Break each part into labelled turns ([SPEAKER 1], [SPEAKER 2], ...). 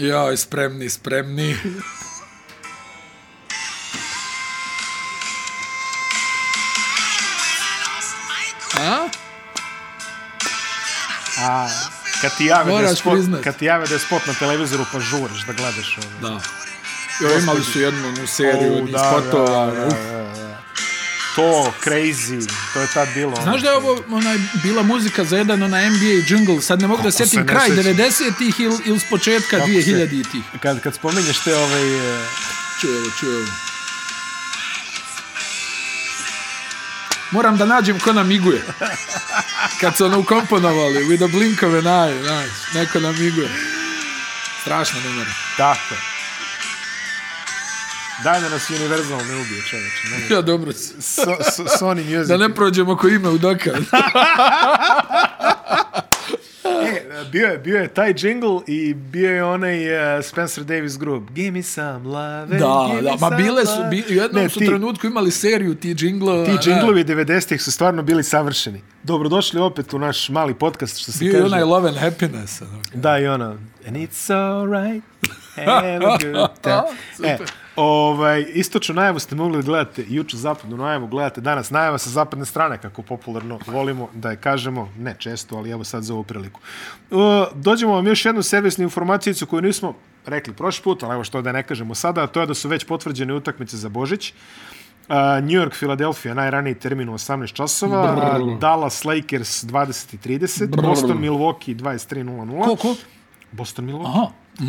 [SPEAKER 1] Joj, spremni, spremni. A?
[SPEAKER 2] A, kad ti jave, da je
[SPEAKER 1] Moraš
[SPEAKER 2] spot,
[SPEAKER 1] priznat.
[SPEAKER 2] kad ti jave da je spot na televizoru, pa žuriš da gledaš ovo.
[SPEAKER 1] Da. Jo, imali su jednu onu seriju
[SPEAKER 2] Au,
[SPEAKER 1] oh, spotova.
[SPEAKER 2] ono.
[SPEAKER 1] Da, da, da.
[SPEAKER 2] da. To, crazy, to je tad bilo. ono
[SPEAKER 1] Znaš da je ovo onaj, bila muzika za jedan onaj NBA jungle, sad ne mogu da
[SPEAKER 2] Kako se
[SPEAKER 1] setim
[SPEAKER 2] ne
[SPEAKER 1] kraj
[SPEAKER 2] sećam?
[SPEAKER 1] 90-ih ili il s početka
[SPEAKER 2] Kako se-
[SPEAKER 1] 2000-ih.
[SPEAKER 2] Kad, kad spominješ te ovaj... e,
[SPEAKER 1] Čujem, čujem. Moram da nađem ko nam iguje. Kad su ono ukomponovali, with the blink of an eye, znaš, neko nam iguje. Strašno numero.
[SPEAKER 2] Tako. je. Daj da nas Universal ne ubije, čoveče. Ne.
[SPEAKER 1] Ja dobro si.
[SPEAKER 2] So, so, Sony Music.
[SPEAKER 1] Da ne prođemo ko ime u dokaz.
[SPEAKER 2] E, bio je, bio je taj jingle i bio je onaj uh, Spencer Davis Group. Give me some
[SPEAKER 1] Da,
[SPEAKER 2] love.
[SPEAKER 1] da, ma bile su, bi, u jednom
[SPEAKER 2] Ne,
[SPEAKER 1] su
[SPEAKER 2] ti-
[SPEAKER 1] trenutku imali seriju ti džinglova.
[SPEAKER 2] Ti džinglovi 90-ih su stvarno bili savršeni. Dobrodošli opet u naš mali podcast, što se
[SPEAKER 1] Bio
[SPEAKER 2] kaže.
[SPEAKER 1] je onaj Love and Happiness. Ono.
[SPEAKER 2] Da, i ono, and it's alright, have a good time. e,
[SPEAKER 1] Super.
[SPEAKER 2] ovaj, istočnu najavu ste mogli da gledate, juče zapadnu najavu gledate, danas najava sa zapadne strane, kako popularno volimo da je kažemo, ne često, ali evo sad za ovu priliku. E, dođemo vam još jednu servisnu informacijicu koju nismo rekli prošli put, ali evo što da ne kažemo sada, a to je da su već potvrđene utakmice za Božić. Uh, New York, Philadelphia, najraniji termin u 18 časova,
[SPEAKER 1] Brr.
[SPEAKER 2] Brr. Dallas Lakers 20 i 30,
[SPEAKER 1] Brr.
[SPEAKER 2] Boston, Milwaukee 23.00.
[SPEAKER 1] Ko, ko?
[SPEAKER 2] Boston Milwaukee.
[SPEAKER 1] Aha. Mm.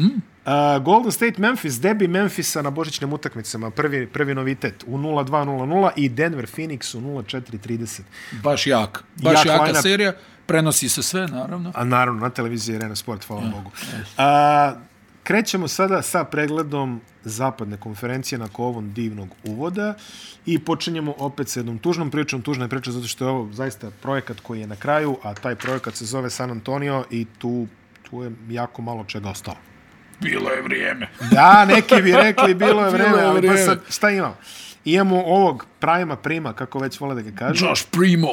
[SPEAKER 2] Uh, Golden State Memphis, debi Memphisa na božićnim utakmicama, prvi, prvi novitet u 0-2-0-0 i Denver Phoenix u 0-4-30.
[SPEAKER 1] Baš jak. Baš
[SPEAKER 2] Jak
[SPEAKER 1] jaka
[SPEAKER 2] lineup.
[SPEAKER 1] serija. Prenosi se sve, naravno.
[SPEAKER 2] A naravno, na televiziji Arena Sport, hvala Bogu. Uh, krećemo sada sa pregledom zapadne konferencije nakon ovom divnog uvoda i počinjemo opet sa jednom tužnom pričom. Tužna je priča zato što je ovo zaista projekat koji je na kraju, a taj projekat se zove San Antonio i tu, tu je jako malo čega ostalo.
[SPEAKER 1] Bilo je vrijeme.
[SPEAKER 2] Da, neki bi rekli bilo je vreme,
[SPEAKER 1] Bilo je
[SPEAKER 2] ali pa
[SPEAKER 1] vreme.
[SPEAKER 2] sad šta imamo? Imamo ovog Prima Prima, kako već vole da ga kažu,
[SPEAKER 1] Josh Primo.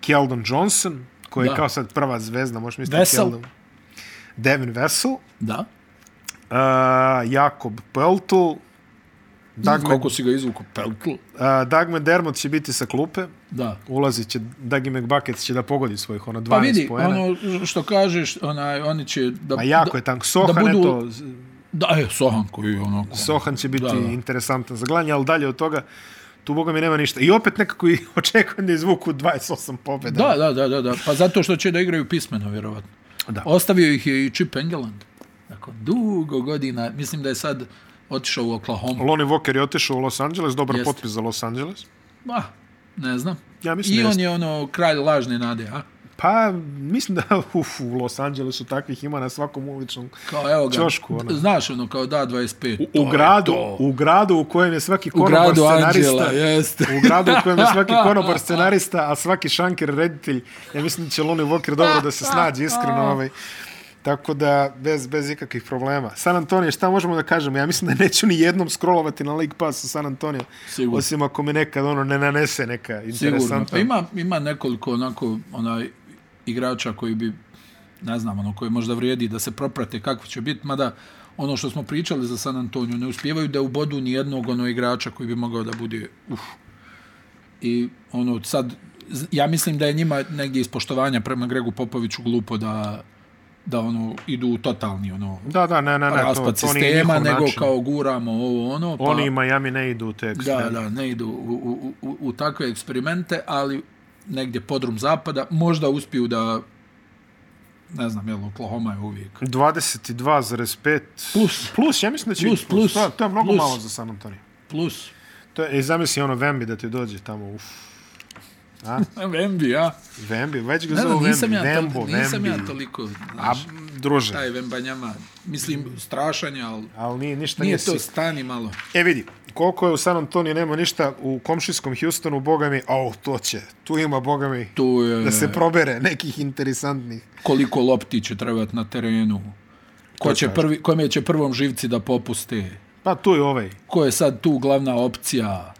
[SPEAKER 2] Keldon Johnson, koji
[SPEAKER 1] Da.
[SPEAKER 2] je kao sad prva zvezda, možeš misliti
[SPEAKER 1] Vesel.
[SPEAKER 2] Keldon. Devin Vessel, uh,
[SPEAKER 1] Da.
[SPEAKER 2] Jakob Peltl,
[SPEAKER 1] Dagme.
[SPEAKER 2] Dagme, uh,
[SPEAKER 1] Koliko si ga izvuku? Peltl.
[SPEAKER 2] Dagme Dermot će biti sa klupe,
[SPEAKER 1] Da.
[SPEAKER 2] ulazit će, Dagi McBucket će da pogodi svojih ono 12
[SPEAKER 1] Pa vidi,
[SPEAKER 2] poena.
[SPEAKER 1] ono što kažeš, onaj, oni će... Da,
[SPEAKER 2] Ma jako
[SPEAKER 1] da,
[SPEAKER 2] je tank. Sohan,
[SPEAKER 1] budu-
[SPEAKER 2] eto,
[SPEAKER 1] Da, je, Sohan koji je onako...
[SPEAKER 2] Sohan će biti
[SPEAKER 1] Da,
[SPEAKER 2] da,
[SPEAKER 1] da.
[SPEAKER 2] da. interesantan za gledanje, ali dalje od toga tu boga mi nema ništa. I opet nekako i očekujem da izvuku 28 pobjeda.
[SPEAKER 1] Da, da, da, da, da. Pa zato što će da igraju pismeno, vjerovatno.
[SPEAKER 2] Da.
[SPEAKER 1] Ostavio ih je i Chip Engeland. Nakon dugo godina, mislim da je sad otišao u Oklahoma.
[SPEAKER 2] Lonnie Walker je otišao u Los Angeles, dobar
[SPEAKER 1] Jeste.
[SPEAKER 2] Jeste. potpis za Los Angeles.
[SPEAKER 1] Bah, ne znam.
[SPEAKER 2] Ja mislim
[SPEAKER 1] I
[SPEAKER 2] da
[SPEAKER 1] on
[SPEAKER 2] jeste.
[SPEAKER 1] je ono kralj lažne nade, a?
[SPEAKER 2] Pa, mislim da uf, u Los Angelesu takvih ima na svakom uličnom...
[SPEAKER 1] Kao, evo ga.
[SPEAKER 2] Ćošku, ono.
[SPEAKER 1] Znaš, ono, kao da 25.
[SPEAKER 2] U, u, gradu, u gradu u kojem je svaki
[SPEAKER 1] u
[SPEAKER 2] konobar
[SPEAKER 1] gradu
[SPEAKER 2] scenarista...
[SPEAKER 1] Anđela, jeste.
[SPEAKER 2] U gradu u kojem je svaki konobar scenarista, a svaki šanker reditelj. Ja mislim da će Lonnie Walker dobro da se snađe, iskreno. Ovaj. Tako da, bez, bez ikakvih problema. San Antonio, šta možemo da kažemo? Ja mislim da neću ni jednom scrollovati na League Pass u San Antonio.
[SPEAKER 1] Sigurno.
[SPEAKER 2] Osim ako me nekad ono ne nanese neka
[SPEAKER 1] Sigurno. Pa
[SPEAKER 2] interesantna.
[SPEAKER 1] ima, ima nekoliko onako onaj igrača koji bi ne znam, ono koji možda vrijedi da se proprate kako će biti, mada ono što smo pričali za San Antonio, ne uspijevaju da ubodu ni jednog ono igrača koji bi mogao da bude uf. I ono sad z- ja mislim da je njima negdje ispoštovanja prema Gregu Popoviću glupo da da ono idu u totalni ono
[SPEAKER 2] Da, da, ne, ne, ne. To,
[SPEAKER 1] raspad
[SPEAKER 2] to nije
[SPEAKER 1] sistema,
[SPEAKER 2] njihov
[SPEAKER 1] nego
[SPEAKER 2] način.
[SPEAKER 1] kao guramo ovo ono. Pa,
[SPEAKER 2] Oni i Miami ne idu u te
[SPEAKER 1] Da,
[SPEAKER 2] ekstreme.
[SPEAKER 1] da, ne idu u, u, u, u takve eksperimente, ali negdje podrum zapada, možda uspiju da, ne znam, jel, Oklahoma je uvijek.
[SPEAKER 2] 22,5.
[SPEAKER 1] Plus.
[SPEAKER 2] Plus, ja mislim da će
[SPEAKER 1] Plus,
[SPEAKER 2] ići plus.
[SPEAKER 1] plus.
[SPEAKER 2] To, to je mnogo
[SPEAKER 1] Plus.
[SPEAKER 2] malo za San Antonio.
[SPEAKER 1] Plus,
[SPEAKER 2] To je, i zamisli ono Vembi da ti dođe tamo, uf.
[SPEAKER 1] Vembi, ja.
[SPEAKER 2] Vembi, već ga
[SPEAKER 1] Ne znam,
[SPEAKER 2] zovu
[SPEAKER 1] nisam,
[SPEAKER 2] Vembi.
[SPEAKER 1] ja,
[SPEAKER 2] Vembo,
[SPEAKER 1] to, nisam
[SPEAKER 2] Vembi.
[SPEAKER 1] ja toliko,
[SPEAKER 2] A,
[SPEAKER 1] znaš,
[SPEAKER 2] druže,
[SPEAKER 1] taj Vembanjama, mislim, strašan je, ali
[SPEAKER 2] ali nije, ništa
[SPEAKER 1] nije
[SPEAKER 2] nisi.
[SPEAKER 1] to stani malo.
[SPEAKER 2] E vidi, koliko je u San Antonio nema ništa, u komšijskom Houstonu, boga mi, au, to će, tu ima, boga mi,
[SPEAKER 1] Tu je
[SPEAKER 2] da se probere nekih interesantnih.
[SPEAKER 1] koliko lopti će trebati na terenu, ko će prvi, kome će prvom živci da popuste,
[SPEAKER 2] Pa tu je ovaj.
[SPEAKER 1] ko je sad tu glavna opcija,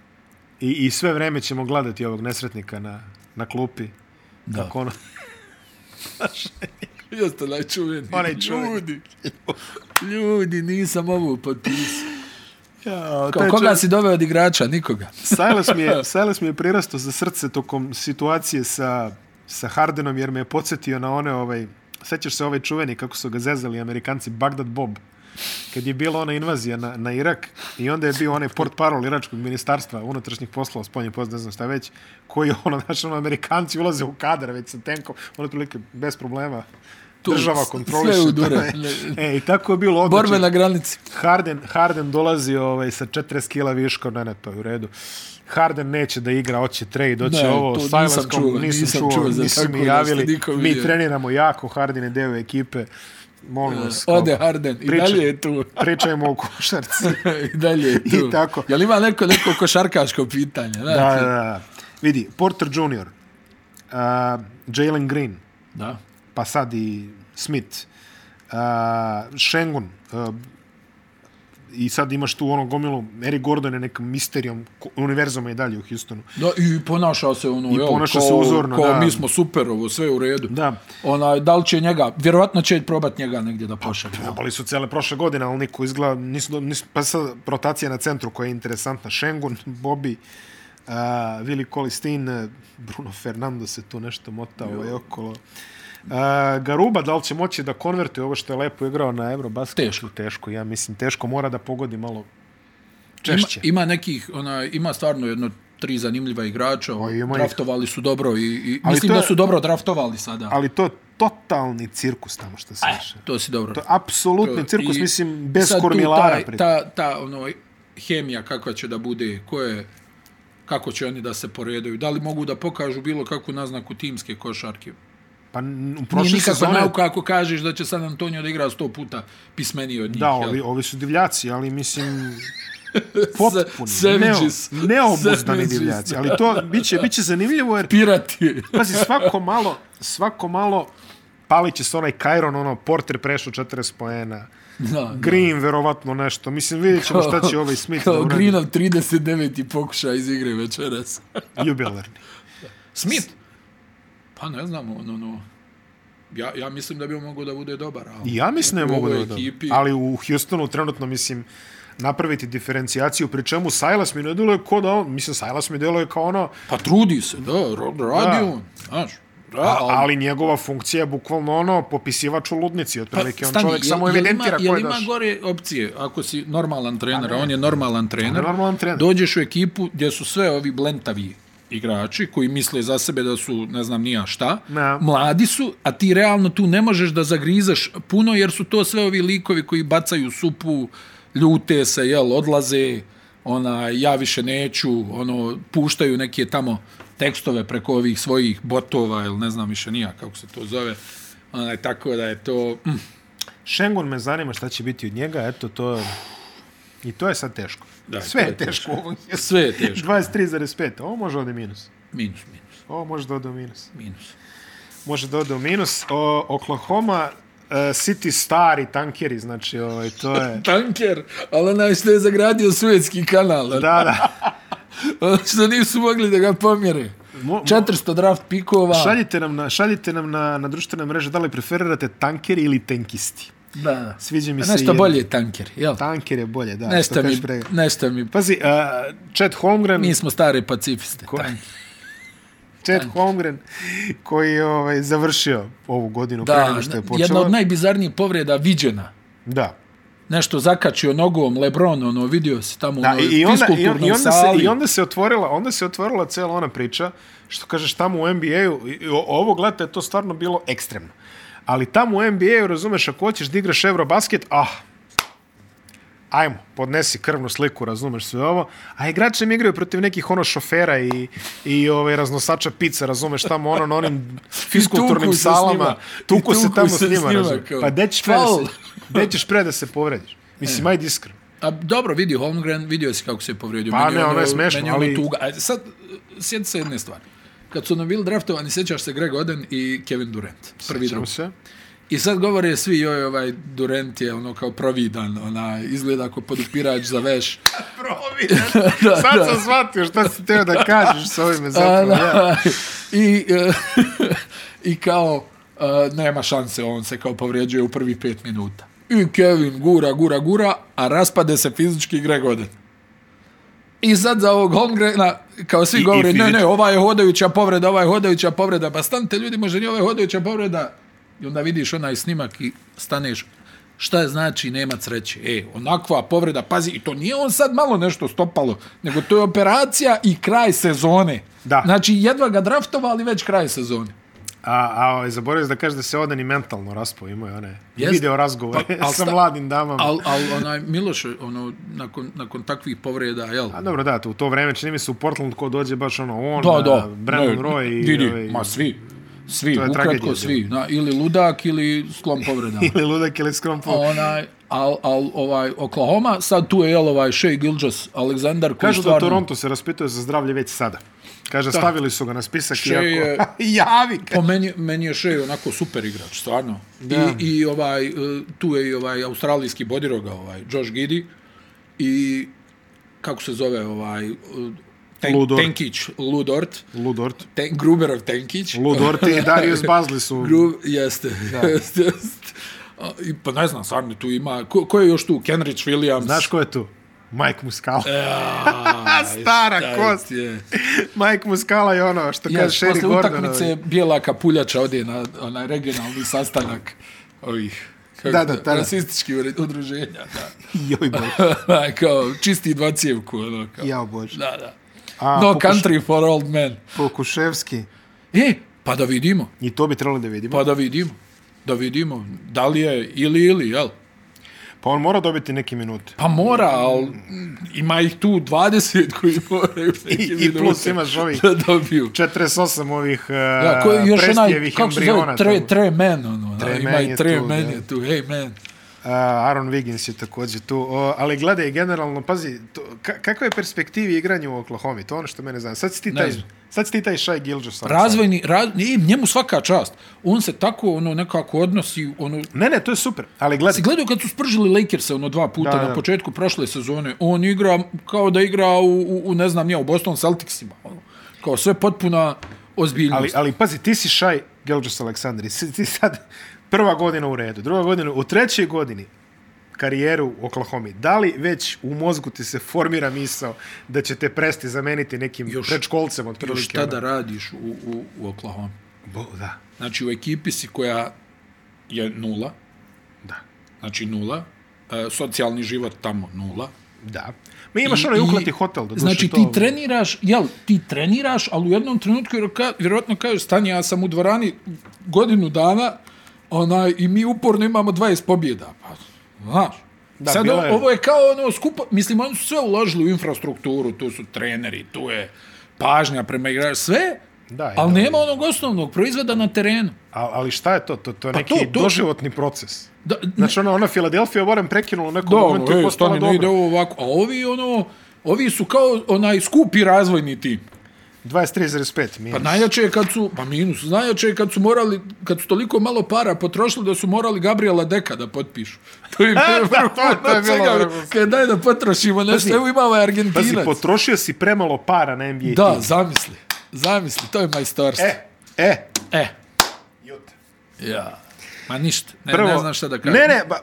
[SPEAKER 2] I, i sve vreme ćemo gledati ovog nesretnika na, na klupi. Da. Kako ono...
[SPEAKER 1] Jeste najčuveni.
[SPEAKER 2] Onaj čuveni.
[SPEAKER 1] Ljudi, ljudi, nisam ovo potpisao.
[SPEAKER 2] Ja,
[SPEAKER 1] Kao, koga si doveo od igrača? Nikoga.
[SPEAKER 2] Silas mi je, Silas mi je prirasto za srce tokom situacije sa, sa Hardenom, jer me je podsjetio na one, ovaj, sećaš se ovaj čuveni kako su ga zezali amerikanci, Bagdad Bob, kad je bila ona invazija na, na Irak i onda je bio onaj port parol Iračkog ministarstva unutrašnjih poslova, spolnje poslova, ne znam šta već, koji je ono, znači ono, amerikanci ulaze u kadar već sa tenkom, ono prilike bez problema.
[SPEAKER 1] Tu,
[SPEAKER 2] država
[SPEAKER 1] s-
[SPEAKER 2] kontroliše.
[SPEAKER 1] sve u dure.
[SPEAKER 2] taj- E, i tako je bilo odlično.
[SPEAKER 1] Borbe na granici.
[SPEAKER 2] Harden, Harden dolazi ovaj, sa 40 kila viška, ne, ne, to je u redu. Harden neće da igra, hoće trade, hoće
[SPEAKER 1] Ne,
[SPEAKER 2] ovo,
[SPEAKER 1] to
[SPEAKER 2] s
[SPEAKER 1] nisam
[SPEAKER 2] Silaskom
[SPEAKER 1] čuo,
[SPEAKER 2] nisam,
[SPEAKER 1] nisam
[SPEAKER 2] čuo,
[SPEAKER 1] čuo za
[SPEAKER 2] nisu
[SPEAKER 1] tako
[SPEAKER 2] mi
[SPEAKER 1] nešto,
[SPEAKER 2] javili.
[SPEAKER 1] niko
[SPEAKER 2] Mi
[SPEAKER 1] vidio.
[SPEAKER 2] treniramo jako, Harden je deo ekipe. Molim vas. kao,
[SPEAKER 1] Ode Harden. I
[SPEAKER 2] priča-
[SPEAKER 1] dalje je tu.
[SPEAKER 2] Pričajmo o košarci.
[SPEAKER 1] I dalje je tu.
[SPEAKER 2] I tako.
[SPEAKER 1] Jel ima neko, neko košarkaško pitanje? Da,
[SPEAKER 2] da, da, da. Vidi, Porter Jr., uh, Jalen Green,
[SPEAKER 1] da.
[SPEAKER 2] pa sad i Smith, uh, Šengun, uh, i sad imaš tu ono gomilu, Eric Gordon je nekom misterijom, ko- univerzuma je dalje u Houstonu.
[SPEAKER 1] Da, i ponašao se ono, I
[SPEAKER 2] ponaša se uzorno,
[SPEAKER 1] ko,
[SPEAKER 2] da.
[SPEAKER 1] mi smo super, ovo sve u redu.
[SPEAKER 2] Da.
[SPEAKER 1] Onaj, da li će njega, vjerovatno će probat njega negdje da pošalje.
[SPEAKER 2] Probali su cele prošle godine, ali niko izgleda, nisu, do- nisu, pa sad rotacija na centru koja je interesantna, Šengun, Bobby, uh, Willi Kolistin, eh, Bruno Fernando se tu nešto mota ovaj okolo. Uh, Garuba, da li će moći da konvertuje ovo što je lepo igrao na Eurobasketu?
[SPEAKER 1] Teško.
[SPEAKER 2] Teško, ja mislim, teško, mora da pogodi malo
[SPEAKER 1] Ima,
[SPEAKER 2] češće.
[SPEAKER 1] ima nekih, ona, ima stvarno jedno tri zanimljiva igrača,
[SPEAKER 2] O, ima ih.
[SPEAKER 1] draftovali su dobro i, i
[SPEAKER 2] Ali
[SPEAKER 1] mislim
[SPEAKER 2] to
[SPEAKER 1] da
[SPEAKER 2] je-
[SPEAKER 1] su dobro draftovali sada.
[SPEAKER 2] Ali to je totalni cirkus tamo što se više.
[SPEAKER 1] to si dobro.
[SPEAKER 2] To je apsolutni cirkus,
[SPEAKER 1] I
[SPEAKER 2] mislim, bez
[SPEAKER 1] sad tu
[SPEAKER 2] kormilara.
[SPEAKER 1] Taj, ta, ta ono, hemija kakva će da bude, ko je, kako će oni da se poredaju, da li mogu da pokažu bilo kakvu naznaku timske košarke.
[SPEAKER 2] Pa n- u
[SPEAKER 1] Nije
[SPEAKER 2] prošle
[SPEAKER 1] nikakva
[SPEAKER 2] sezone...
[SPEAKER 1] nauka ako kažeš da će San Antonio da igra sto puta pismeniji od njih.
[SPEAKER 2] Da,
[SPEAKER 1] jel?
[SPEAKER 2] ovi, ovi su divljaci, ali mislim
[SPEAKER 1] Se-
[SPEAKER 2] potpuni, neo,
[SPEAKER 1] savages.
[SPEAKER 2] neobuzdani
[SPEAKER 1] Savages,
[SPEAKER 2] divljaci.
[SPEAKER 1] da.
[SPEAKER 2] Ali to biće, biće zanimljivo jer,
[SPEAKER 1] Pirati.
[SPEAKER 2] pazi, svako malo, svako malo palit će se onaj Kajron, ono, Porter prešao 40 poena,
[SPEAKER 1] Da,
[SPEAKER 2] Green verovatno nešto. Mislim, vidjet ćemo šta će ovaj Smith da
[SPEAKER 1] Kao
[SPEAKER 2] uradi.
[SPEAKER 1] Greenov 39. pokušaj iz igre večeras.
[SPEAKER 2] Jubilarni.
[SPEAKER 1] Smith? Pa ne znam, ono, ono, ja, ja mislim da bi on mogao da bude dobar. Ali
[SPEAKER 2] I ja mislim da je
[SPEAKER 1] u
[SPEAKER 2] mogu da
[SPEAKER 1] ovoj
[SPEAKER 2] je dobro.
[SPEAKER 1] ekipi-
[SPEAKER 2] Ali u Houstonu trenutno, mislim, napraviti diferencijaciju, pri čemu Silas mi ne deluje kao da on, mislim, Silas mi deluje kao ono,
[SPEAKER 1] Pa trudi se, da, ro- radi
[SPEAKER 2] Da.
[SPEAKER 1] on, znaš. Da,
[SPEAKER 2] A,
[SPEAKER 1] Pa, ali-
[SPEAKER 2] ali njegova funkcija je bukvalno ono popisivač u ludnici, otprilike on
[SPEAKER 1] Pa, stani,
[SPEAKER 2] čovjek samo
[SPEAKER 1] jel ima,
[SPEAKER 2] evidentira ko je Pa
[SPEAKER 1] jel ima
[SPEAKER 2] daš.
[SPEAKER 1] gore opcije, ako si normalan trener, a on je normalan trener,
[SPEAKER 2] Pa normalan trener.
[SPEAKER 1] dođeš u ekipu gdje su sve ovi blentavi igrači koji misle za sebe da su ne znam nija šta,
[SPEAKER 2] Da.
[SPEAKER 1] mladi su, a ti realno tu ne možeš da zagrizaš puno jer su to sve ovi likovi koji bacaju supu, ljute se, jel, odlaze, ona, ja više neću, ono, puštaju neke tamo tekstove preko ovih svojih botova ili ne znam više nija kako se to zove. Onaj, tako da je to... Mm.
[SPEAKER 2] Šengon me zanima šta će biti od njega, eto to je... I to je sad teško.
[SPEAKER 1] Da,
[SPEAKER 2] Sve
[SPEAKER 1] to
[SPEAKER 2] je
[SPEAKER 1] je
[SPEAKER 2] teško u ovom.
[SPEAKER 1] Sve je teško.
[SPEAKER 2] 23,5, ovo može ode minus.
[SPEAKER 1] Minus, minus,
[SPEAKER 2] Ovo može da ode u minus.
[SPEAKER 1] minus.
[SPEAKER 2] Može da ode u minus. O, Oklahoma uh, City stari tankeri, znači ovaj, to je...
[SPEAKER 1] Tanker, ali onaj što je zagradio Suetski kanal,
[SPEAKER 2] Da,
[SPEAKER 1] da.
[SPEAKER 2] da.
[SPEAKER 1] što nisu mogli da ga pomjere.
[SPEAKER 2] Mo- mo-
[SPEAKER 1] 400 draft pikova.
[SPEAKER 2] Šaljite nam, na, šaljite nam na, na društvene mreže da li preferirate tankeri ili tenkisti.
[SPEAKER 1] Da.
[SPEAKER 2] Sviđa mi se
[SPEAKER 1] Nešto
[SPEAKER 2] jedan.
[SPEAKER 1] bolje je tanker, jel?
[SPEAKER 2] Tanker je bolje, da. što
[SPEAKER 1] nešto, mi,
[SPEAKER 2] kažeš pre-
[SPEAKER 1] nešto mi...
[SPEAKER 2] Pazi, uh, Chad Holmgren,
[SPEAKER 1] Mi smo stare pacifiste.
[SPEAKER 2] Ko-
[SPEAKER 1] tanker.
[SPEAKER 2] Chad Holmgren koji je ovaj, završio ovu godinu da, pre
[SPEAKER 1] Da,
[SPEAKER 2] nego što je
[SPEAKER 1] jedna
[SPEAKER 2] počelo.
[SPEAKER 1] od najbizarnijih povreda viđena.
[SPEAKER 2] Da.
[SPEAKER 1] Nešto zakačio nogom, Lebron, ono, vidio se tamo
[SPEAKER 2] Da,
[SPEAKER 1] ono,
[SPEAKER 2] i, i, onda, i,
[SPEAKER 1] fiskulturnoj
[SPEAKER 2] i, onda se,
[SPEAKER 1] sali.
[SPEAKER 2] I onda se otvorila, onda se otvorila cela ona priča, što kažeš tamo u NBA-u, i- i o- ovog leta je to stvarno bilo ekstremno. Ali tamo u NBA-u, razumeš, ako hoćeš da igraš Eurobasket, ah, ajmo, podnesi krvnu sliku, razumeš sve ovo, a igrači mi igraju protiv nekih ono šofera i, i ove, raznosača pica, razumeš, tamo ono na onim fiskulturnim
[SPEAKER 1] tuku se s njima.
[SPEAKER 2] salama,
[SPEAKER 1] I
[SPEAKER 2] tuku se
[SPEAKER 1] tuku
[SPEAKER 2] tamo
[SPEAKER 1] se
[SPEAKER 2] s njima,
[SPEAKER 1] s njima,
[SPEAKER 2] razumeš.
[SPEAKER 1] kao,
[SPEAKER 2] Pa gde ćeš pre da
[SPEAKER 1] foul.
[SPEAKER 2] se, gde ćeš pre da se povrediš? Mislim, ajde iskreno.
[SPEAKER 1] A dobro, vidi Holmgren, vidio si kako se je povrijedio.
[SPEAKER 2] Pa ne, ono je smešno,
[SPEAKER 1] meni ono
[SPEAKER 2] ali-
[SPEAKER 1] Tuga. A sad, sjeti se jedne stvari. Kad su nam bili draftovani, sjećaš se Greg Oden i Kevin Durant. Prvi
[SPEAKER 2] Ćemo
[SPEAKER 1] drugi.
[SPEAKER 2] se.
[SPEAKER 1] I sad govore svi, joj, ovaj Durant je ono kao providan, ona, izgleda ako podupirač za veš.
[SPEAKER 2] Providan. Sad sam shvatio šta si teo Pa da kažeš s ovime zapravo. Ja.
[SPEAKER 1] eh, I, e, I kao, Uh, uh, nema šanse, on se kao povrijeđuje u prvi pet minuta. I Kevin gura, gura, gura, a raspade se fizički igre godine. I sad za ovog Holmgrena, kao svi
[SPEAKER 2] I- i
[SPEAKER 1] govore, ne,
[SPEAKER 2] fizički.
[SPEAKER 1] ne, ova je hodajuća povreda, ova je hodajuća povreda, pa stanite ljudi, može nije ova je hodajuća povreda. I onda vidiš onaj snimak i staneš, šta je znači nema sreće? E, onakva povreda, pazi, i to nije on sad malo nešto stopalo, nego to je operacija i kraj sezone.
[SPEAKER 2] Da.
[SPEAKER 1] Znači, jedva ga draftovali, već kraj sezone.
[SPEAKER 2] A, a ovaj, zaboravio sam da kaže da se odan i mentalno raspao, imao je one
[SPEAKER 1] Jest.
[SPEAKER 2] video razgovore
[SPEAKER 1] Pa, al
[SPEAKER 2] sa
[SPEAKER 1] sta-
[SPEAKER 2] mladim damama.
[SPEAKER 1] Al, al onaj Miloš, ono, nakon, nakon takvih povreda, jel?
[SPEAKER 2] A dobro, da, to, u to vreme čini mi se u Portland ko dođe baš ono, on,
[SPEAKER 1] Da,
[SPEAKER 2] da,
[SPEAKER 1] Pa da.
[SPEAKER 2] Brandon
[SPEAKER 1] ne,
[SPEAKER 2] Roy i...
[SPEAKER 1] Didi,
[SPEAKER 2] ovaj,
[SPEAKER 1] ma svi. Svi,
[SPEAKER 2] To je tragedija,
[SPEAKER 1] ukratko svi. Na, ili ludak, ili sklon povreda.
[SPEAKER 2] Ili ludak ili skrompo.
[SPEAKER 1] A onaj, al, al, ovaj, Oklahoma, sad tu je, jel, ovaj, Shea Gilgis, Aleksandar, koji
[SPEAKER 2] Kažu da
[SPEAKER 1] stvarno...
[SPEAKER 2] Toronto se raspituje za zdravlje već sada. Kaže, stavili su ga na spisak
[SPEAKER 1] Shea je-
[SPEAKER 2] iako... Javi ga!
[SPEAKER 1] Po meni, meni je Shea onako super igrač, stvarno.
[SPEAKER 2] Da.
[SPEAKER 1] I, i ovaj, eh, tu je i ovaj australijski bodiroga, ovaj, Josh Giddy. I kako se zove ovaj... eh, Ten,
[SPEAKER 2] Lou Dort.
[SPEAKER 1] Tenkić, Ludort.
[SPEAKER 2] Ludort.
[SPEAKER 1] Ten, Gruberov Tenkić.
[SPEAKER 2] Ludort i Darius Bazli su...
[SPEAKER 1] Gru, jeste. jeste, jeste. A, I, pa ne znam, stvarno tu ima... Ko, ko je još tu? Kenrich Williams.
[SPEAKER 2] Znaš ko je tu? Mike Muscala.
[SPEAKER 1] A,
[SPEAKER 2] stara
[SPEAKER 1] šta
[SPEAKER 2] kost.
[SPEAKER 1] je.
[SPEAKER 2] Mike Muscala je ono što kaže
[SPEAKER 1] Yes,
[SPEAKER 2] Sherry
[SPEAKER 1] posle
[SPEAKER 2] Gordon.
[SPEAKER 1] utakmice
[SPEAKER 2] ovaj.
[SPEAKER 1] Bijela Kapuljača ode na onaj regionalni sastanak ovih kako
[SPEAKER 2] Da, da,
[SPEAKER 1] to,
[SPEAKER 2] da, da.
[SPEAKER 1] rasističkih ure- udruženja. Da.
[SPEAKER 2] Joj boj.
[SPEAKER 1] Onaj, kao, čisti dvocjevku. Ono, kao.
[SPEAKER 2] Jao bože.
[SPEAKER 1] Da, da.
[SPEAKER 2] A,
[SPEAKER 1] no
[SPEAKER 2] pokuš-
[SPEAKER 1] country for old men.
[SPEAKER 2] Pokuševski.
[SPEAKER 1] E, pa da vidimo.
[SPEAKER 2] I to bi trebalo da vidimo.
[SPEAKER 1] Pa da vidimo. Da vidimo. Da li je ili ili, jel?
[SPEAKER 2] Pa on mora dobiti neke minute.
[SPEAKER 1] Pa mora, ali ima ih tu 20 koji moraju
[SPEAKER 2] I, i plus imaš ovih
[SPEAKER 1] da dobiju.
[SPEAKER 2] 48 ovih
[SPEAKER 1] Da, koji je
[SPEAKER 2] uh,
[SPEAKER 1] još onaj,
[SPEAKER 2] prestijevih
[SPEAKER 1] kako se zove,
[SPEAKER 2] embriona. Tre,
[SPEAKER 1] tre, tre men, ono, tre
[SPEAKER 2] Tre
[SPEAKER 1] ima
[SPEAKER 2] man
[SPEAKER 1] i
[SPEAKER 2] je
[SPEAKER 1] tre
[SPEAKER 2] tu,
[SPEAKER 1] men
[SPEAKER 2] da.
[SPEAKER 1] je tu, hey man.
[SPEAKER 2] Uh, Aaron Wiggins je također tu. O, ali gledaj, generalno, pazi, to, ka, kakva je perspektiva igranja u Oklahoma? To je ono što mene zanima. Sad si ti
[SPEAKER 1] Ne
[SPEAKER 2] taj,
[SPEAKER 1] znam.
[SPEAKER 2] sad si ti taj Shai Gilgis.
[SPEAKER 1] Razvojni, raz, i njemu svaka čast. On se tako, ono, nekako odnosi, ono,
[SPEAKER 2] Ne, ne, to je super. Ali gledaj,
[SPEAKER 1] Si gledao kad su spržili Lakersa ono dva puta
[SPEAKER 2] Da,
[SPEAKER 1] da, na
[SPEAKER 2] da.
[SPEAKER 1] početku prošle sezone, on igra kao da igra u, u, u ne znam ja, u Boston Celticsima. Ono. Kao sve potpuna ozbiljnost.
[SPEAKER 2] Ali, ali pazi, ti si Šaj Gelđos Aleksandri. Si- Ti sad prva godina u redu, druga godina, u trećoj godini karijeru u Oklahoma. Da li već u mozgu ti se formira misao da će te presti zameniti nekim još,
[SPEAKER 1] Još-
[SPEAKER 2] predškolcem od
[SPEAKER 1] Još
[SPEAKER 2] prilike?
[SPEAKER 1] šta da radiš u, u, u Oklahoma?
[SPEAKER 2] Bo, da,
[SPEAKER 1] Znači u ekipi si koja je nula,
[SPEAKER 2] da,
[SPEAKER 1] znači nula, e, socijalni život tamo nula.
[SPEAKER 2] da. Ma imaš onaj uklati hotel. ono. Do
[SPEAKER 1] znači ti treniraš, jel, ti treniraš, ali u jednom trenutku jer ka, vjerojatno kažeš, stani, ja sam u dvorani godinu dana onaj, i mi uporno imamo 20 pobjeda. Pa, znaš,
[SPEAKER 2] Da,
[SPEAKER 1] Da, Sad,
[SPEAKER 2] bila je-
[SPEAKER 1] je... ovo je kao ono skupo, mislim, oni su sve uložili u infrastrukturu, tu su treneri, tu je pažnja prema igraču, sve,
[SPEAKER 2] Da, i
[SPEAKER 1] ali
[SPEAKER 2] da.
[SPEAKER 1] nema onog osnovnog proizvoda na terenu.
[SPEAKER 2] A, ali šta je to? To, to je neki
[SPEAKER 1] Pa to- to-
[SPEAKER 2] doživotni proces.
[SPEAKER 1] Da,
[SPEAKER 2] Znači ona, ona Filadelfija, moram prekinulo u nekom
[SPEAKER 1] Da,
[SPEAKER 2] momentu
[SPEAKER 1] ono,
[SPEAKER 2] i
[SPEAKER 1] e,
[SPEAKER 2] postala
[SPEAKER 1] stani, ne ide
[SPEAKER 2] dobro.
[SPEAKER 1] ovo ovako. A ovi, ono, ovi su kao onaj skupi razvojni tim.
[SPEAKER 2] 23,5 minus.
[SPEAKER 1] Pa najjače je kad su, pa minus, najjače je kad su morali, kad su toliko malo para potrošili da su morali Gabriela Deka da potpišu. To im je
[SPEAKER 2] Da, to- to je
[SPEAKER 1] vrlo,
[SPEAKER 2] bilo
[SPEAKER 1] čega,
[SPEAKER 2] vrhunski.
[SPEAKER 1] kad daj da potrošimo nešto, evo ima ovaj
[SPEAKER 2] Pazi,
[SPEAKER 1] Argentinac.
[SPEAKER 2] potrošio si premalo para na NBA
[SPEAKER 1] Da,
[SPEAKER 2] tim.
[SPEAKER 1] zamisli, zamisli, to je majstorstvo. E.
[SPEAKER 2] E, e,
[SPEAKER 1] e.
[SPEAKER 2] Juta.
[SPEAKER 1] Ja. Ma ništa, ne, ne znam šta da kažem.
[SPEAKER 2] Ne, ne, ba,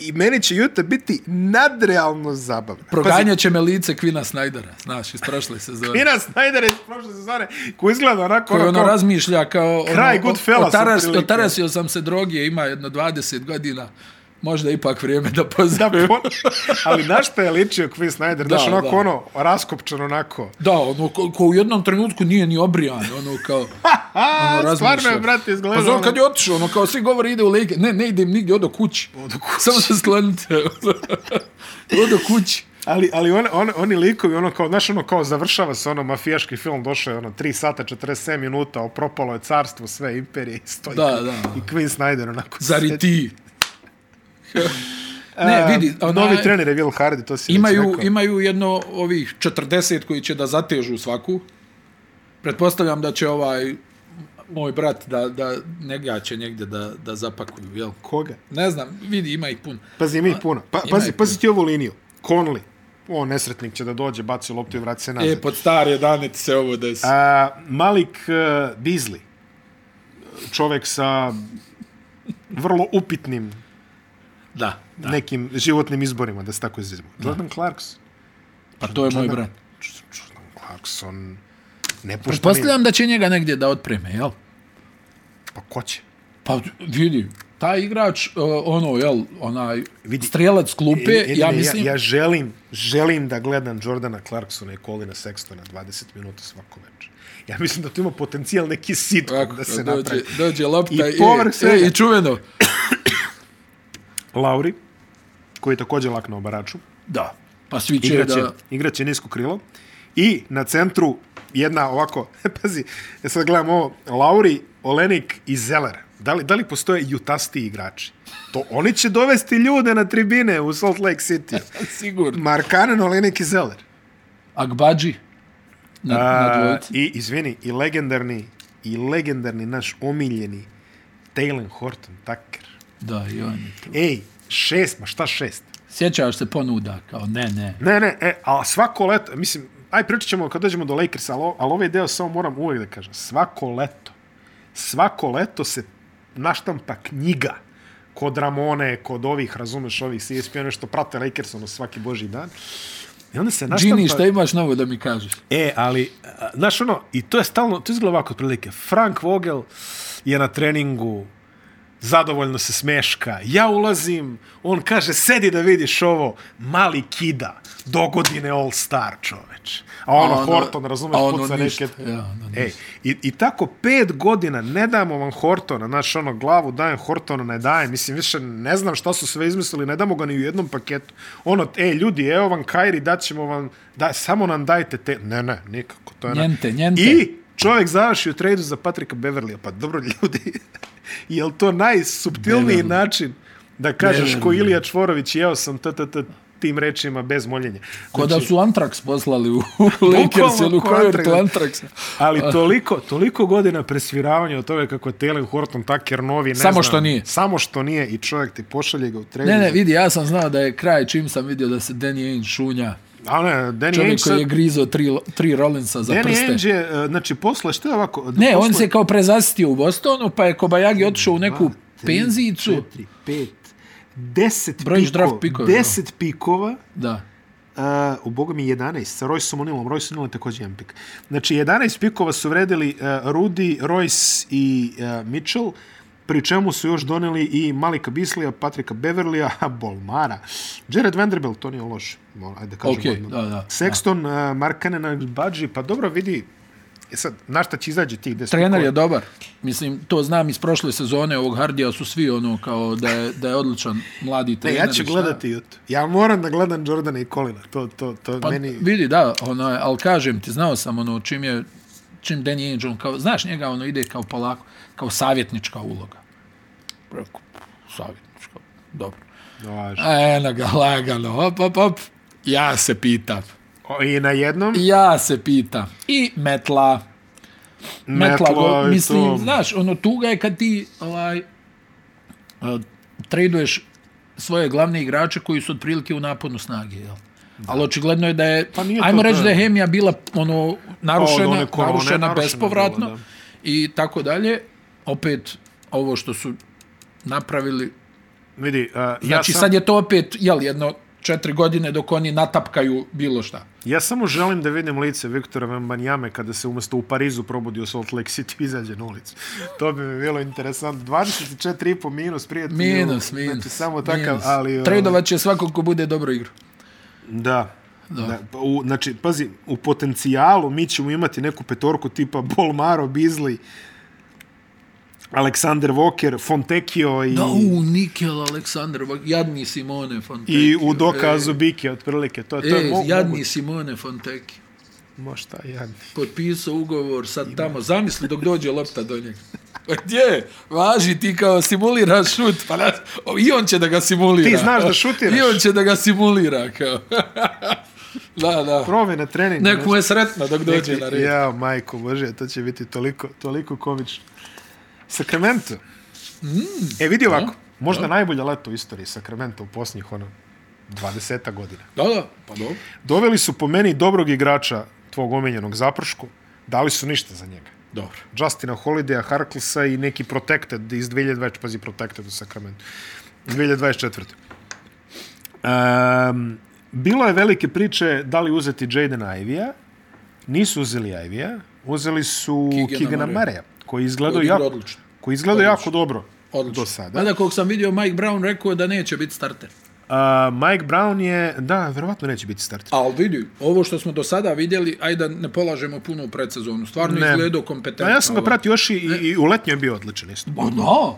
[SPEAKER 2] i meni će Juta biti nadrealno zabavna.
[SPEAKER 1] Proganjaće me lice Kvina Snajdera, znaš, iz prošle sezone.
[SPEAKER 2] Nina Snyder iz prošle sezone, koji izgleda onako...
[SPEAKER 1] koji ono
[SPEAKER 2] kao-
[SPEAKER 1] razmišlja kao ono,
[SPEAKER 2] Kraj Goodfellas
[SPEAKER 1] otaras,
[SPEAKER 2] otprilike.
[SPEAKER 1] otarasio sam se droge, ima jedno 20 godina, možda ipak vrijeme da
[SPEAKER 2] Da,
[SPEAKER 1] pozove.
[SPEAKER 2] po, ali znaš što je ličio Quinn Snyder? Da, znaš,
[SPEAKER 1] Da,
[SPEAKER 2] onako
[SPEAKER 1] da.
[SPEAKER 2] ono, raskopčan onako.
[SPEAKER 1] Da, ono, ko, ko u jednom trenutku nije ni obrijan, ono kao...
[SPEAKER 2] A,
[SPEAKER 1] Ono,
[SPEAKER 2] stvarno je,
[SPEAKER 1] razmišlja.
[SPEAKER 2] brate, izgleda...
[SPEAKER 1] Pa znam kad je otišao, ono kao svi govori ide u Lake, ne, ne idem nigdje, odo kući. Odo kući. Samo se sklonite. odo kući.
[SPEAKER 2] Ali, ali on, on, oni likovi, ono kao, znaš, ono kao završava se ono mafijaški film, došao je ono 3 sata, 47 minuta, opropalo je carstvo, sve imperije, stoji.
[SPEAKER 1] Da, da.
[SPEAKER 2] I Quinn Snyder onako...
[SPEAKER 1] Zar i
[SPEAKER 2] sedi.
[SPEAKER 1] ti? ne, vidi,
[SPEAKER 2] A,
[SPEAKER 1] onaj-
[SPEAKER 2] Novi trener je Will Hardy, to si već
[SPEAKER 1] Imaju,
[SPEAKER 2] rekao.
[SPEAKER 1] imaju jedno ovih 40 koji će da zatežu svaku. Pretpostavljam da će ovaj moj brat da, da njega će negdje da, da zapakuju, jel?
[SPEAKER 2] Koga?
[SPEAKER 1] Ne znam, vidi, ima ih puno.
[SPEAKER 2] Pazi, ima ih puno. Pa,
[SPEAKER 1] Ima
[SPEAKER 2] pazi,
[SPEAKER 1] ih
[SPEAKER 2] pazi ti ovu liniju. Conley. O, nesretnik će da dođe, baci loptu i vrati se nazad.
[SPEAKER 1] pa- E, pod stare dane ti se ovo desi.
[SPEAKER 2] A, Malik uh, Beasley. čovek sa vrlo upitnim
[SPEAKER 1] Da, da.
[SPEAKER 2] nekim životnim izborima, da se tako izizmo. Jordan Clarkson.
[SPEAKER 1] Pa to je moj
[SPEAKER 2] Jordan-
[SPEAKER 1] brat.
[SPEAKER 2] Jordan Clarkson nepuštani.
[SPEAKER 1] Pretpostavljam da će njega negdje da otpreme, jel?
[SPEAKER 2] Pa ko će?
[SPEAKER 1] Pa vidi, taj igrač, uh, ono, jel, onaj
[SPEAKER 2] Vidi.
[SPEAKER 1] strelac klupe,
[SPEAKER 2] E, jedine,
[SPEAKER 1] ja mislim...
[SPEAKER 2] ja, ja želim, želim da gledam Jordana Clarksona i Colina Sextona 20 minuta svako večer. Ja mislim da tu ima potencijal neki sitkom
[SPEAKER 1] Tako,
[SPEAKER 2] da se
[SPEAKER 1] dođe,
[SPEAKER 2] napravi.
[SPEAKER 1] dođe lopta
[SPEAKER 2] I
[SPEAKER 1] i, e,
[SPEAKER 2] povrh
[SPEAKER 1] i,
[SPEAKER 2] svega-
[SPEAKER 1] i, čuveno.
[SPEAKER 2] Lauri, koji je također lak na obaraču,
[SPEAKER 1] Da. Pa svi će
[SPEAKER 2] igraće, da...
[SPEAKER 1] da...
[SPEAKER 2] igraće nisko krilo. I na centru jedna ovako, pazi, ja sad gledam ovo, Lauri, Olenik i Zeller. Da li, da li postoje jutasti igrači? To oni će dovesti ljude na tribine u Salt Lake City.
[SPEAKER 1] Sigurno.
[SPEAKER 2] Markanen, Olenik i Zeller.
[SPEAKER 1] Agbađi na, na
[SPEAKER 2] A,
[SPEAKER 1] dvojici.
[SPEAKER 2] I, izvini, i legendarni, i legendarni naš omiljeni Taylor Horton Tucker.
[SPEAKER 1] Da, i on je tu.
[SPEAKER 2] Ej, šest, ma šta šest?
[SPEAKER 1] Sjećaš se ponuda, kao ne, ne.
[SPEAKER 2] Ne, ne, e, a svako leto, mislim, aj pričat ćemo kad dođemo do Lakersa, ali, o- ali ovaj deo samo moram uvijek da kažem. Svako leto, svako leto se naštampa knjiga kod Ramone, kod ovih, razumeš, ovih CSP, ono što prate Lakers, ono svaki boži dan. I onda se naštampa...
[SPEAKER 1] Gini, šta imaš novo da mi kažeš?
[SPEAKER 2] E, ali, a, znaš ono, i to je stalno, to izgleda ovako otprilike. Frank Vogel je na treningu, zadovoljno se smeška, ja ulazim, on kaže, sedi da vidiš ovo, mali kida, do godine all star čoveč. A ono,
[SPEAKER 1] A ono-
[SPEAKER 2] Horton, razumeš,
[SPEAKER 1] a ono
[SPEAKER 2] puca
[SPEAKER 1] ništa,
[SPEAKER 2] neke...
[SPEAKER 1] ja, ono
[SPEAKER 2] Ej, E, i, I tako pet godina ne damo vam Hortona, znaš, ono, glavu dajem Hortona, ne dajem, mislim, više ne znam šta su sve izmislili, ne damo ga ni u jednom paketu. Ono, ej, ljudi, evo vam Kairi, daćemo vam, da, samo nam dajte te, ne, ne, nikako, to je... ne.
[SPEAKER 1] Njente, njente.
[SPEAKER 2] I čovjek završi u tradu za Patrika Beverlija, pa dobro, ljudi, je li to najsubtilniji
[SPEAKER 1] Beverly.
[SPEAKER 2] način da kažeš
[SPEAKER 1] Beverly.
[SPEAKER 2] ko Ilija Čvorović, jeo sam t, t, t, tim rečima bez moljenja.
[SPEAKER 1] Ko da
[SPEAKER 2] Znači,
[SPEAKER 1] su Antrax poslali u Lakers ili u
[SPEAKER 2] ko Antrax.
[SPEAKER 1] Kovertu Antrax.
[SPEAKER 2] Ali toliko, toliko godina presviravanja od toga kako je Telen Horton Tucker novi, ne
[SPEAKER 1] Samo
[SPEAKER 2] znam,
[SPEAKER 1] što nije.
[SPEAKER 2] Samo što nije i čovjek ti pošalje ga u trade.
[SPEAKER 1] Ne, ne, vidi, ja sam znao da je kraj čim sam vidio da se Danny Ainge šunja.
[SPEAKER 2] A ne, Danny Ainge,
[SPEAKER 1] Čovjek koji je
[SPEAKER 2] sad,
[SPEAKER 1] grizo tri, lo- tri Rollinsa za
[SPEAKER 2] Danny
[SPEAKER 1] prste.
[SPEAKER 2] Ainge je, e, znači, posla, što je ovako?
[SPEAKER 1] Ne,
[SPEAKER 2] posla,
[SPEAKER 1] on se kao prezasitio u Bostonu, pa je Kobayagi otišao u neku penzicu.
[SPEAKER 2] 4, 5, 10
[SPEAKER 1] Brojiš draft
[SPEAKER 2] pikova,
[SPEAKER 1] pikove,
[SPEAKER 2] 10 pikova,
[SPEAKER 1] Da.
[SPEAKER 2] Uh, u boga mi 11, sa Royceom O'Nealom. Royce O'Neal je također jedan pik. Znači, 11 pikova su vredili uh, Rudy, Royce i uh, Mitchell, pri čemu su još doneli i Malika Bislija, Patrika Beverlija, Bolmara, Jared Vanderbilt, to nije loše, moram- ajde da kažem.
[SPEAKER 1] Okej,
[SPEAKER 2] odmah.
[SPEAKER 1] da, da,
[SPEAKER 2] Sexton, da. Uh, Markanen, Badži, pa dobro vidi, e sad, na šta će izađe tih 10
[SPEAKER 1] Trener
[SPEAKER 2] pikova?
[SPEAKER 1] je dobar. Mislim, to znam iz prošle sezone ovog Hardija su svi ono kao da je, da je odličan mladi
[SPEAKER 2] Ne,
[SPEAKER 1] trener.
[SPEAKER 2] ja ću
[SPEAKER 1] i šta.
[SPEAKER 2] gledati jut. Ja moram da gledam Jordana i Kolina. To, to, to
[SPEAKER 1] Pa
[SPEAKER 2] meni...
[SPEAKER 1] vidi, da, ono, ali kažem ti, znao sam ono čim je, čim Danny Ainge, on kao, znaš njega, ono ide kao polako, kao savjetnička uloga. Rekao, savjetnička, dobro.
[SPEAKER 2] Važno.
[SPEAKER 1] A eno ga, lagano, hop, hop, hop. Ja se pitam.
[SPEAKER 2] O, I na jednom...
[SPEAKER 1] Ja se pitam. I metla. Metla,
[SPEAKER 2] Metla
[SPEAKER 1] go,
[SPEAKER 2] i
[SPEAKER 1] mislim,
[SPEAKER 2] to.
[SPEAKER 1] znaš, ono, tuga je kad ti, ovaj, uh, traduješ svoje glavne igrače koji su otprilike u naponu snage, jel? Ali očigledno je da je,
[SPEAKER 2] Pa nije
[SPEAKER 1] ajmo
[SPEAKER 2] to,
[SPEAKER 1] reći
[SPEAKER 2] to
[SPEAKER 1] da je
[SPEAKER 2] je.
[SPEAKER 1] hemija bila ono narušena,
[SPEAKER 2] Od
[SPEAKER 1] korone,
[SPEAKER 2] one korone,
[SPEAKER 1] narušena
[SPEAKER 2] narušena
[SPEAKER 1] bespovratno
[SPEAKER 2] bila, da.
[SPEAKER 1] i tako dalje. Opet ovo što su napravili
[SPEAKER 2] Vidi, uh, ja
[SPEAKER 1] Znači
[SPEAKER 2] sam...
[SPEAKER 1] sad je to opet, jel, jedno četiri godine dok oni natapkaju bilo šta.
[SPEAKER 2] Ja samo želim da vidim lice Viktora Vembanjame kada se umjesto u Parizu probudi u Salt Lake City i izađe na ulicu. To bi mi bilo interesantno. 24,5 minus, prijatelju.
[SPEAKER 1] Minus, minus.
[SPEAKER 2] Znači, samo takav,
[SPEAKER 1] minus.
[SPEAKER 2] ali... ovaj,
[SPEAKER 1] Tradovat će svako ko bude dobro igrao.
[SPEAKER 2] Da. Da. da. pa U, znači, pazi, u potencijalu mi ćemo imati neku petorku tipa Bolmaro, Bizli, Aleksander Walker, Fontekio i...
[SPEAKER 1] Da, u, Nikel, Aleksandar, ovak- jadni Simone Fontecchio.
[SPEAKER 2] I u dokazu Bike, otprilike. To, to
[SPEAKER 1] E,
[SPEAKER 2] je
[SPEAKER 1] e
[SPEAKER 2] mo
[SPEAKER 1] jadni
[SPEAKER 2] moguće.
[SPEAKER 1] Simone Fontecchio.
[SPEAKER 2] Možda, jadni.
[SPEAKER 1] Potpisao ugovor sad tamo. Zamisli dok dođe lopta do njega. Pa Gdje? je? Važi ti kao simuliraš šut. Pa nas, o, I on će da ga simulira.
[SPEAKER 2] Ti znaš da šutiraš.
[SPEAKER 1] I on će da ga simulira. Kao. da, da.
[SPEAKER 2] Prove na trening.
[SPEAKER 1] Neko je sretno dok dođe na red.
[SPEAKER 2] Ja, majko Bože, to će biti toliko, toliko komično. Sacramento. Mm. E, vidi ovako, možda najbolje leto u istoriji Sacramento u posljednjih ono, 20 godina.
[SPEAKER 1] Da, da, pa dobro.
[SPEAKER 2] Doveli su po meni dobrog igrača tvog omenjenog zapršku, dali su ništa za njega.
[SPEAKER 1] Dobro.
[SPEAKER 2] Justina Holidaya, Harklesa i neki Protected iz 2020, pazi Protected u Sacramento, 2024. Um, bilo je velike priče da li uzeti Jaden Ivija, nisu uzeli Ivija, uzeli su
[SPEAKER 1] Keegana
[SPEAKER 2] Kigana
[SPEAKER 1] Murraya.
[SPEAKER 2] Mareja, koji izgledao
[SPEAKER 1] Koji je
[SPEAKER 2] jako,
[SPEAKER 1] odlično.
[SPEAKER 2] koji izgledao jako dobro
[SPEAKER 1] Odlično.
[SPEAKER 2] do sada.
[SPEAKER 1] Mada koliko sam vidio, Mike Brown rekao je da neće biti starter.
[SPEAKER 2] A, Mike Brown je, da, verovatno neće biti starter.
[SPEAKER 1] Ali vidi, ovo što smo do sada vidjeli, ajde da ne polažemo puno u predsezonu. Stvarno
[SPEAKER 2] Ne.
[SPEAKER 1] izgledao kompetentno.
[SPEAKER 2] Da, ja sam ga
[SPEAKER 1] ovaj.
[SPEAKER 2] pratio još i, i, i u letnju je bio odličan isto.
[SPEAKER 1] Pa da,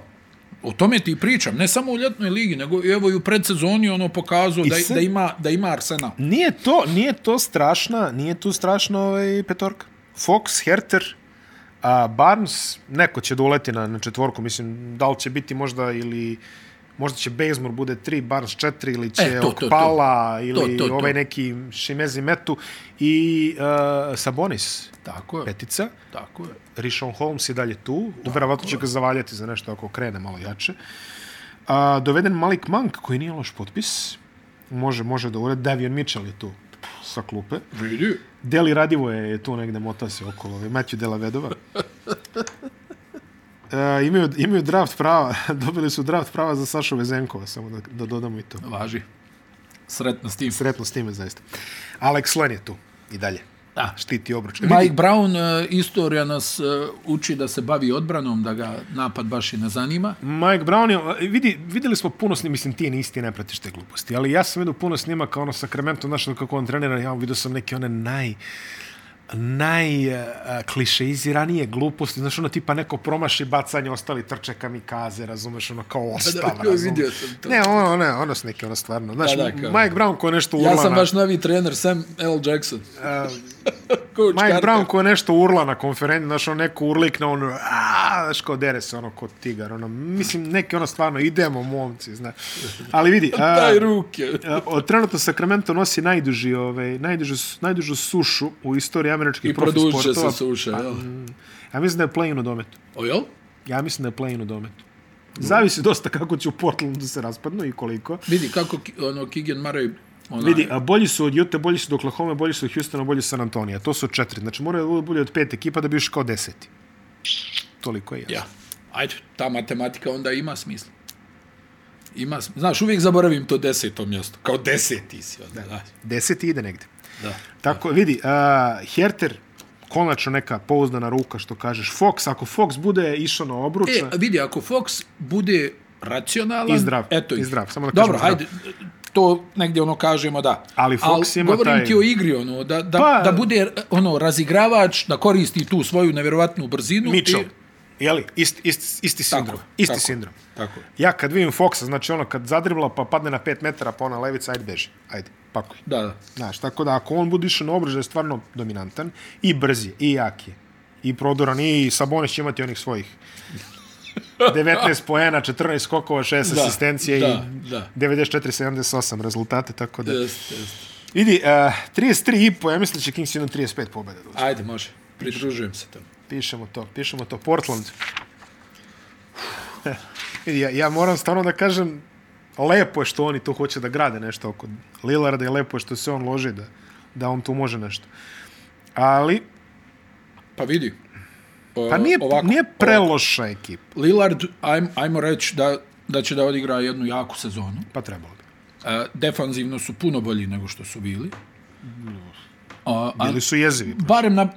[SPEAKER 1] o tome ti pričam. Ne samo u ljetnoj ligi, nego i evo i u predsezoni ono pokazao da,
[SPEAKER 2] sad-
[SPEAKER 1] da, ima, da ima Arsenal.
[SPEAKER 2] Nije to, nije to strašna, nije tu strašna ovaj petorka. Fox, Herter, a Barnes, neko će da uleti na, na četvorku, mislim, da li će biti možda ili možda će Bazemore bude 3, Barnes 4 ili će
[SPEAKER 1] E,
[SPEAKER 2] e,
[SPEAKER 1] to, to, to.
[SPEAKER 2] Okpala ili
[SPEAKER 1] To, to, to.
[SPEAKER 2] ovaj neki Šimezi Metu i uh, Sabonis
[SPEAKER 1] Tako je,
[SPEAKER 2] petica.
[SPEAKER 1] tako je.
[SPEAKER 2] Rishon Holmes je dalje tu. Verovatno će ga zavaljati za nešto ako krene malo jače. A, doveden Malik Monk, koji nije loš potpis. Može, može da uredi. Davion Mitchell je tu sa klupe.
[SPEAKER 1] Vidi,
[SPEAKER 2] Deli Radivo je tu negde mota se okolo. ovaj, Matthew Delavedova. E, imaju, imaju draft prava. Dobili su draft prava za Sašu Vezenkova, samo da, da dodamo i to.
[SPEAKER 1] važi. Sretno s tim.
[SPEAKER 2] Sretno s time, zaista. Alex Len je tu i dalje.
[SPEAKER 1] Da.
[SPEAKER 2] Štiti obruč.
[SPEAKER 1] Mike Brown, e, istorija nas e, uči da se bavi odbranom, da ga napad baš i ne zanima.
[SPEAKER 2] Mike Brown je, vidi, videli smo puno snimaka, mislim ti nisi, ti ne pratiš te gluposti, ali ja sam vidio puno snimaka, ono Sacramento, znaš kako on trenira, ja vidio sam neke one naj naj uh, klišeiziranije gluposti, znaš ono tipa neko promaši bacanje, ostali trče kamikaze, razumeš, ono kao ostala,
[SPEAKER 1] joj, vidio sam to.
[SPEAKER 2] Ne, ono, ne, ono su neke, ono stvarno, znaš,
[SPEAKER 1] Da, da, kao-
[SPEAKER 2] Mike Brown ko je nešto urla
[SPEAKER 1] Ja sam
[SPEAKER 2] na-
[SPEAKER 1] vaš novi trener, Sam L. Jackson. Coach
[SPEAKER 2] Ehm, Mike
[SPEAKER 1] Carter.
[SPEAKER 2] Brown ko je nešto urla na konferenciji, znaš, on neko urlik na ono, aaa, znaš, kao dere se, ono, kod tigar, ono, mislim, neki ono stvarno, idemo, momci, znaš. Ali vidi, a,
[SPEAKER 1] Daj ruke.
[SPEAKER 2] a, o, trenutno Sacramento nosi najduži, ovaj, najdužu, najdužu sušu u istoriji američkih
[SPEAKER 1] I produžit će
[SPEAKER 2] profisportova.
[SPEAKER 1] se suša, jel?
[SPEAKER 2] mm. Ja mislim da je play-in u dometu.
[SPEAKER 1] O, jel?
[SPEAKER 2] Ja mislim da je play-in u dometu. Zavisi dosta kako će u Portlandu se raspadnu i koliko.
[SPEAKER 1] Vidi kako Ki- ono, Keegan Murray... Onaj,
[SPEAKER 2] Vidi, a bolji su od Utah, bolji su od Oklahoma, bolji su od Houstona, bolji su od San Antonija. To su četiri. Znači moraju da bude od pet ekipa da bi još kao deseti. Toliko je jasno.
[SPEAKER 1] Ja. Ajde, ta matematika onda ima smisla. Ima, sm- znaš, uvijek zaboravim to deseto mjesto. Kao deseti si. Onda, da.
[SPEAKER 2] Deseti ide negde.
[SPEAKER 1] da.
[SPEAKER 2] Tako, vidi, uh, Herter, konačno neka pouzdana ruka, što kažeš. Fox, ako Fox bude išao na obruč,
[SPEAKER 1] E, vidi, ako Fox bude racionalan...
[SPEAKER 2] I zdrav,
[SPEAKER 1] Eto, ih.
[SPEAKER 2] i zdrav, samo da kažemo
[SPEAKER 1] Dobro,
[SPEAKER 2] zdrav.
[SPEAKER 1] hajde, to negdje ono kažemo da.
[SPEAKER 2] Ali Fox
[SPEAKER 1] Al,
[SPEAKER 2] ima
[SPEAKER 1] govorim
[SPEAKER 2] taj-
[SPEAKER 1] ti o igri, ono, da, da,
[SPEAKER 2] Pa-
[SPEAKER 1] da bude eh, ono, razigravač, da koristi tu svoju nevjerovatnu brzinu.
[SPEAKER 2] Mitchell.
[SPEAKER 1] I,
[SPEAKER 2] Jeli, ist, ist, isti sindrom.
[SPEAKER 1] je,
[SPEAKER 2] isti
[SPEAKER 1] tako je.
[SPEAKER 2] sindrom.
[SPEAKER 1] tako.
[SPEAKER 2] Ja kad vidim Foxa, znači ono kad zadribla pa padne na 5 metara pa ona levica, ajde beži. Ajde, pakuj.
[SPEAKER 1] Da, da.
[SPEAKER 2] Znaš, tako da ako on bude išao na obruč, da je stvarno dominantan i brz je, i jak je, i prodoran, i Sabonis će imati onih svojih 19 poena, 14 skokova, 6
[SPEAKER 1] Da,
[SPEAKER 2] asistencije
[SPEAKER 1] da,
[SPEAKER 2] i
[SPEAKER 1] da. E.
[SPEAKER 2] 94-78 rezultate, tako da...
[SPEAKER 1] Jest, jest.
[SPEAKER 2] Vidi, uh, 33,5, ja mislim da će Kings jedno 35 pobjeda. doći.
[SPEAKER 1] Ajde, može. Pridružujem se tomu.
[SPEAKER 2] Pišemo to, pišemo to. Portland. Vidi, ja, ja moram stvarno da kažem, lepo je što oni tu hoće da grade nešto oko Lillarda i lepo je što se on loži da, da on tu može nešto. Ali,
[SPEAKER 1] Pa vidi. O,
[SPEAKER 2] pa nije, ovako, nije
[SPEAKER 1] ovako.
[SPEAKER 2] preloša ekipa.
[SPEAKER 1] Lillard, ajm, ajmo reći da, da će da odigra jednu jaku sezonu.
[SPEAKER 2] Pa trebalo bi.
[SPEAKER 1] E, defanzivno su puno bolji nego što su bili. A, a,
[SPEAKER 2] Bili su jezivi.
[SPEAKER 1] barem na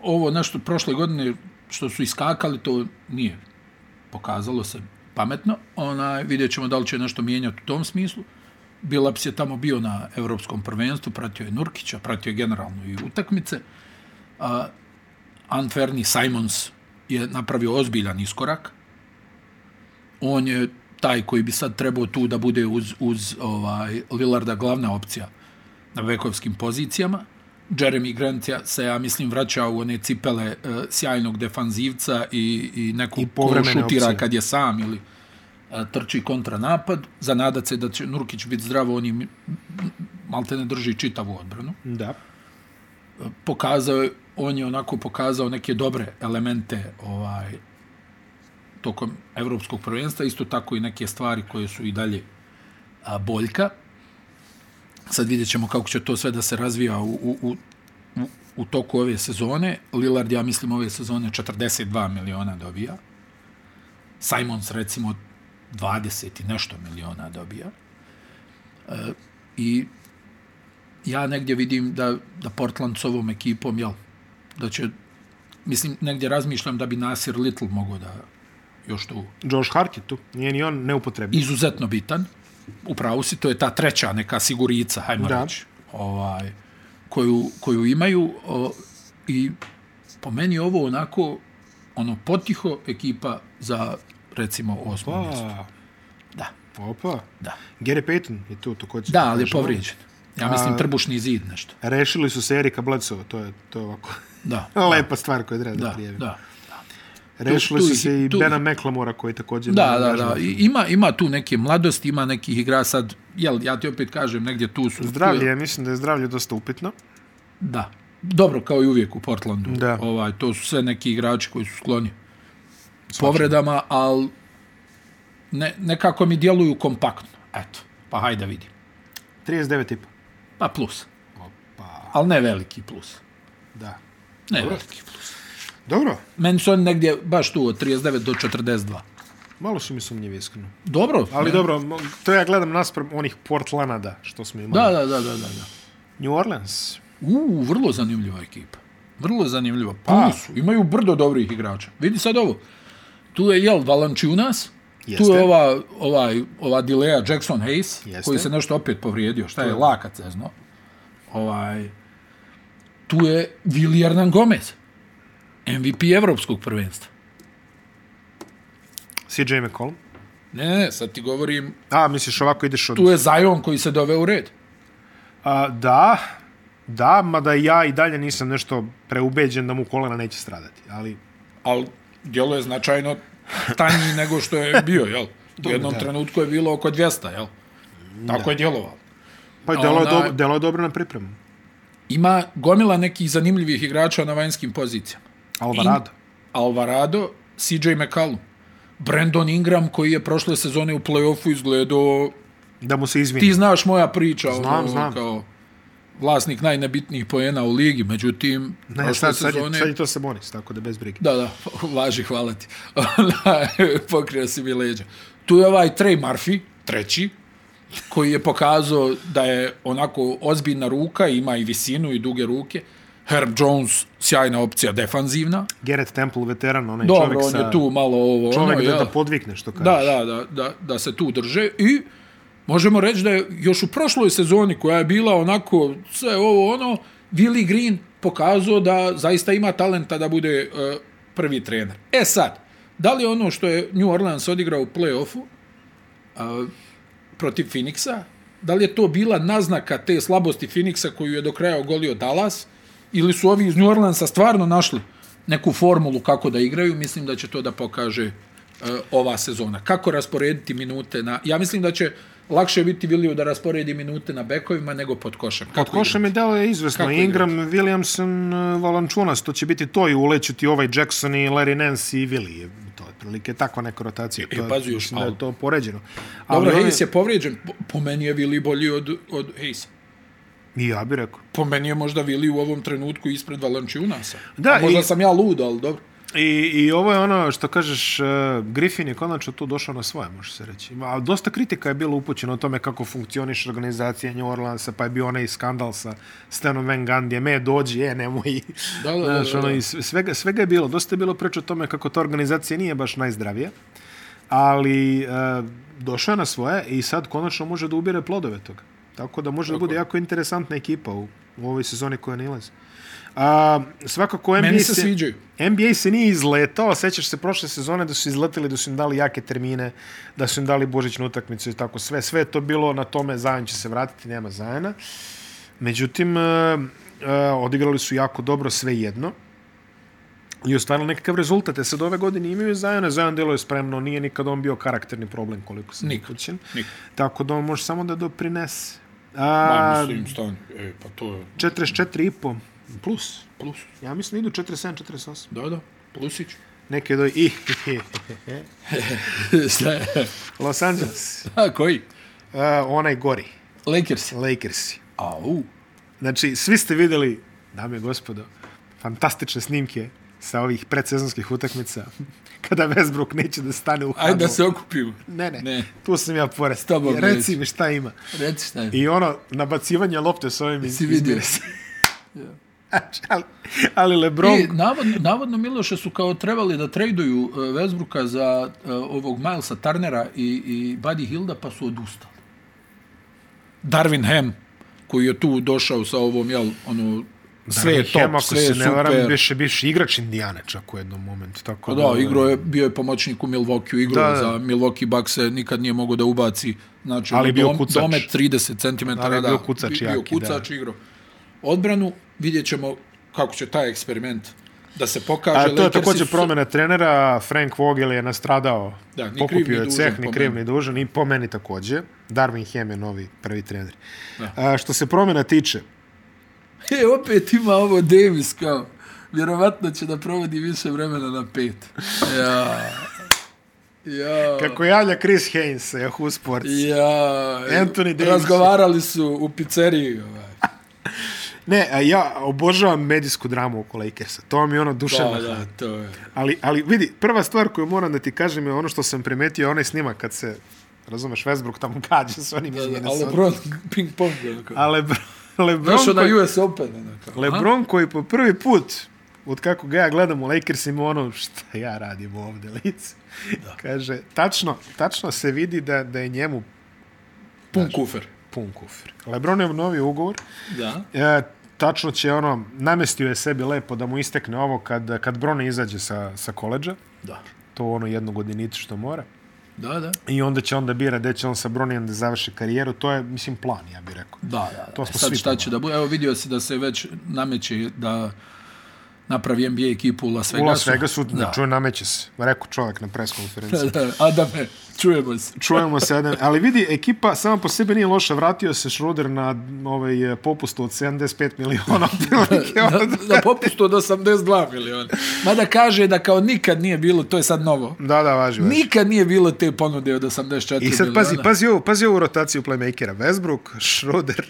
[SPEAKER 1] ovo nešto prošle godine što su iskakali, to nije pokazalo se pametno. Onaj, vidjet ćemo da li će nešto mijenjati u tom smislu. Bilaps je tamo bio na evropskom prvenstvu, pratio je Nurkića, pratio je generalno i utakmice. A, Anferni Simons je napravio ozbiljan iskorak. On je taj koji bi sad trebao tu da bude uz, uz ovaj, Lillarda glavna opcija na vekovskim pozicijama. Jeremy Grant ja- se, ja mislim, vraća u one cipele e, sjajnog defanzivca i, i neku
[SPEAKER 2] I
[SPEAKER 1] ko
[SPEAKER 2] povremene
[SPEAKER 1] šutira
[SPEAKER 2] opcije.
[SPEAKER 1] kad je sam ili e, trči kontranapad. Zanadat se da će Nurkić biti zdrav, on im malte ne drži čitavu odbranu
[SPEAKER 2] Da.
[SPEAKER 1] pokazao je- on je onako pokazao neke dobre elemente ovaj tokom evropskog prvenstva, isto tako i neke stvari koje su i dalje a, boljka. Sad vidjet ćemo kako će to sve da se razvija u, u, u, u u toku ove sezone. Lillard, ja mislim, ove sezone 42 miliona dobija. Simons, recimo, 20 i nešto miliona dobija. E, I ja negdje vidim da, da Portland s ovom ekipom, jel, da će, mislim, negdje razmišljam da bi Nasir Little mogao da još tu
[SPEAKER 2] Josh Hart je tu, nije ni on neupotrebljiv.
[SPEAKER 1] izuzetno bitan. Upravo si, to je ta treća neka sigurica, hajmo
[SPEAKER 2] Da.
[SPEAKER 1] reći, ovaj, koju, koju imaju. O, I po meni je ovo onako, ono, potiho ekipa za, recimo, osmo mjesto.
[SPEAKER 2] Pa,
[SPEAKER 1] Da,
[SPEAKER 2] opa.
[SPEAKER 1] da.
[SPEAKER 2] Gary Payton je tu također.
[SPEAKER 1] Da, ali je
[SPEAKER 2] Znaš,
[SPEAKER 1] povrijeđen. Ja mislim trbušni zid nešto.
[SPEAKER 2] Rešili su se Erika Bledsoe, to je, to je ovako
[SPEAKER 1] Da,
[SPEAKER 2] lepa stvar koju treba da,
[SPEAKER 1] da,
[SPEAKER 2] prijevi.
[SPEAKER 1] da.
[SPEAKER 2] Rešili
[SPEAKER 1] Tu- tu
[SPEAKER 2] su
[SPEAKER 1] ih-
[SPEAKER 2] se i
[SPEAKER 1] tu-
[SPEAKER 2] Bena Meklamora koji je također...
[SPEAKER 1] Da,
[SPEAKER 2] ne-
[SPEAKER 1] da,
[SPEAKER 2] ne znam.
[SPEAKER 1] da. I, ima, ima tu neke mladosti, ima nekih igra sad, jel, ja ti opet kažem, negdje tu su. tu
[SPEAKER 2] Zdravlje,
[SPEAKER 1] je-
[SPEAKER 2] ja mislim da je zdravlje dosta upitno.
[SPEAKER 1] Da. Dobro, kao i uvijek u Portlandu.
[SPEAKER 2] Da.
[SPEAKER 1] Ovaj, to su sve neki igrači koji su skloni povredama, ali ne, nekako mi djeluju kompaktno. Eto, pa hajde vidim.
[SPEAKER 2] 39 tipa.
[SPEAKER 1] Pa plus,
[SPEAKER 2] Opa,
[SPEAKER 1] ali ne veliki plus.
[SPEAKER 2] da.
[SPEAKER 1] Ne veliki plus.
[SPEAKER 2] Dobro,
[SPEAKER 1] Meni su oni negdje baš tu od 39 do 42.
[SPEAKER 2] malo su mi sumnjivi iskreno.
[SPEAKER 1] Dobro.
[SPEAKER 2] Ali
[SPEAKER 1] ne?
[SPEAKER 2] dobro, mo- to ja gledam naspram onih Portlanada što smo imali.
[SPEAKER 1] Da, da, da, da, da. da.
[SPEAKER 2] New Orleans.
[SPEAKER 1] U, vrlo zanimljiva ekipa. Vrlo zanimljiva.
[SPEAKER 2] Pa.
[SPEAKER 1] Pa. su. Imaju brdo dobrih igrača. Vidi sad ovo. Tu je, jel, Valančiunas.
[SPEAKER 2] Jeste.
[SPEAKER 1] Jeste. Tu je ova, ovaj, ova Dilea Jackson Hayes,
[SPEAKER 2] Jeste.
[SPEAKER 1] Jeste. koji se nešto opet povrijedio. Šta je, laka cezno. Ovaj, tu je Vili Hernan Gomez. MVP evropskog prvenstva.
[SPEAKER 2] CJ McCollum.
[SPEAKER 1] Ne, ne, ne, sad ti govorim,
[SPEAKER 2] A, misliš ovako ideš od...
[SPEAKER 1] tu je Zion koji se dove u red.
[SPEAKER 2] A, da, da, mada ja i dalje nisam nešto preubeđen da mu kolena neće stradati, ali
[SPEAKER 1] ali djelo je značajno tanji nego što je bio, jel? U jednom
[SPEAKER 2] da.
[SPEAKER 1] trenutku je bilo oko 200, jel? Tako je djelovalo.
[SPEAKER 2] pa delo je,
[SPEAKER 1] Onaj-
[SPEAKER 2] dobro, delo je dobro na pripremu.
[SPEAKER 1] Ima gomila nekih zanimljivih igrača na vanjskim pozicijama.
[SPEAKER 2] Alvarado.
[SPEAKER 1] Alvarado, CJ McCallum, Brandon Ingram koji je prošle sezone u play-offu izgledao...
[SPEAKER 2] Da mu se izvini.
[SPEAKER 1] Ti znaš moja priča, ono,
[SPEAKER 2] Znam, znam.
[SPEAKER 1] kao vlasnik najnebitnijih poena u ligi, međutim,
[SPEAKER 2] Ne, sad, sad, je, sad je to Sabonis, tako da bez brige.
[SPEAKER 1] Da, da, laži, hvala ti. Ona, Pokrio si mi leđa. Tu je ovaj Trey Murphy, treći, koji je pokazao da je onako ozbiljna ruka, ima i visinu i duge ruke. Herb Jones, sjajna opcija, defanzivna.
[SPEAKER 2] Garrett Temple, veteran, onaj
[SPEAKER 1] Dobro,
[SPEAKER 2] čovjek
[SPEAKER 1] on
[SPEAKER 2] sa...
[SPEAKER 1] je tu malo ovo,
[SPEAKER 2] Čovjek
[SPEAKER 1] ono,
[SPEAKER 2] da,
[SPEAKER 1] jel?
[SPEAKER 2] da podvikne, što kažeš.
[SPEAKER 1] da, da, da, da, da se tu drže i možemo reći da je još u prošloj sezoni koja je bila onako sve ovo ono, Willi Green pokazao da zaista ima talenta da bude e, prvi trener. E sad, da li ono što je New Orleans odigrao u play-offu a, protiv Phoenixa, da li je to bila naznaka te slabosti Phoenixa koju je do kraja ogolio Dallas ili su ovi iz New Orleansa stvarno našli neku formulu kako da igraju, mislim da će to da pokaže e, ova sezona. Kako rasporediti minute na... Ja mislim da će lakše biti Viliju da rasporedi minute na bekovima nego pod košem. Kako
[SPEAKER 2] Od koša mi delo je izvesno.
[SPEAKER 1] Kako
[SPEAKER 2] Ingram, Williamson, e, Valančunas, to će biti to i uleću ti ovaj Jackson i Larry Nance i Willi. To je prilike takva neka rotacija. To, je-
[SPEAKER 1] E, pazi još
[SPEAKER 2] mislim da je
[SPEAKER 1] malo.
[SPEAKER 2] to poređeno. Ali ovaj-
[SPEAKER 1] Dobro,
[SPEAKER 2] on
[SPEAKER 1] Hayes je povrijeđen. Po, po meni je Vili bolji od, od Hayesa.
[SPEAKER 2] I ja bih rekao.
[SPEAKER 1] Po meni je možda Vili u ovom trenutku ispred Valančiunasa.
[SPEAKER 2] Da,
[SPEAKER 1] A možda
[SPEAKER 2] i-
[SPEAKER 1] sam ja lud, ali dobro.
[SPEAKER 2] I, I ovo je ono što kažeš, e, Griffin je konačno tu došao na svoje, može se reći. Ima- A dosta kritika je bilo upućeno o tome kako funkcioniš organizacija New Orleansa, pa je bio onaj skandal sa Stanom Van Gundijem, e, dođi, e, nemoj.
[SPEAKER 1] Da, da, da,
[SPEAKER 2] Znaš,
[SPEAKER 1] da,
[SPEAKER 2] ono,
[SPEAKER 1] da.
[SPEAKER 2] i sve- svega, svega je bilo. Dosta je bilo preče o tome kako ta organizacija nije baš najzdravija, ali e, došao je na svoje i sad konačno može da ubire plodove toga. Tako da može da bude jako interesantna ekipa u, u ovoj sezoni koja nalazi. A, svakako NBA
[SPEAKER 1] Meni se sviđaju.
[SPEAKER 2] NBA se nije izletao, sećaš se prošle sezone da su izleteli, da su im dali jake termine, da su im dali božićnu utakmicu i tako sve. Sve je to bilo na tome, Zajan će se vratiti, nema Zajana. Međutim, e, e, odigrali su jako dobro sve jedno i ostvarili nekakav rezultat. E sad ove godine imaju Zajana, Zajan deluje spremno, nije nikad on bio karakterni problem koliko sam
[SPEAKER 1] Nikad.
[SPEAKER 2] upućen.
[SPEAKER 1] Nikad.
[SPEAKER 2] Tako da on može samo da doprinese.
[SPEAKER 1] Pa,
[SPEAKER 2] A,
[SPEAKER 1] mislim, stan, e, pa to je
[SPEAKER 2] 44,5 plus.
[SPEAKER 1] plus.
[SPEAKER 2] Ja mislim da idu 47, 48.
[SPEAKER 1] Da, da, plusić.
[SPEAKER 2] Neke do i.
[SPEAKER 1] Šta je?
[SPEAKER 2] Los Angeles.
[SPEAKER 1] A, koji?
[SPEAKER 2] Uh, onaj gori.
[SPEAKER 1] Lakers.
[SPEAKER 2] Lakersi.
[SPEAKER 1] Au.
[SPEAKER 2] Znači, svi ste videli Dame i gospodo, fantastične snimke sa ovih predsezonskih utakmica kada Westbrook neće da stane u hladnu.
[SPEAKER 1] Ajde da se okupimo.
[SPEAKER 2] Ne, ne,
[SPEAKER 1] Ne.
[SPEAKER 2] tu sam ja pored.
[SPEAKER 1] tobom
[SPEAKER 2] Reci
[SPEAKER 1] neću.
[SPEAKER 2] mi šta ima.
[SPEAKER 1] Reci šta je.
[SPEAKER 2] I ono, nabacivanje lopte s ovim iz,
[SPEAKER 1] Si vidio.
[SPEAKER 2] izmire se. ali, ali Lebron...
[SPEAKER 1] I navodno, navodno Miloše su kao trebali da traduju uh, Westbrooka za uh, ovog Milesa Turnera i, i Buddy Hilda, pa su odustali. Darwin Ham, koji je tu došao sa ovom, jel, ono, sve je top,
[SPEAKER 2] Hem, ako
[SPEAKER 1] sve je
[SPEAKER 2] se ne varam,
[SPEAKER 1] super. Pa
[SPEAKER 2] više bivši igrač Indijana čak u jednom momentu. Tako ono-
[SPEAKER 1] Da, igro je, bio je pomoćnik u Milwaukee, igro
[SPEAKER 2] Da,
[SPEAKER 1] je
[SPEAKER 2] da.
[SPEAKER 1] za Milwaukee Bucks, nikad nije mogao da ubaci, znači,
[SPEAKER 2] Ali je bio
[SPEAKER 1] dom,
[SPEAKER 2] kucač.
[SPEAKER 1] domet 30 cm,
[SPEAKER 2] Ali je
[SPEAKER 1] da,
[SPEAKER 2] bio kucač
[SPEAKER 1] bi- bio
[SPEAKER 2] jaki,
[SPEAKER 1] kucač igro. Odbranu, vidjet ćemo kako će taj eksperiment da se pokaže.
[SPEAKER 2] A to je
[SPEAKER 1] Lakersi
[SPEAKER 2] također
[SPEAKER 1] su-
[SPEAKER 2] promjena trenera, Frank Vogel je nastradao,
[SPEAKER 1] Da, ni kriv, ni
[SPEAKER 2] pokupio je
[SPEAKER 1] dužan
[SPEAKER 2] ceh,
[SPEAKER 1] po
[SPEAKER 2] ni
[SPEAKER 1] meni.
[SPEAKER 2] kriv, ni dužan, i po meni također. Darwin Hem je novi prvi trener. A, što se promjena tiče,
[SPEAKER 1] E, opet ima ovo Davis kao. Vjerovatno će da provodi više vremena na pet. Ja. Ja.
[SPEAKER 2] kako javlja Chris Haynes eh, sa Yahoo Sports,
[SPEAKER 1] Ja.
[SPEAKER 2] Anthony Davis.
[SPEAKER 1] Razgovarali su u pizzeriji. Ovaj.
[SPEAKER 2] ne, a ja obožavam medijsku dramu oko Lakersa, to mi je ono duševna
[SPEAKER 1] Da, da, to je.
[SPEAKER 2] Ali, ali vidi, prva stvar koju moram da ti kažem je ono što sam primetio, onaj snimak kad se, razumeš, Westbrook tamo gađa s onim iz
[SPEAKER 1] Da, da,
[SPEAKER 2] Minnesota.
[SPEAKER 1] ali LeBron ping pong. Onako.
[SPEAKER 2] A Lebron, Lebron,
[SPEAKER 1] Došao
[SPEAKER 2] koji,
[SPEAKER 1] na US Open. Onako.
[SPEAKER 2] Lebron koji po prvi put, od kako ga ja gledam u Lakersima, ono šta ja radim ovde, lice. Kaže, tačno, tačno se vidi da, da je njemu
[SPEAKER 1] Pun kufer.
[SPEAKER 2] pun kufir. Lebron je obnovio ugovor,
[SPEAKER 1] Da.
[SPEAKER 2] E, tačno će ono, namestio je sebi lepo da mu istekne ovo kad, kad Brone izađe sa, sa koleđa,
[SPEAKER 1] Da.
[SPEAKER 2] to ono jednu godinicu što mora.
[SPEAKER 1] Da, da.
[SPEAKER 2] I onda će onda bira gde će on sa Bronijem da završi karijeru. To je, mislim, plan, ja bih rekao.
[SPEAKER 1] Da, da. da.
[SPEAKER 2] To smo
[SPEAKER 1] E Sad
[SPEAKER 2] svi
[SPEAKER 1] šta će da bude? Evo vidio si da se već nameće da napravi NBA ekipu u Las
[SPEAKER 2] U
[SPEAKER 1] Vegasu.
[SPEAKER 2] Las Vegasu, da.
[SPEAKER 1] da.
[SPEAKER 2] čuje, nameće se. Rekao čovjek na preskonferenciji.
[SPEAKER 1] Da, da. Adame, čujemo se.
[SPEAKER 2] Čujemo se jedan, ali vidi, ekipa sama po sebi nije loša, vratio se Schroeder na ovaj, eh, popustu od 75 miliona. otprilike,
[SPEAKER 1] na,
[SPEAKER 2] ono.
[SPEAKER 1] na popustu od 82 miliona. Mada kaže da kao nikad nije bilo, to je sad novo,
[SPEAKER 2] da, da, važi, važi.
[SPEAKER 1] nikad nije bilo te ponude od 84 miliona.
[SPEAKER 2] I sad pazi, pazi ovu, pazi ovu rotaciju playmakera. Westbrook, Schroeder,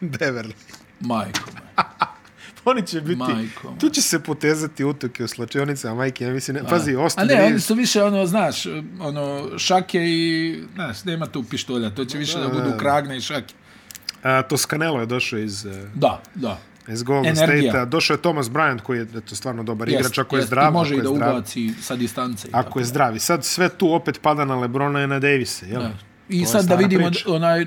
[SPEAKER 2] Beverly.
[SPEAKER 1] Majko, moja.
[SPEAKER 2] Oni će biti,
[SPEAKER 1] Majko moja.
[SPEAKER 2] tu će se potezati utoke u slačionicama, majke, ja mislim, ne, pazi,
[SPEAKER 1] A
[SPEAKER 2] ostane.
[SPEAKER 1] ne, oni su više, ono, znaš, ono, šake i, znaš, nema tu pištolja, to će više da, budu kragne i šake.
[SPEAKER 2] A, Toscanelo je došao iz, eh,
[SPEAKER 1] Da, da.
[SPEAKER 2] iz Golden
[SPEAKER 1] Energija.
[SPEAKER 2] State-a. Došao je Thomas Bryant, koji je eto, stvarno dobar
[SPEAKER 1] Jest,
[SPEAKER 2] igrač, ako je
[SPEAKER 1] jest, i
[SPEAKER 2] zdrav.
[SPEAKER 1] Može
[SPEAKER 2] ako
[SPEAKER 1] i
[SPEAKER 2] je
[SPEAKER 1] da
[SPEAKER 2] zdrav.
[SPEAKER 1] ubaci sa distance. i tako.
[SPEAKER 2] Ako je zdrav. I sad sve tu opet pada na Lebrona i na Davise, jel? To
[SPEAKER 1] I
[SPEAKER 2] je
[SPEAKER 1] sad da
[SPEAKER 2] stara
[SPEAKER 1] vidimo,
[SPEAKER 2] priča.
[SPEAKER 1] onaj,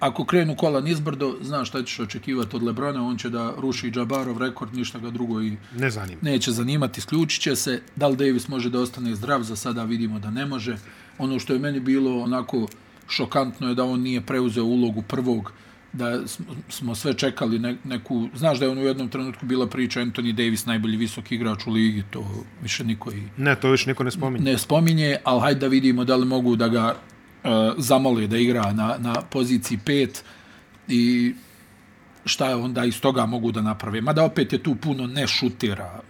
[SPEAKER 1] ako krenu kola nizbrdo, znaš šta ćeš očekivati od Lebrona, on će da ruši Džabarov rekord, ništa ga drugo i
[SPEAKER 2] Ne zanima.
[SPEAKER 1] neće zanimati, isključit će se. Da li Davis može da ostane zdrav, za sada vidimo da ne može. Ono što je meni bilo onako šokantno je da on nije preuzeo ulogu prvog, da sm- smo sve čekali ne, neku... Znaš da je on u jednom trenutku bila priča Anthony Davis, najbolji visoki igrač u ligi, to više niko i
[SPEAKER 2] Ne, to više niko ne spominje.
[SPEAKER 1] ne spominje, ali hajde da vidimo da li mogu da ga e, zamole da igra na, na poziciji 5 i šta je onda iz toga mogu da naprave. Mada opet je tu puno ne šutira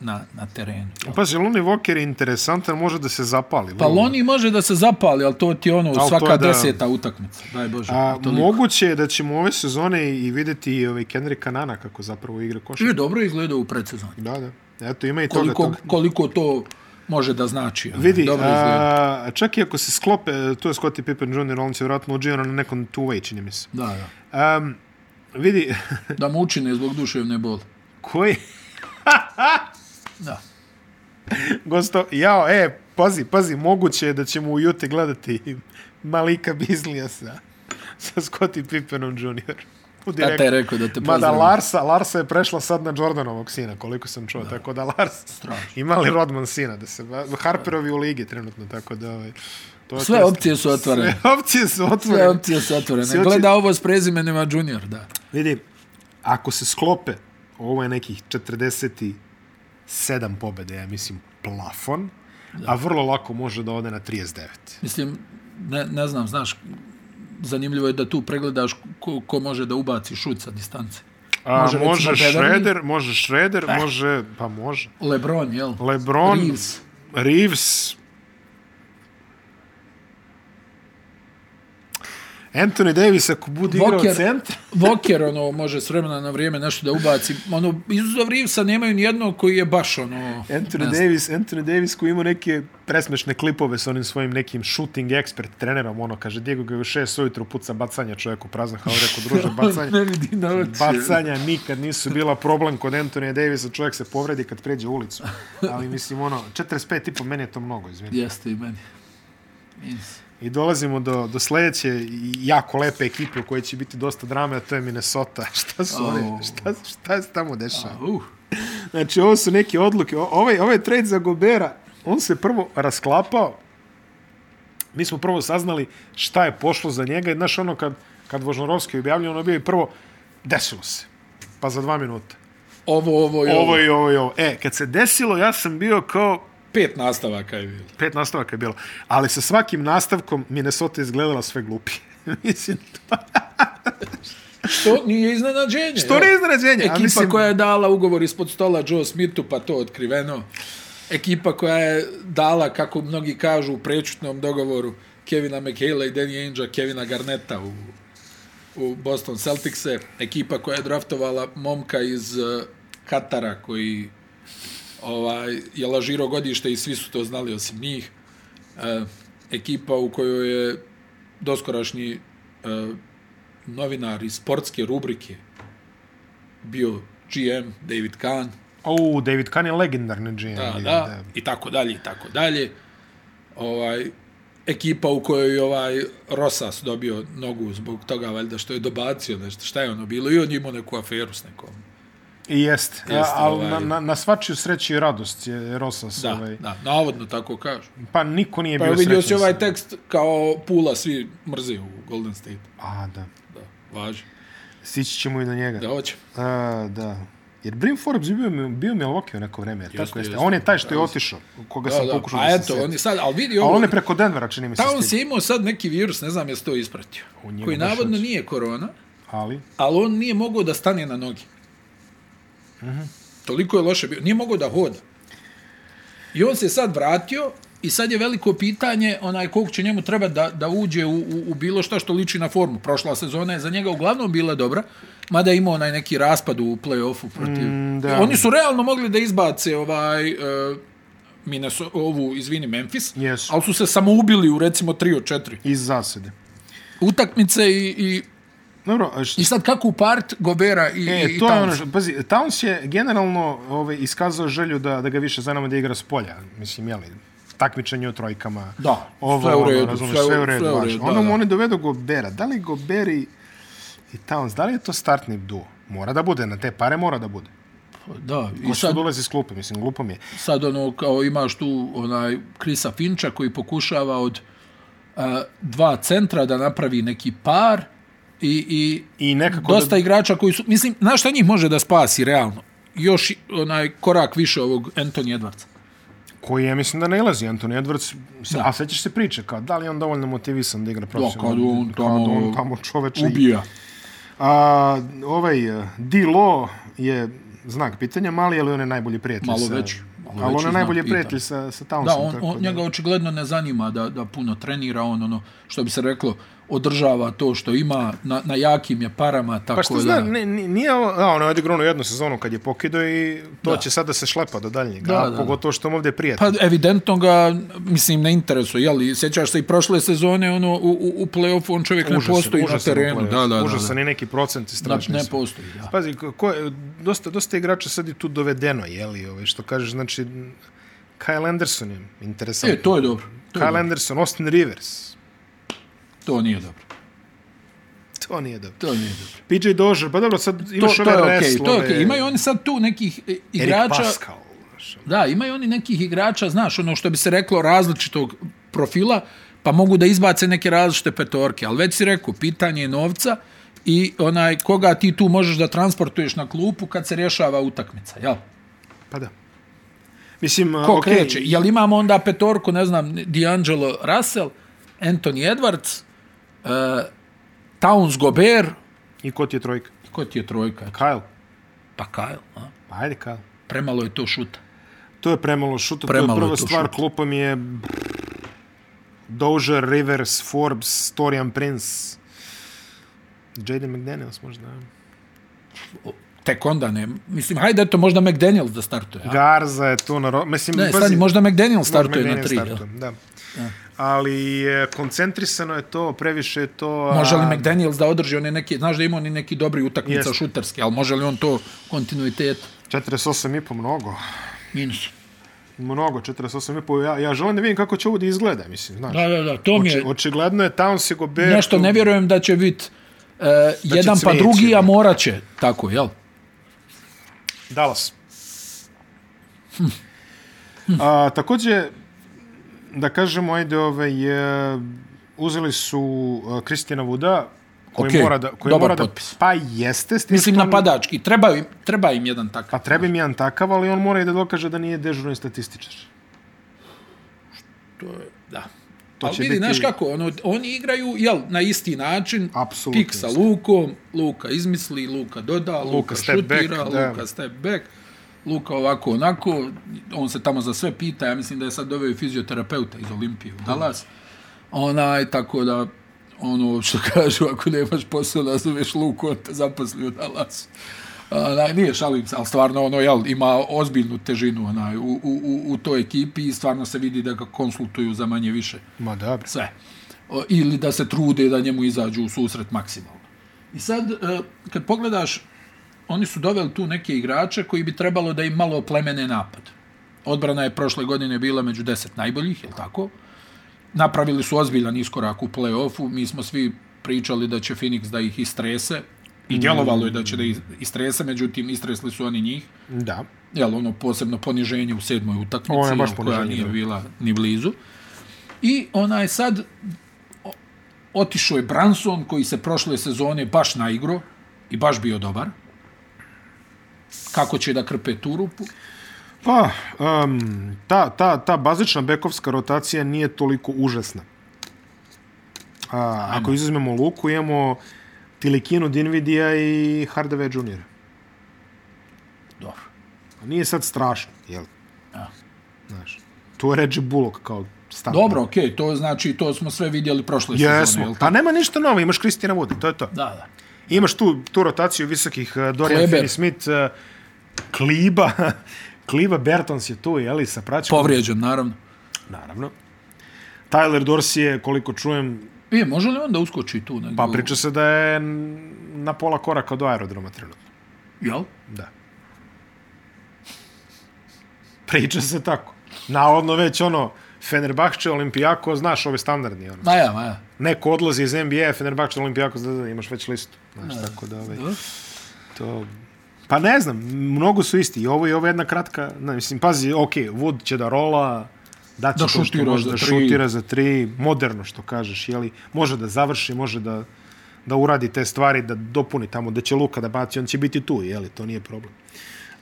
[SPEAKER 1] na, na terenu.
[SPEAKER 2] Pazi, Lonnie Walker je interesantan, može da se zapali.
[SPEAKER 1] Pa Loni može da se zapali, ali to ti je ono
[SPEAKER 2] to je
[SPEAKER 1] svaka
[SPEAKER 2] da-
[SPEAKER 1] deseta utakmica. Daj Bože.
[SPEAKER 2] A,
[SPEAKER 1] toliko.
[SPEAKER 2] moguće je da ćemo ove sezone i vidjeti i ovaj Kendricka Nana kako zapravo igra košarku.
[SPEAKER 1] I dobro izgleda u predsezoni.
[SPEAKER 2] Da, da. Eto, ima i toga.
[SPEAKER 1] Koliko,
[SPEAKER 2] toga.
[SPEAKER 1] koliko to može da znači. ono,
[SPEAKER 2] Vidi,
[SPEAKER 1] dobro izgleda.
[SPEAKER 2] a, čak i ako se sklope, tu je Scottie Pippen Jr., on će vjerojatno uđio na nekom two-way, čini mi se.
[SPEAKER 1] Da, da.
[SPEAKER 2] Um, vidi,
[SPEAKER 1] Da mu učine zbog duševne boli.
[SPEAKER 2] koji...
[SPEAKER 1] Da.
[SPEAKER 2] Gosto, jao, e, pazi, pazi, moguće je da ćemo u Jute gledati Malika Bizlija sa, sa Scottie Pippenom Jr. U direktnom.
[SPEAKER 1] Tata je rekao da te
[SPEAKER 2] Mada
[SPEAKER 1] pozdravim.
[SPEAKER 2] Larsa, Larsa je prešla sad na Jordanovog sina, koliko sam čuo, da. tako da Lars
[SPEAKER 1] Strašno.
[SPEAKER 2] ima li Rodman sina, da se, ba- Harperovi u ligi trenutno, tako da... Ovaj, to je
[SPEAKER 1] Sve
[SPEAKER 2] to-
[SPEAKER 1] opcije su otvorene.
[SPEAKER 2] Sve opcije su otvorene.
[SPEAKER 1] Sve opcije su otvorene.
[SPEAKER 2] Sve opcije-
[SPEAKER 1] Gleda ovo s prezimenima junior, da.
[SPEAKER 2] Vidi, ako se sklope, ovo je nekih 47 pobjede, ja mislim, plafon, a vrlo lako može da ode na 39.
[SPEAKER 1] Mislim, ne, ne znam, znaš, zanimljivo je da tu pregledaš ko, ko može da ubaci šut sa distance.
[SPEAKER 2] A, može,
[SPEAKER 1] recimo,
[SPEAKER 2] može
[SPEAKER 1] Beverly,
[SPEAKER 2] Shredder, može Shredder, može, pa može.
[SPEAKER 1] Lebron, jel?
[SPEAKER 2] Lebron,
[SPEAKER 1] Reeves.
[SPEAKER 2] Reeves. Anthony Davis ako bude igrao
[SPEAKER 1] Voker-
[SPEAKER 2] centar,
[SPEAKER 1] Voker, ono, može s vremena na vrijeme nešto da ubaci. Ono, izuza Reevesa nemaju ni jednog koji je baš, ono...
[SPEAKER 2] Anthony
[SPEAKER 1] ne znam.
[SPEAKER 2] Davis, Anthony Davis koji ima neke presmešne klipove sa onim svojim nekim shooting expert trenerom, ono kaže Diego ga je u šest ujutru puca bacanja čovjeku prazna, kao rekao druže bacanja.
[SPEAKER 1] Ne vidi na oči.
[SPEAKER 2] Bacanja nikad nisu bila problem kod Antonija Davisa, čovjek se povredi kad pređe ulicu. Ali mislim ono, 45 i po meni je to mnogo, izvini.
[SPEAKER 1] Jeste i meni. Yes.
[SPEAKER 2] I dolazimo do, do sledeće i jako lepe ekipe u kojoj će biti dosta drame, a to je Minnesota. Šta su oh.
[SPEAKER 1] Au.
[SPEAKER 2] oni, šta, šta se tamo dešava?
[SPEAKER 1] Uh,
[SPEAKER 2] Znači, ovo su neke odluke. O- Ovaj, ovaj trade za Gobera, on se prvo rasklapao. Mi smo prvo saznali šta je pošlo za njega. I, Znaš, ono, kad, kad Vožnorovski je objavljeno, ono bio i prvo, desilo se. Pa za dva minuta.
[SPEAKER 1] ovo, ovo i ovo.
[SPEAKER 2] Ovo i ovo i ovo. E, kad se desilo, ja sam bio kao,
[SPEAKER 1] Pet nastavaka je bilo.
[SPEAKER 2] pet nastavaka je bilo, ali sa svakim nastavkom Minnesota je izgledala sve glupije. Mislim, to,
[SPEAKER 1] Što nije iznenađenje.
[SPEAKER 2] to
[SPEAKER 1] jel?
[SPEAKER 2] ne je iznenađenje.
[SPEAKER 1] Ekipa
[SPEAKER 2] a mislim,
[SPEAKER 1] koja je dala ugovor ispod stola Joe Smithu, pa to otkriveno. Ekipa koja je dala, kako mnogi kažu, u prečutnom dogovoru Kevina McHale i Danny Ainge, Kevina Garneta u, u Boston Celticse. Ekipa koja je draftovala momka iz uh, Katara, koji ovaj, je lažirao godište i svi su to znali osim njih. E, ekipa u kojoj je doskorašnji e, novinar iz sportske rubrike bio GM David Kahn,
[SPEAKER 2] O, David Kahn je legendarni GM.
[SPEAKER 1] da,
[SPEAKER 2] Da,
[SPEAKER 1] da, i tako dalje, i tako dalje. Ovaj, ekipa u kojoj je ovaj Rosas dobio nogu zbog toga valjda što je dobacio nešto, šta je ono bilo i on je imao neku aferu s nekom.
[SPEAKER 2] I jest.
[SPEAKER 1] Jeste,
[SPEAKER 2] Jest, ali
[SPEAKER 1] ovaj-
[SPEAKER 2] na, na, na svačiju sreću i radost je Rosas.
[SPEAKER 1] Da,
[SPEAKER 2] ovaj,
[SPEAKER 1] da, navodno tako kažu.
[SPEAKER 2] Pa niko nije
[SPEAKER 1] Pa
[SPEAKER 2] bio
[SPEAKER 1] vidio si
[SPEAKER 2] srećan
[SPEAKER 1] ovaj
[SPEAKER 2] sa-
[SPEAKER 1] tekst kao Pula svi mrze u Golden State.
[SPEAKER 2] A, da.
[SPEAKER 1] Da, važi.
[SPEAKER 2] Sići ćemo i na njega.
[SPEAKER 1] Da,
[SPEAKER 2] Da.
[SPEAKER 1] hoće.
[SPEAKER 2] A, da. Jer Brim Forbes je bio, bio Milwaukee u neko vreme, jel tako jeste.
[SPEAKER 1] jeste.
[SPEAKER 2] On je taj što je otišao, koga
[SPEAKER 1] Da,
[SPEAKER 2] sam
[SPEAKER 1] da.
[SPEAKER 2] pokušao
[SPEAKER 1] A
[SPEAKER 2] da se
[SPEAKER 1] eto,
[SPEAKER 2] sjetim.
[SPEAKER 1] on je sad, ali vidi
[SPEAKER 2] A
[SPEAKER 1] ovo,
[SPEAKER 2] on je preko Denvera, čini mi se,
[SPEAKER 1] Towns
[SPEAKER 2] stigao.
[SPEAKER 1] je imao sad neki virus, ne znam jesi to ispratio,
[SPEAKER 2] U njemu
[SPEAKER 1] koji
[SPEAKER 2] baš
[SPEAKER 1] navodno
[SPEAKER 2] hoće.
[SPEAKER 1] nije korona,
[SPEAKER 2] Ali,
[SPEAKER 1] ali on nije mogao da stane na noge. Toliko je loše bio. Nije mogao da hoda. I on se sad vratio i sad je veliko pitanje onaj koliko će njemu treba da, da uđe u, u, u bilo šta što liči na formu. Prošla sezona je za njega uglavnom bila dobra, mada je imao onaj neki raspad u play-offu protiv...
[SPEAKER 2] Mm, da.
[SPEAKER 1] Oni su realno mogli da izbace ovaj... Uh, Minnesota, ovu, izvini, Memphis,
[SPEAKER 2] Jesu.
[SPEAKER 1] ali su se samoubili u recimo 3 od 4
[SPEAKER 2] iz zasede.
[SPEAKER 1] utakmice i, i
[SPEAKER 2] Dobro, a š-
[SPEAKER 1] I sad kako upart Gobera i,
[SPEAKER 2] E,
[SPEAKER 1] i
[SPEAKER 2] to je
[SPEAKER 1] Townsa?
[SPEAKER 2] ono, što- pazi, Towns je generalno ovaj, iskazao želju da, da ga više zanamo da igra s polja, mislim, jeli, takmičenje u trojkama.
[SPEAKER 1] Da,
[SPEAKER 2] ovo,
[SPEAKER 1] sve u redu,
[SPEAKER 2] Ono, razumeš,
[SPEAKER 1] sve u-
[SPEAKER 2] sve, u redu,
[SPEAKER 1] sve u
[SPEAKER 2] važno.
[SPEAKER 1] redu, da,
[SPEAKER 2] Onda mu
[SPEAKER 1] da.
[SPEAKER 2] oni dovedu Gobera. Da li Gober i, i Towns, da li je to startni duo? Mora da bude, na te pare mora da bude.
[SPEAKER 1] Da, i
[SPEAKER 2] Ko sad...
[SPEAKER 1] sad,
[SPEAKER 2] dolazi s klupe, mislim, glupo mi je.
[SPEAKER 1] sad ono, kao imaš tu onaj Krisa Finča koji pokušava od a, dva centra da napravi neki par i, i
[SPEAKER 2] I nekako
[SPEAKER 1] dosta
[SPEAKER 2] da...
[SPEAKER 1] igrača koji su, mislim, znaš šta njih može da spasi realno? Još i- onaj korak više ovog Anthony Edwardsa.
[SPEAKER 2] Koji je, mislim, da ne ilazi Anthony Edwards. Mislim, A sećaš se priče, kao, da li je on dovoljno motivisan da igra profesionalno?
[SPEAKER 1] kad on
[SPEAKER 2] Kao
[SPEAKER 1] tamo
[SPEAKER 2] da on tamo čoveče
[SPEAKER 1] Ubija.
[SPEAKER 2] A ovaj eh, D-Lo je znak pitanja, mali je li on je najbolji prijatelj
[SPEAKER 1] Malo
[SPEAKER 2] sa...
[SPEAKER 1] veći, malo
[SPEAKER 2] ali
[SPEAKER 1] veći
[SPEAKER 2] on je
[SPEAKER 1] znak
[SPEAKER 2] najbolji
[SPEAKER 1] pitanja.
[SPEAKER 2] prijatelj sa, sa Townsom.
[SPEAKER 1] Da, on,
[SPEAKER 2] tako
[SPEAKER 1] on, njega očigledno ne zanima da, da puno trenira, on ono, što bi se reklo, održava to što ima, na, na jakim je parama, tako
[SPEAKER 2] Pa što
[SPEAKER 1] da...
[SPEAKER 2] zna, ne, ni- nije ovo, a, ono je odigrao onu jednu sezonu kad je pokidao i to
[SPEAKER 1] Da.
[SPEAKER 2] će sad da se šlepa do daljnjega,
[SPEAKER 1] Da,
[SPEAKER 2] da,
[SPEAKER 1] da.
[SPEAKER 2] da, pogotovo što mu ovdje je prijatelj.
[SPEAKER 1] Pa evidentno ga, mislim, ne interesuje, jeli? Sjećaš se i prošle sezone, ono, u, u, u play-offu on čovjek Pa, ne postoji na
[SPEAKER 2] užasan u
[SPEAKER 1] terenu.
[SPEAKER 2] play-offu,
[SPEAKER 1] Da, da, da,
[SPEAKER 2] Užasan
[SPEAKER 1] da.
[SPEAKER 2] je neki procent i
[SPEAKER 1] Da,
[SPEAKER 2] strašni
[SPEAKER 1] ne
[SPEAKER 2] su.
[SPEAKER 1] postoji, da.
[SPEAKER 2] Pazi, ko- ko, je- dosta, dosta igrača sad je tu dovedeno, jeli, ovaj, što kažeš, znači, Kyle Anderson je interesantan.
[SPEAKER 1] E, to je dobro. To, je
[SPEAKER 2] Kyle
[SPEAKER 1] dobro.
[SPEAKER 2] Anderson, Austin Rivers,
[SPEAKER 1] to nije dobro.
[SPEAKER 2] to nije dobro.
[SPEAKER 1] To nije dobro.
[SPEAKER 2] PJ Dozier, pa dobro, sad imaš
[SPEAKER 1] To, to
[SPEAKER 2] ove
[SPEAKER 1] je okej,
[SPEAKER 2] wrestlove,
[SPEAKER 1] to je okej. Imaju oni sad tu nekih e,
[SPEAKER 2] Eric
[SPEAKER 1] igrača...
[SPEAKER 2] Pascal. znaš. ono,
[SPEAKER 1] Da, imaju oni nekih igrača, znaš, ono što bi se reklo različitog profila, pa mogu da izbace neke različite petorke, ali već si rekao, pitanje je novca i onaj koga ti tu možeš da transportuješ na klupu kad se rješava utakmica, jel?
[SPEAKER 2] Pa da. Mislim,
[SPEAKER 1] Ko
[SPEAKER 2] okay.
[SPEAKER 1] okay. kreće? Jel imamo onda petorku, ne znam, D'Angelo Russell, Anthony Edwards, uh, Towns Gobert,
[SPEAKER 2] I ko ti je trojka?
[SPEAKER 1] i ko ti je trojka?
[SPEAKER 2] Kyle.
[SPEAKER 1] Pa Kyle, a?
[SPEAKER 2] Pa ajde Kyle.
[SPEAKER 1] Premalo je to šuta.
[SPEAKER 2] To je premalo šuta.
[SPEAKER 1] Premalo
[SPEAKER 2] to
[SPEAKER 1] je
[SPEAKER 2] je prva
[SPEAKER 1] to
[SPEAKER 2] stvar,
[SPEAKER 1] šuta.
[SPEAKER 2] klupa mi je Dozier, Rivers, Forbes, Torian Prince. Jaden McDaniels možda.
[SPEAKER 1] Tek onda ne. Mislim, hajde, eto, možda McDaniels da startuje. a?
[SPEAKER 2] Garza je tu na... Ro... Mislim,
[SPEAKER 1] Ne, stani, možda McDaniels startuje na tri. jel?
[SPEAKER 2] startuje, Da. Ali je, koncentrisano je to, previše je to... a-
[SPEAKER 1] Može li McDaniels da održi one neke, znaš da ima oni neki dobri utakmica
[SPEAKER 2] Jeste.
[SPEAKER 1] šuterski, ali može li on to kontinuitet?
[SPEAKER 2] 48,5 mnogo.
[SPEAKER 1] Minus.
[SPEAKER 2] Mnogo, 48,5. Ja, ja želim da vidim kako će ovo da izgleda, mislim, znaš.
[SPEAKER 1] Da, da, da, to mi
[SPEAKER 2] Oči,
[SPEAKER 1] je,
[SPEAKER 2] očigledno je Towns i Gobert...
[SPEAKER 1] nešto
[SPEAKER 2] tu-
[SPEAKER 1] ne vjerujem da će biti uh, jedan pa
[SPEAKER 2] cvijeće,
[SPEAKER 1] drugi, a
[SPEAKER 2] da.
[SPEAKER 1] morat će, tako, jel?
[SPEAKER 2] Dallas. A, također, da kažemo, ajde, ovaj, e, uzeli su e, Kristina Vuda, koji
[SPEAKER 1] Okej,
[SPEAKER 2] mora da... Koji
[SPEAKER 1] dobar
[SPEAKER 2] mora
[SPEAKER 1] potpis.
[SPEAKER 2] Da, pa jeste, s tim
[SPEAKER 1] Mislim,
[SPEAKER 2] što on-
[SPEAKER 1] napadački, treba im, treba im jedan takav.
[SPEAKER 2] Pa treba mi jedan takav, ali on mora i da dokaže da nije dežurni statističar.
[SPEAKER 1] To je, da.
[SPEAKER 2] Pa, To
[SPEAKER 1] ali
[SPEAKER 2] će
[SPEAKER 1] vidi,
[SPEAKER 2] biti-
[SPEAKER 1] znaš kako, ono, oni igraju, jel, na isti način,
[SPEAKER 2] Apsolutno
[SPEAKER 1] pik sa
[SPEAKER 2] isto.
[SPEAKER 1] Lukom, Luka izmisli, Luka doda, Luka, Luka
[SPEAKER 2] step
[SPEAKER 1] šutira,
[SPEAKER 2] back,
[SPEAKER 1] back,
[SPEAKER 2] da.
[SPEAKER 1] Luka step back, Luka ovako onako, on se tamo za sve pita, ja mislim da je sad doveo i fizioterapeuta iz Olimpije u Dallas, onaj, tako da, ono što kažu, ako nemaš posao da zoveš Luku, on te zaposli u Dallasu. Onaj, nije šalim se, ali stvarno ono, jel, ima ozbiljnu težinu onaj, u, u, u, u toj ekipi i stvarno se vidi da ga konsultuju za manje više
[SPEAKER 2] Ma dobro.
[SPEAKER 1] sve. O, ili da se trude da njemu izađu u susret maksimalno. I sad, e, kad pogledaš, oni su doveli tu neke igrače koji bi trebalo da im malo plemene napad. Odbrana je prošle godine bila među deset najboljih, je tako? Napravili su ozbiljan iskorak u play-offu. Mi smo svi pričali da će Phoenix da ih istrese. I djelovalo je da će da ih istrese, međutim, istresli su oni njih
[SPEAKER 2] Da.
[SPEAKER 1] jel, ono posebno poniženje u sedmoj utakmici,
[SPEAKER 2] Ovo je baš
[SPEAKER 1] jel, koja
[SPEAKER 2] poniženje,
[SPEAKER 1] nije
[SPEAKER 2] da.
[SPEAKER 1] bila ni blizu. I ona je sad, o- otišao je Branson koji se prošle sezone baš naigro i baš bio dobar. Kako će da krpe tu rupu?
[SPEAKER 2] Pa, um, ta, ta, ta bazična bekovska rotacija nije toliko užasna. A, ako izuzmemo Luku, imamo Tilikinu, Dinvidija i Hardaway Jr.
[SPEAKER 1] Dobro.
[SPEAKER 2] Pa Nije sad strašno, jel?
[SPEAKER 1] Ja.
[SPEAKER 2] Znaš, tu je Reggie Bullock kao startno.
[SPEAKER 1] Dobro, okej, okay, to znači, to smo sve vidjeli prošle sezone,
[SPEAKER 2] Jesmo.
[SPEAKER 1] jel tako?
[SPEAKER 2] Pa nema ništa novo, imaš Kristina Wood, to je to.
[SPEAKER 1] Da, da.
[SPEAKER 2] Imaš tu, tu rotaciju visokih eh, Dorian
[SPEAKER 1] Kleber.
[SPEAKER 2] Finney-Smith, eh, Kliba, Kliba Bertons je tu, jeli, sa praćkom.
[SPEAKER 1] Povrijeđen, naravno.
[SPEAKER 2] Naravno. Tyler Dorsey je, koliko čujem,
[SPEAKER 1] E, može li on da uskoči tu? Nego,
[SPEAKER 2] pa priča se da je n- na pola koraka do aerodroma trenutno.
[SPEAKER 1] Jel?
[SPEAKER 2] Da. Priča se tako. Navodno već ono, Fenerbahče, Olimpijako, znaš ove standardni. Ono.
[SPEAKER 1] Ma ja, ma ja.
[SPEAKER 2] Neko odlazi iz NBA, Fenerbahče, Olimpijako, da, da, imaš već listu. Znaš, tako da ovaj,
[SPEAKER 1] Dobro.
[SPEAKER 2] to... Pa ne znam, mnogo su isti. I ovo je ovo je jedna kratka, ne, mislim, pazi, ok, Wood će da rola,
[SPEAKER 1] Da
[SPEAKER 2] da će to što
[SPEAKER 1] šutira
[SPEAKER 2] može,
[SPEAKER 1] za
[SPEAKER 2] da
[SPEAKER 1] tri.
[SPEAKER 2] šutira za tri, moderno što kažeš, jeli, može da završi, može da, da uradi te stvari, da dopuni tamo, da će Luka da baci, on će biti tu, jeli, to nije problem.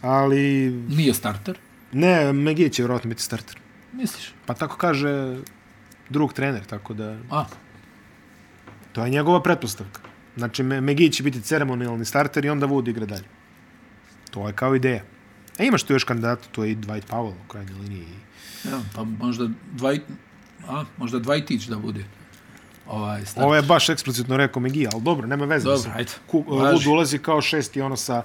[SPEAKER 2] Ali,
[SPEAKER 1] Nije starter,
[SPEAKER 2] ne, Megije će vjerojatno biti starter.
[SPEAKER 1] misliš?
[SPEAKER 2] Pa tako kaže drug trener, tako da,
[SPEAKER 1] A,
[SPEAKER 2] to je njegova pretpostavka. Znači, Me- Megije će biti ceremonijalni starter i onda Wood igra dalje. To je kao ideja. E, imaš tu još kandidata, tu je i Dwight Powell u krajnjoj liniji.
[SPEAKER 1] Ja, pa možda dvaj, a, možda Dvajtić da bude. Ovaj, star...
[SPEAKER 2] Ovo je baš eksplicitno rekao Megije, ali dobro, nema veze.
[SPEAKER 1] Dobro,
[SPEAKER 2] mislim.
[SPEAKER 1] ajde.
[SPEAKER 2] Ku,
[SPEAKER 1] Važi.
[SPEAKER 2] Wood ulazi kao šesti, ono sa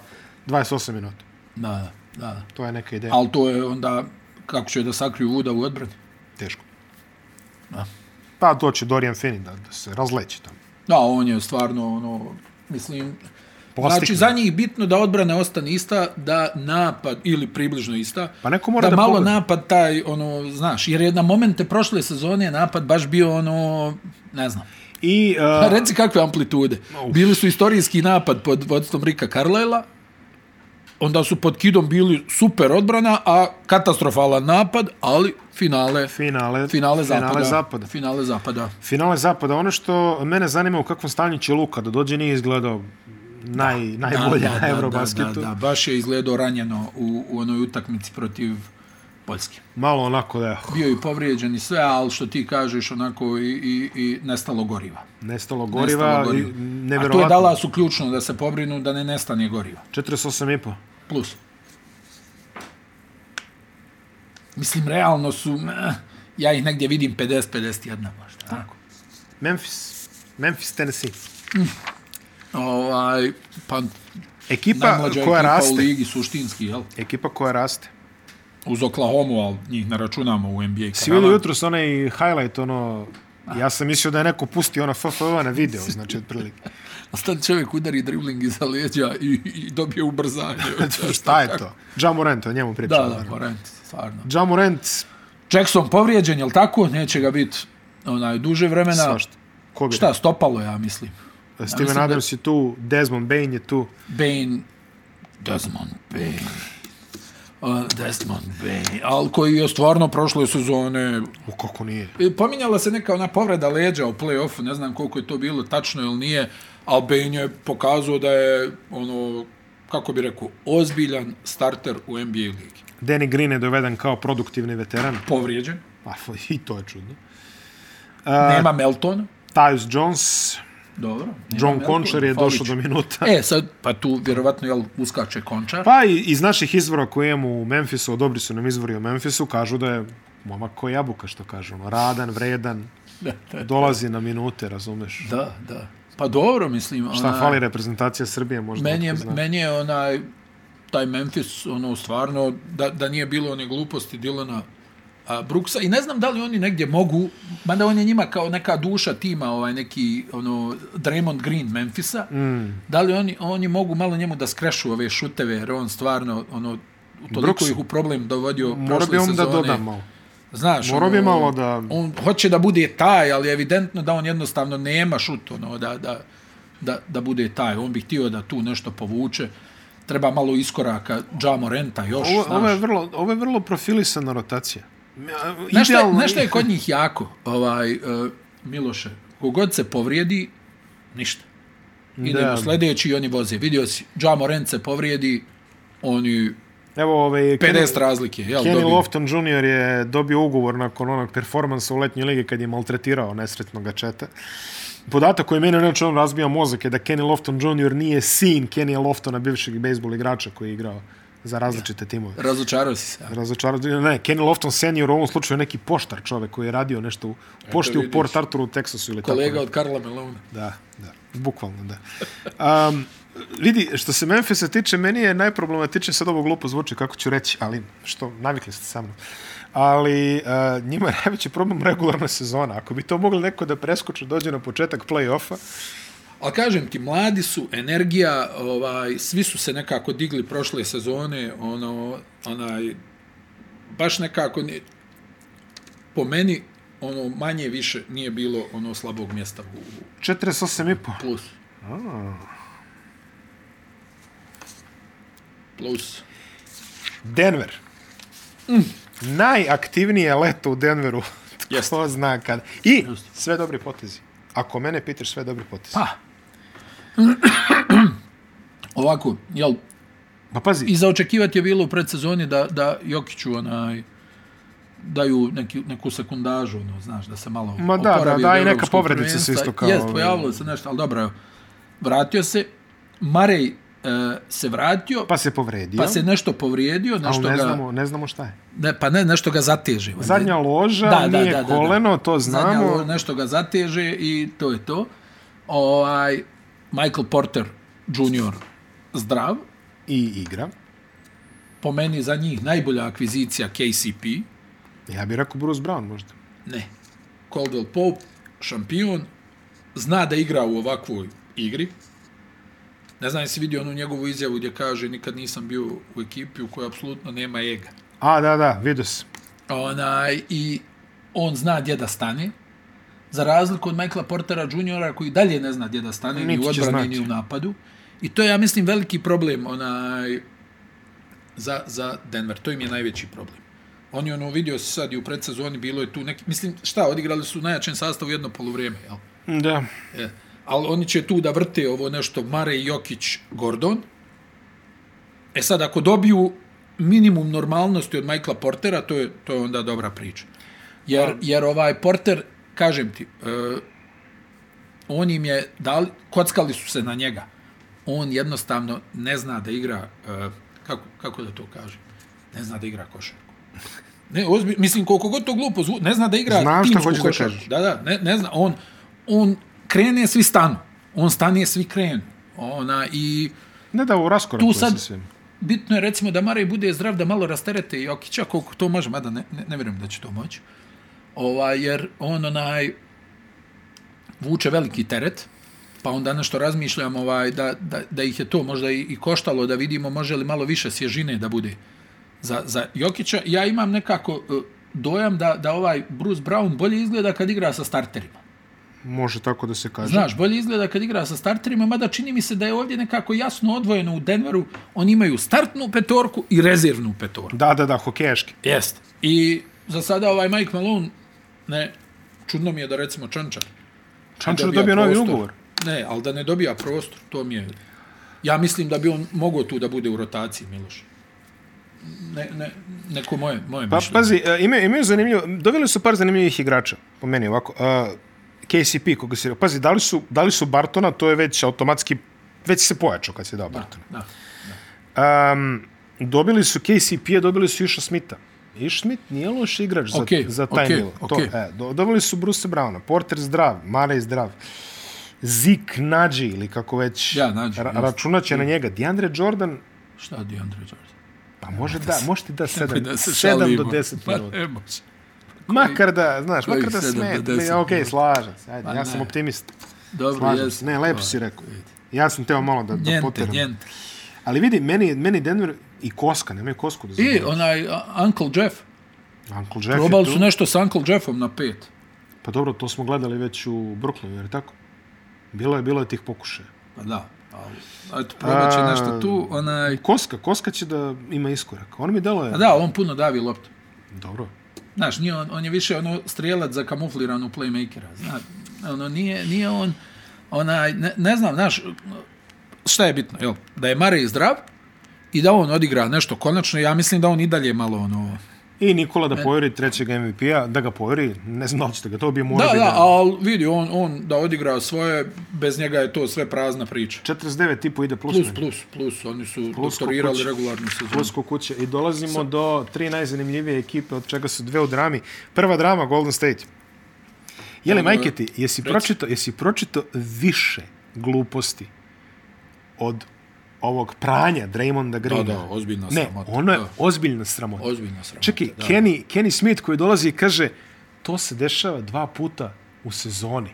[SPEAKER 2] 28 minuta.
[SPEAKER 1] Da, da, da.
[SPEAKER 2] To je neka ideja.
[SPEAKER 1] Ali to je onda, kako će da sakriju Vuda u odbrani?
[SPEAKER 2] Teško.
[SPEAKER 1] Da.
[SPEAKER 2] Pa to će Dorian Finney da, da se razleće tamo.
[SPEAKER 1] Da, on je stvarno, ono, mislim...
[SPEAKER 2] Postigne.
[SPEAKER 1] Znači, za njih bitno da odbrana ostane ista, da napad, ili približno ista,
[SPEAKER 2] Pa neko mora da
[SPEAKER 1] malo
[SPEAKER 2] pogleda.
[SPEAKER 1] napad taj, ono, znaš, jer je na momente prošle sezone napad baš bio, ono, ne znam,
[SPEAKER 2] I,
[SPEAKER 1] Pa
[SPEAKER 2] uh,
[SPEAKER 1] reci kakve amplitude. Bili su istorijski napad pod vodstvom Rika Carlajla, onda su pod kidom bili super odbrana, a katastrofalan napad, ali finale,
[SPEAKER 2] finale,
[SPEAKER 1] finale,
[SPEAKER 2] Finale
[SPEAKER 1] zapada,
[SPEAKER 2] zapada.
[SPEAKER 1] Finale zapada.
[SPEAKER 2] Finale zapada. Ono što mene zanima u kakvom stanju će Luka da dođe, nije izgledao naj, najbolje na Eurobasketu.
[SPEAKER 1] Da, da, da, baš je izgledao ranjeno u, u onoj utakmici protiv Poljske.
[SPEAKER 2] Malo onako da je
[SPEAKER 1] Bio je i povrijeđen i sve, ali što ti kažeš, onako i, i, i nestalo goriva. Nestalo
[SPEAKER 2] nestalo goriva, i
[SPEAKER 1] goriva. A to je
[SPEAKER 2] nevjerovatno.
[SPEAKER 1] dala su ključno da se pobrinu da ne nestane goriva.
[SPEAKER 2] 48,5.
[SPEAKER 1] plus. Mislim, realno su, meh, ja ih negdje vidim 50-51 možda. Tako.
[SPEAKER 2] Memphis. Memphis, Tennessee.
[SPEAKER 1] Ovaj, pa
[SPEAKER 2] Ekipa
[SPEAKER 1] najmlađa
[SPEAKER 2] E koja
[SPEAKER 1] ekipa u
[SPEAKER 2] raste,
[SPEAKER 1] ligi suštinski, jel?
[SPEAKER 2] ekipa koja raste.
[SPEAKER 1] Uz Oklahoma, ali njih ne računamo u NBA
[SPEAKER 2] Si vidio
[SPEAKER 1] kanala.
[SPEAKER 2] jutro s onaj highlight, ono, ja sam mislio da je neko pustio ono FFV na video, znači, otprilike.
[SPEAKER 1] A sad čovjek udari dribling iza leđa i, i dobije ubrzanje.
[SPEAKER 2] Šta je to? Jamorant, o njemu
[SPEAKER 1] Da,
[SPEAKER 2] pričamo.
[SPEAKER 1] da, Morant, stvarno.
[SPEAKER 2] Jamorant,
[SPEAKER 1] Jackson povrijeđen, jel tako? Neće ga biti onaj, duže vremena.
[SPEAKER 2] svašta. Ko bi
[SPEAKER 1] Šta, stopalo, ja mislim.
[SPEAKER 2] rekao?
[SPEAKER 1] Ja mislim
[SPEAKER 2] Steven
[SPEAKER 1] da-
[SPEAKER 2] Adams je tu, Desmond Bain je tu.
[SPEAKER 1] Bane, Desmond Bane. Uh, Desmond Bane, ali koji je stvarno prošle sezone...
[SPEAKER 2] U, kako nije?
[SPEAKER 1] E, Pominjala se neka ona povreda leđa u play-offu, ne znam koliko je to bilo tačno ili nije, ali Bane je pokazao da je, ono, kako bi rekao, ozbiljan starter u NBA ligi.
[SPEAKER 2] Danny Green je doveden kao produktivni veteran.
[SPEAKER 1] Povrijeđen,
[SPEAKER 2] Pa, i to je čudno.
[SPEAKER 1] nema Meltona,
[SPEAKER 2] Tyus Jones,
[SPEAKER 1] dobro. nema
[SPEAKER 2] John
[SPEAKER 1] Meltona,
[SPEAKER 2] Conchar je
[SPEAKER 1] falit
[SPEAKER 2] došao
[SPEAKER 1] će.
[SPEAKER 2] do minuta.
[SPEAKER 1] E, sad, pa tu vjerovatno, jel, uskače Končar.
[SPEAKER 2] Pa i iz naših izvora koje imamo u Memfisu, dobri su nam izvori u Memfisu, kažu da je momak ko jabuka, što kažu. Ono, radan, vredan,
[SPEAKER 1] Da, da,
[SPEAKER 2] dolazi na minute, razumeš.
[SPEAKER 1] da, da. Pa dobro, mislim.
[SPEAKER 2] Šta
[SPEAKER 1] onaj-
[SPEAKER 2] fali reprezentacija Srbije, možda
[SPEAKER 1] Meni je,
[SPEAKER 2] otko zna.
[SPEAKER 1] meni je onaj, taj Memphis, ono, stvarno, da, da nije bilo one gluposti Dilana a, Brooksa. I ne znam da li oni negdje mogu, mada on je njima kao neka duša tima, ovaj neki, ono, Draymond Green Memphisa, mm. da li oni, oni mogu malo njemu da skrešu ove šuteve, jer on stvarno, ono, toliko
[SPEAKER 2] Brooks-
[SPEAKER 1] ih u problem dovodio
[SPEAKER 2] Morao
[SPEAKER 1] prošle
[SPEAKER 2] bi on da
[SPEAKER 1] sezone.
[SPEAKER 2] doda malo.
[SPEAKER 1] Znaš,
[SPEAKER 2] Morao bi
[SPEAKER 1] ono,
[SPEAKER 2] malo da-
[SPEAKER 1] On hoće da bude taj, ali je evidentno da on jednostavno nema šut, ono, da, da, da, da bude taj. On bi htio da tu nešto povuče. Treba malo iskoraka Džamo Renta još,
[SPEAKER 2] Ovo,
[SPEAKER 1] znaš.
[SPEAKER 2] ovo, je vrlo, ovo je vrlo profilisana rotacija. Ja,
[SPEAKER 1] Znaš šta, je-
[SPEAKER 2] idealno-
[SPEAKER 1] znaš šta je kod njih jako, ovaj, uh, Miloše? Kogod se povrijedi, ništa. Idemo
[SPEAKER 2] Da.
[SPEAKER 1] sljedeći i oni voze. Vidio si, Džamo Rent se povrijedi, oni
[SPEAKER 2] Evo, ovaj,
[SPEAKER 1] 50 razlike, jel?
[SPEAKER 2] Kenny
[SPEAKER 1] dobili?
[SPEAKER 2] Lofton Jr. je dobio ugovor nakon onog performansa u letnjoj ligi kad je maltretirao nesretnog četa. Podatak koji je meni inače on razbija mozak je da Kenny Lofton Jr. nije sin Kenny Loftona, bivšeg bejsbol igrača koji je igrao za različite timove.
[SPEAKER 1] Razočarao si se. a?
[SPEAKER 2] Razočarao, ne, Kenny Lofton senior u ovom slučaju je neki poštar čovek koji je radio nešto u pošti u
[SPEAKER 1] vidiš.
[SPEAKER 2] Port Arturu u Teksasu ili tako
[SPEAKER 1] Kolega od Karla Melona.
[SPEAKER 2] Da, da, bukvalno da. Um, vidi, što se Memphisa tiče, meni je najproblematičnije, sad ovo glupo zvuči kako ću reći, ali što, navikli ste sa mnom. Ali uh, njima je najveći problem regularna sezona. Ako bi to mogli neko da preskoče, dođe na početak play-offa,
[SPEAKER 1] Ali kažem ti, mladi su, energija, ovaj, svi su se nekako digli prošle sezone, ono, onaj, baš nekako, ne, po meni, ono, manje više nije bilo ono slabog mjesta u u
[SPEAKER 2] 48,5.
[SPEAKER 1] plus. Plus.
[SPEAKER 2] Denver. Mm. Najaktivnije leto u Denveru.
[SPEAKER 1] Jeste.
[SPEAKER 2] Ko zna kada. I sve dobri potezi. Ako mene pitaš sve dobri potezi.
[SPEAKER 1] Pa. Ovako, jel,
[SPEAKER 2] pa pazi,
[SPEAKER 1] i za očekivati je bilo u predsezoni da, da Jokiću onaj, daju neki, neku sekundažu, ono, znaš, da se malo
[SPEAKER 2] Ma da,
[SPEAKER 1] oporavi
[SPEAKER 2] da,
[SPEAKER 1] od
[SPEAKER 2] da, i neka
[SPEAKER 1] evropskog
[SPEAKER 2] povredica se
[SPEAKER 1] prvenstva.
[SPEAKER 2] isto kao,
[SPEAKER 1] Jest,
[SPEAKER 2] ovaj-
[SPEAKER 1] pojavilo se nešto, ali dobro, evo, vratio se, Marej e, se vratio, pa,
[SPEAKER 2] pa se povredio.
[SPEAKER 1] pa se nešto povrijedio,
[SPEAKER 2] ali
[SPEAKER 1] nešto
[SPEAKER 2] ne
[SPEAKER 1] ga,
[SPEAKER 2] znamo, ne znamo šta je.
[SPEAKER 1] ne, pa ne, nešto ga zateže. valjda.
[SPEAKER 2] Zadnja loža, da, nije da, da, koleno, da. to
[SPEAKER 1] Zadnja
[SPEAKER 2] znamo.
[SPEAKER 1] loža, nešto ga zateže i to je to. Ovaj, Michael Porter Jr. zdrav,
[SPEAKER 2] I igra.
[SPEAKER 1] po meni za njih najbolja akvizicija KCP,
[SPEAKER 2] Ja bih rekao Bruce Brown možda.
[SPEAKER 1] Ne. Caldwell Pope, šampion, zna da igra u ovakvoj igri. Ne znam jesi vidio onu njegovu izjavu gdje kaže nikad nisam bio u ekipi u kojoj apsolutno nema ega.
[SPEAKER 2] A, da, da, vidio se.
[SPEAKER 1] Onaj, I on zna gdje da stane, za razliku od Michaela Portera Juniora koji dalje ne zna gdje da stane ni
[SPEAKER 2] Niti
[SPEAKER 1] u
[SPEAKER 2] će
[SPEAKER 1] odbrani
[SPEAKER 2] znati.
[SPEAKER 1] ni u napadu. I to je, ja mislim, veliki problem onaj, za, za Denver. To im je najveći problem. Oni ono vidio se sad i u predsezoni bilo je tu neki, mislim, šta, odigrali su u najjačem sastavu jedno polovrijeme, jel?
[SPEAKER 2] Da.
[SPEAKER 1] E, ali oni će tu da vrte ovo nešto Mare, Jokić, Gordon. E sad, ako dobiju minimum normalnosti od Michaela Portera, to je, to je onda dobra priča. Jer, jer ovaj Porter, kažem ti, e, on im je dali, kockali su se na njega. On jednostavno ne zna da igra, e, kako, kako da to kažem, ne zna da igra košarku. Ne, ozbi, mislim, koliko god to glupo zvu, ne zna da igra
[SPEAKER 2] Znam šta
[SPEAKER 1] timsku
[SPEAKER 2] hoćeš da
[SPEAKER 1] košarku.
[SPEAKER 2] kažeš.
[SPEAKER 1] Da, da, ne, ne zna. On, on krene, svi stanu. On stane, svi krenu. Ona, i
[SPEAKER 2] Ne da u raskoraku
[SPEAKER 1] Tu
[SPEAKER 2] je
[SPEAKER 1] sad-
[SPEAKER 2] sa svim.
[SPEAKER 1] bitno je recimo da Marej bude zdrav, da malo rasterete Jokića, koliko to može, mada ne, ne, ne vjerujem da će to moći. Ovaj, jer on onaj vuče veliki teret, pa onda nešto razmišljam ovaj, da, da, da ih je to možda i, i koštalo, da vidimo može li malo više svježine da bude za, za Jokića. Ja imam nekako eh, dojam da, da ovaj Bruce Brown bolje izgleda kad igra sa starterima.
[SPEAKER 2] Može tako da se kaže.
[SPEAKER 1] Znaš, bolje izgleda kad igra sa starterima, mada čini mi se da je ovdje nekako jasno odvojeno u Denveru. Oni imaju startnu petorku i rezervnu petorku.
[SPEAKER 2] Da, da, da, hokejaški.
[SPEAKER 1] Jeste. I za sada ovaj Mike Malone, ne, čudno mi je da recimo Čančar.
[SPEAKER 2] Čančar
[SPEAKER 1] dobija
[SPEAKER 2] dobio novi
[SPEAKER 1] prostor.
[SPEAKER 2] ugovor.
[SPEAKER 1] Ne, ali da ne dobija prostor, to mi je... Ja mislim da bi on mogao tu da bude u rotaciji, Miloš. Ne, ne, neko moje, moje
[SPEAKER 2] Pa,
[SPEAKER 1] mišljenje.
[SPEAKER 2] pazi, e, imaju, imaju zanimljivo, doveli su par zanimljivih igrača, po meni ovako. Uh, KCP, koga si... Pazi, da li, su, da li su Bartona, to je već automatski, već se pojačao kad si dao
[SPEAKER 1] Da,
[SPEAKER 2] Bartona.
[SPEAKER 1] da.
[SPEAKER 2] Um, dobili su KCP-a, dobili su Iša Smitha. Iš Smith nije loš igrač za,
[SPEAKER 1] Okej,
[SPEAKER 2] za taj
[SPEAKER 1] okej,
[SPEAKER 2] nivo.
[SPEAKER 1] okej.
[SPEAKER 2] To, e, do, dobili su Bruce Browna, Porter zdrav, Mare zdrav, Zik Nađi ili kako već
[SPEAKER 1] Ja, Nađi,
[SPEAKER 2] ra
[SPEAKER 1] jasno.
[SPEAKER 2] računaće na njega. DeAndre Jordan,
[SPEAKER 1] Šta di Andre Jordan?
[SPEAKER 2] pa može da, može ti da 7,
[SPEAKER 1] Da se
[SPEAKER 2] 7 do
[SPEAKER 1] šalimo.
[SPEAKER 2] 10
[SPEAKER 1] Pa
[SPEAKER 2] minuta.
[SPEAKER 1] ne može.
[SPEAKER 2] Makar da, znaš,
[SPEAKER 1] koji
[SPEAKER 2] makar da
[SPEAKER 1] sedam
[SPEAKER 2] sme.
[SPEAKER 1] do deset
[SPEAKER 2] Ja, ok,
[SPEAKER 1] minuta.
[SPEAKER 2] slažem se. Ajde,
[SPEAKER 1] Pa
[SPEAKER 2] ja
[SPEAKER 1] ne.
[SPEAKER 2] sam optimist.
[SPEAKER 1] Dobro,
[SPEAKER 2] Slažem
[SPEAKER 1] jes.
[SPEAKER 2] se. Ne, lepo si rekao. Ja sam teo malo da, da
[SPEAKER 1] Njente,
[SPEAKER 2] poteram.
[SPEAKER 1] njente.
[SPEAKER 2] Ali vidi, meni, meni Denver i Koska, nemaju Kosku da
[SPEAKER 1] I
[SPEAKER 2] zaboravim.
[SPEAKER 1] onaj a, Uncle Jeff.
[SPEAKER 2] Uncle Jeff je
[SPEAKER 1] Probali
[SPEAKER 2] tu.
[SPEAKER 1] su nešto sa Uncle Jeffom na pet.
[SPEAKER 2] Pa dobro, to smo gledali već u Brooklynu, jer tako? Bilo je, bilo je tih pokušaja.
[SPEAKER 1] Pa da. Ali, eto, probat će
[SPEAKER 2] A.
[SPEAKER 1] nešto tu. Onaj...
[SPEAKER 2] Koska, Koska će da ima iskorak. On mi delo je...
[SPEAKER 1] A da, on puno davi loptu.
[SPEAKER 2] Dobro.
[SPEAKER 1] Znaš, nije on, on je više ono strelac za kamufliranu playmakera. Znaš, ono, nije, nije on... Onaj, ne, ne znam, znaš, šta je bitno, jel? Da je Marej zdrav i da on odigra nešto konačno. Ja mislim da on i dalje malo ono...
[SPEAKER 2] I Nikola da poveri trećeg MVP-a, da ga poveri, ne znam da li ćete ga, to bi mora
[SPEAKER 1] Da,
[SPEAKER 2] bi
[SPEAKER 1] da, ali vidi, on, on da odigra svoje, bez njega je to sve prazna priča.
[SPEAKER 2] 49 tipu ide plus,
[SPEAKER 1] Plus,
[SPEAKER 2] meni.
[SPEAKER 1] plus, plus, oni su
[SPEAKER 2] Plus ko
[SPEAKER 1] doktorirali
[SPEAKER 2] kuća.
[SPEAKER 1] regularnu sezonu.
[SPEAKER 2] Plus ko kuće. I dolazimo do tri najzanimljivije ekipe, od čega su dve u drami. Prva drama, Golden State. Jeli,
[SPEAKER 1] Dobro.
[SPEAKER 2] majke ti, jesi pročito, jesi pročito više gluposti od ovog pranja Draymonda Greena?
[SPEAKER 1] Da, da, ozbiljna
[SPEAKER 2] ne,
[SPEAKER 1] sramota,
[SPEAKER 2] ono je
[SPEAKER 1] da.
[SPEAKER 2] ozbiljna sramota.
[SPEAKER 1] Ozbiljna sramota.
[SPEAKER 2] Čekaj,
[SPEAKER 1] da.
[SPEAKER 2] Kenny, Kenny Smith koji dolazi i kaže to se dešava dva puta u sezoni.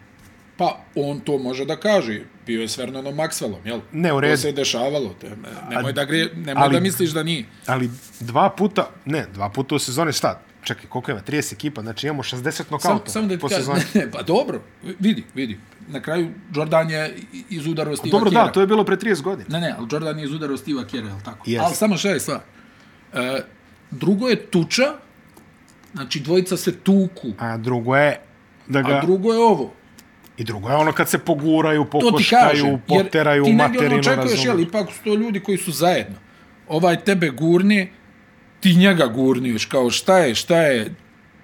[SPEAKER 1] Pa, on to može da kaže. Bio je s Vernonom Maxwellom, jel?
[SPEAKER 2] Ne, u redu.
[SPEAKER 1] To se je dešavalo. Te, nemoj, da, gre, nemoj
[SPEAKER 2] ali-
[SPEAKER 1] da misliš da nije.
[SPEAKER 2] Ali dva puta, ne, dva puta u sezoni, šta? Čekaj, koliko ima? 30 ekipa, znači imamo 60
[SPEAKER 1] Sam,
[SPEAKER 2] nokauta
[SPEAKER 1] samo da ti
[SPEAKER 2] po
[SPEAKER 1] kažem,
[SPEAKER 2] sezoni.
[SPEAKER 1] ne, ne, pa dobro, vidi, vidi. Na kraju, Jordan je i- izudarao Steve
[SPEAKER 2] Dobro,
[SPEAKER 1] Kera.
[SPEAKER 2] da, to je bilo pre 30 godina.
[SPEAKER 1] Ne, ne, ali Jordan je izudarao Steve Kera, jel tako?
[SPEAKER 2] Jest.
[SPEAKER 1] Ali samo šta je stvar? E, drugo je tuča, znači dvojica se tuku,
[SPEAKER 2] A drugo je da ga...
[SPEAKER 1] a drugo je ovo.
[SPEAKER 2] I drugo je ono kad se poguraju,
[SPEAKER 1] to ti
[SPEAKER 2] pokoškaju,
[SPEAKER 1] kažem. jer
[SPEAKER 2] poteraju,
[SPEAKER 1] ti negdje ono
[SPEAKER 2] materinu,
[SPEAKER 1] očekuješ, jel,
[SPEAKER 2] razumiješ.
[SPEAKER 1] ipak su to ljudi koji su zajedno. Ovaj tebe gurni, ti njega gurniješ, kao šta je, šta je,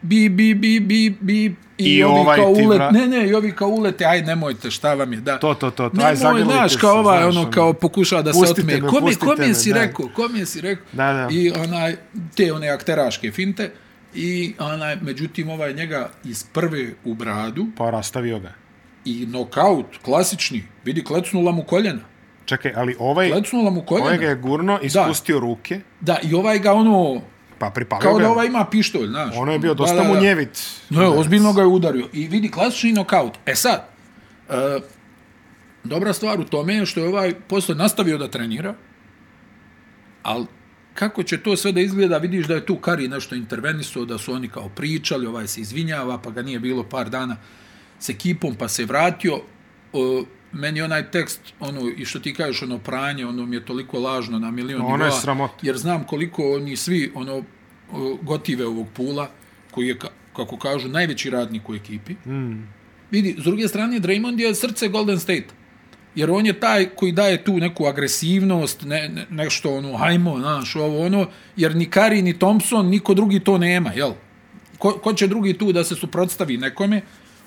[SPEAKER 1] bi, bi, bi, bi, bi, i,
[SPEAKER 2] I
[SPEAKER 1] ovi
[SPEAKER 2] ovaj
[SPEAKER 1] kao
[SPEAKER 2] ti
[SPEAKER 1] ulet,
[SPEAKER 2] vra-
[SPEAKER 1] ne, ne, i ovi kao ulete, aj nemojte, šta vam je, da.
[SPEAKER 2] To, to, to, to, aj,
[SPEAKER 1] Nemoj,
[SPEAKER 2] zagrlite
[SPEAKER 1] znaš,
[SPEAKER 2] se,
[SPEAKER 1] kao ovaj,
[SPEAKER 2] znaš,
[SPEAKER 1] ono,
[SPEAKER 2] ono.
[SPEAKER 1] kao pokušava da se
[SPEAKER 2] Pustite
[SPEAKER 1] otme.
[SPEAKER 2] me,
[SPEAKER 1] Kome,
[SPEAKER 2] pustite me,
[SPEAKER 1] kome si
[SPEAKER 2] da.
[SPEAKER 1] rekao, kome si rekao?
[SPEAKER 2] Da, da.
[SPEAKER 1] I onaj, te one akteraške finte, i onaj, međutim, ovaj njega iz prve u bradu,
[SPEAKER 2] Pa rastavio ga.
[SPEAKER 1] i nokaut, klasični, vidi, klecnula mu koljena.
[SPEAKER 2] Čekaj, ali ovaj,
[SPEAKER 1] Klecnula mu koljena.
[SPEAKER 2] ovaj ga je gurno, ispustio ruke,
[SPEAKER 1] Da, i ovaj ga ono,
[SPEAKER 2] pa pripalio
[SPEAKER 1] kao
[SPEAKER 2] ga.
[SPEAKER 1] da ovaj ima pištolj, znaš.
[SPEAKER 2] Ono je bio
[SPEAKER 1] Da,
[SPEAKER 2] dosta
[SPEAKER 1] da, da.
[SPEAKER 2] munjevit.
[SPEAKER 1] No, je, ozbiljno ga je udario. I vidi, klasični nokaut. E sad, e, dobra stvar u tome je što je ovaj posle nastavio da trenira, ali kako će to sve da izgleda, vidiš da je tu Kari nešto intervenisao, da su oni kao pričali, ovaj se izvinjava, pa ga nije bilo par dana s ekipom, pa se vratio. O, meni onaj tekst, ono, i što ti kažeš, ono pranje, ono mi je toliko lažno na milion
[SPEAKER 2] Ono je
[SPEAKER 1] nivoa,
[SPEAKER 2] sramota.
[SPEAKER 1] jer znam koliko oni svi, ono, o, gotive ovog pula, koji je, ka- kako kažu, najveći radnik u ekipi. Mm. Vidi, s druge strane, Draymond je srce Golden State. Jer on je taj koji daje tu neku agresivnost, ne, ne, nešto ono, hajmo, znaš, ovo ono, jer ni Kari, ni Thompson, niko drugi to nema, jel? Ko, ko će drugi tu da se suprotstavi nekome?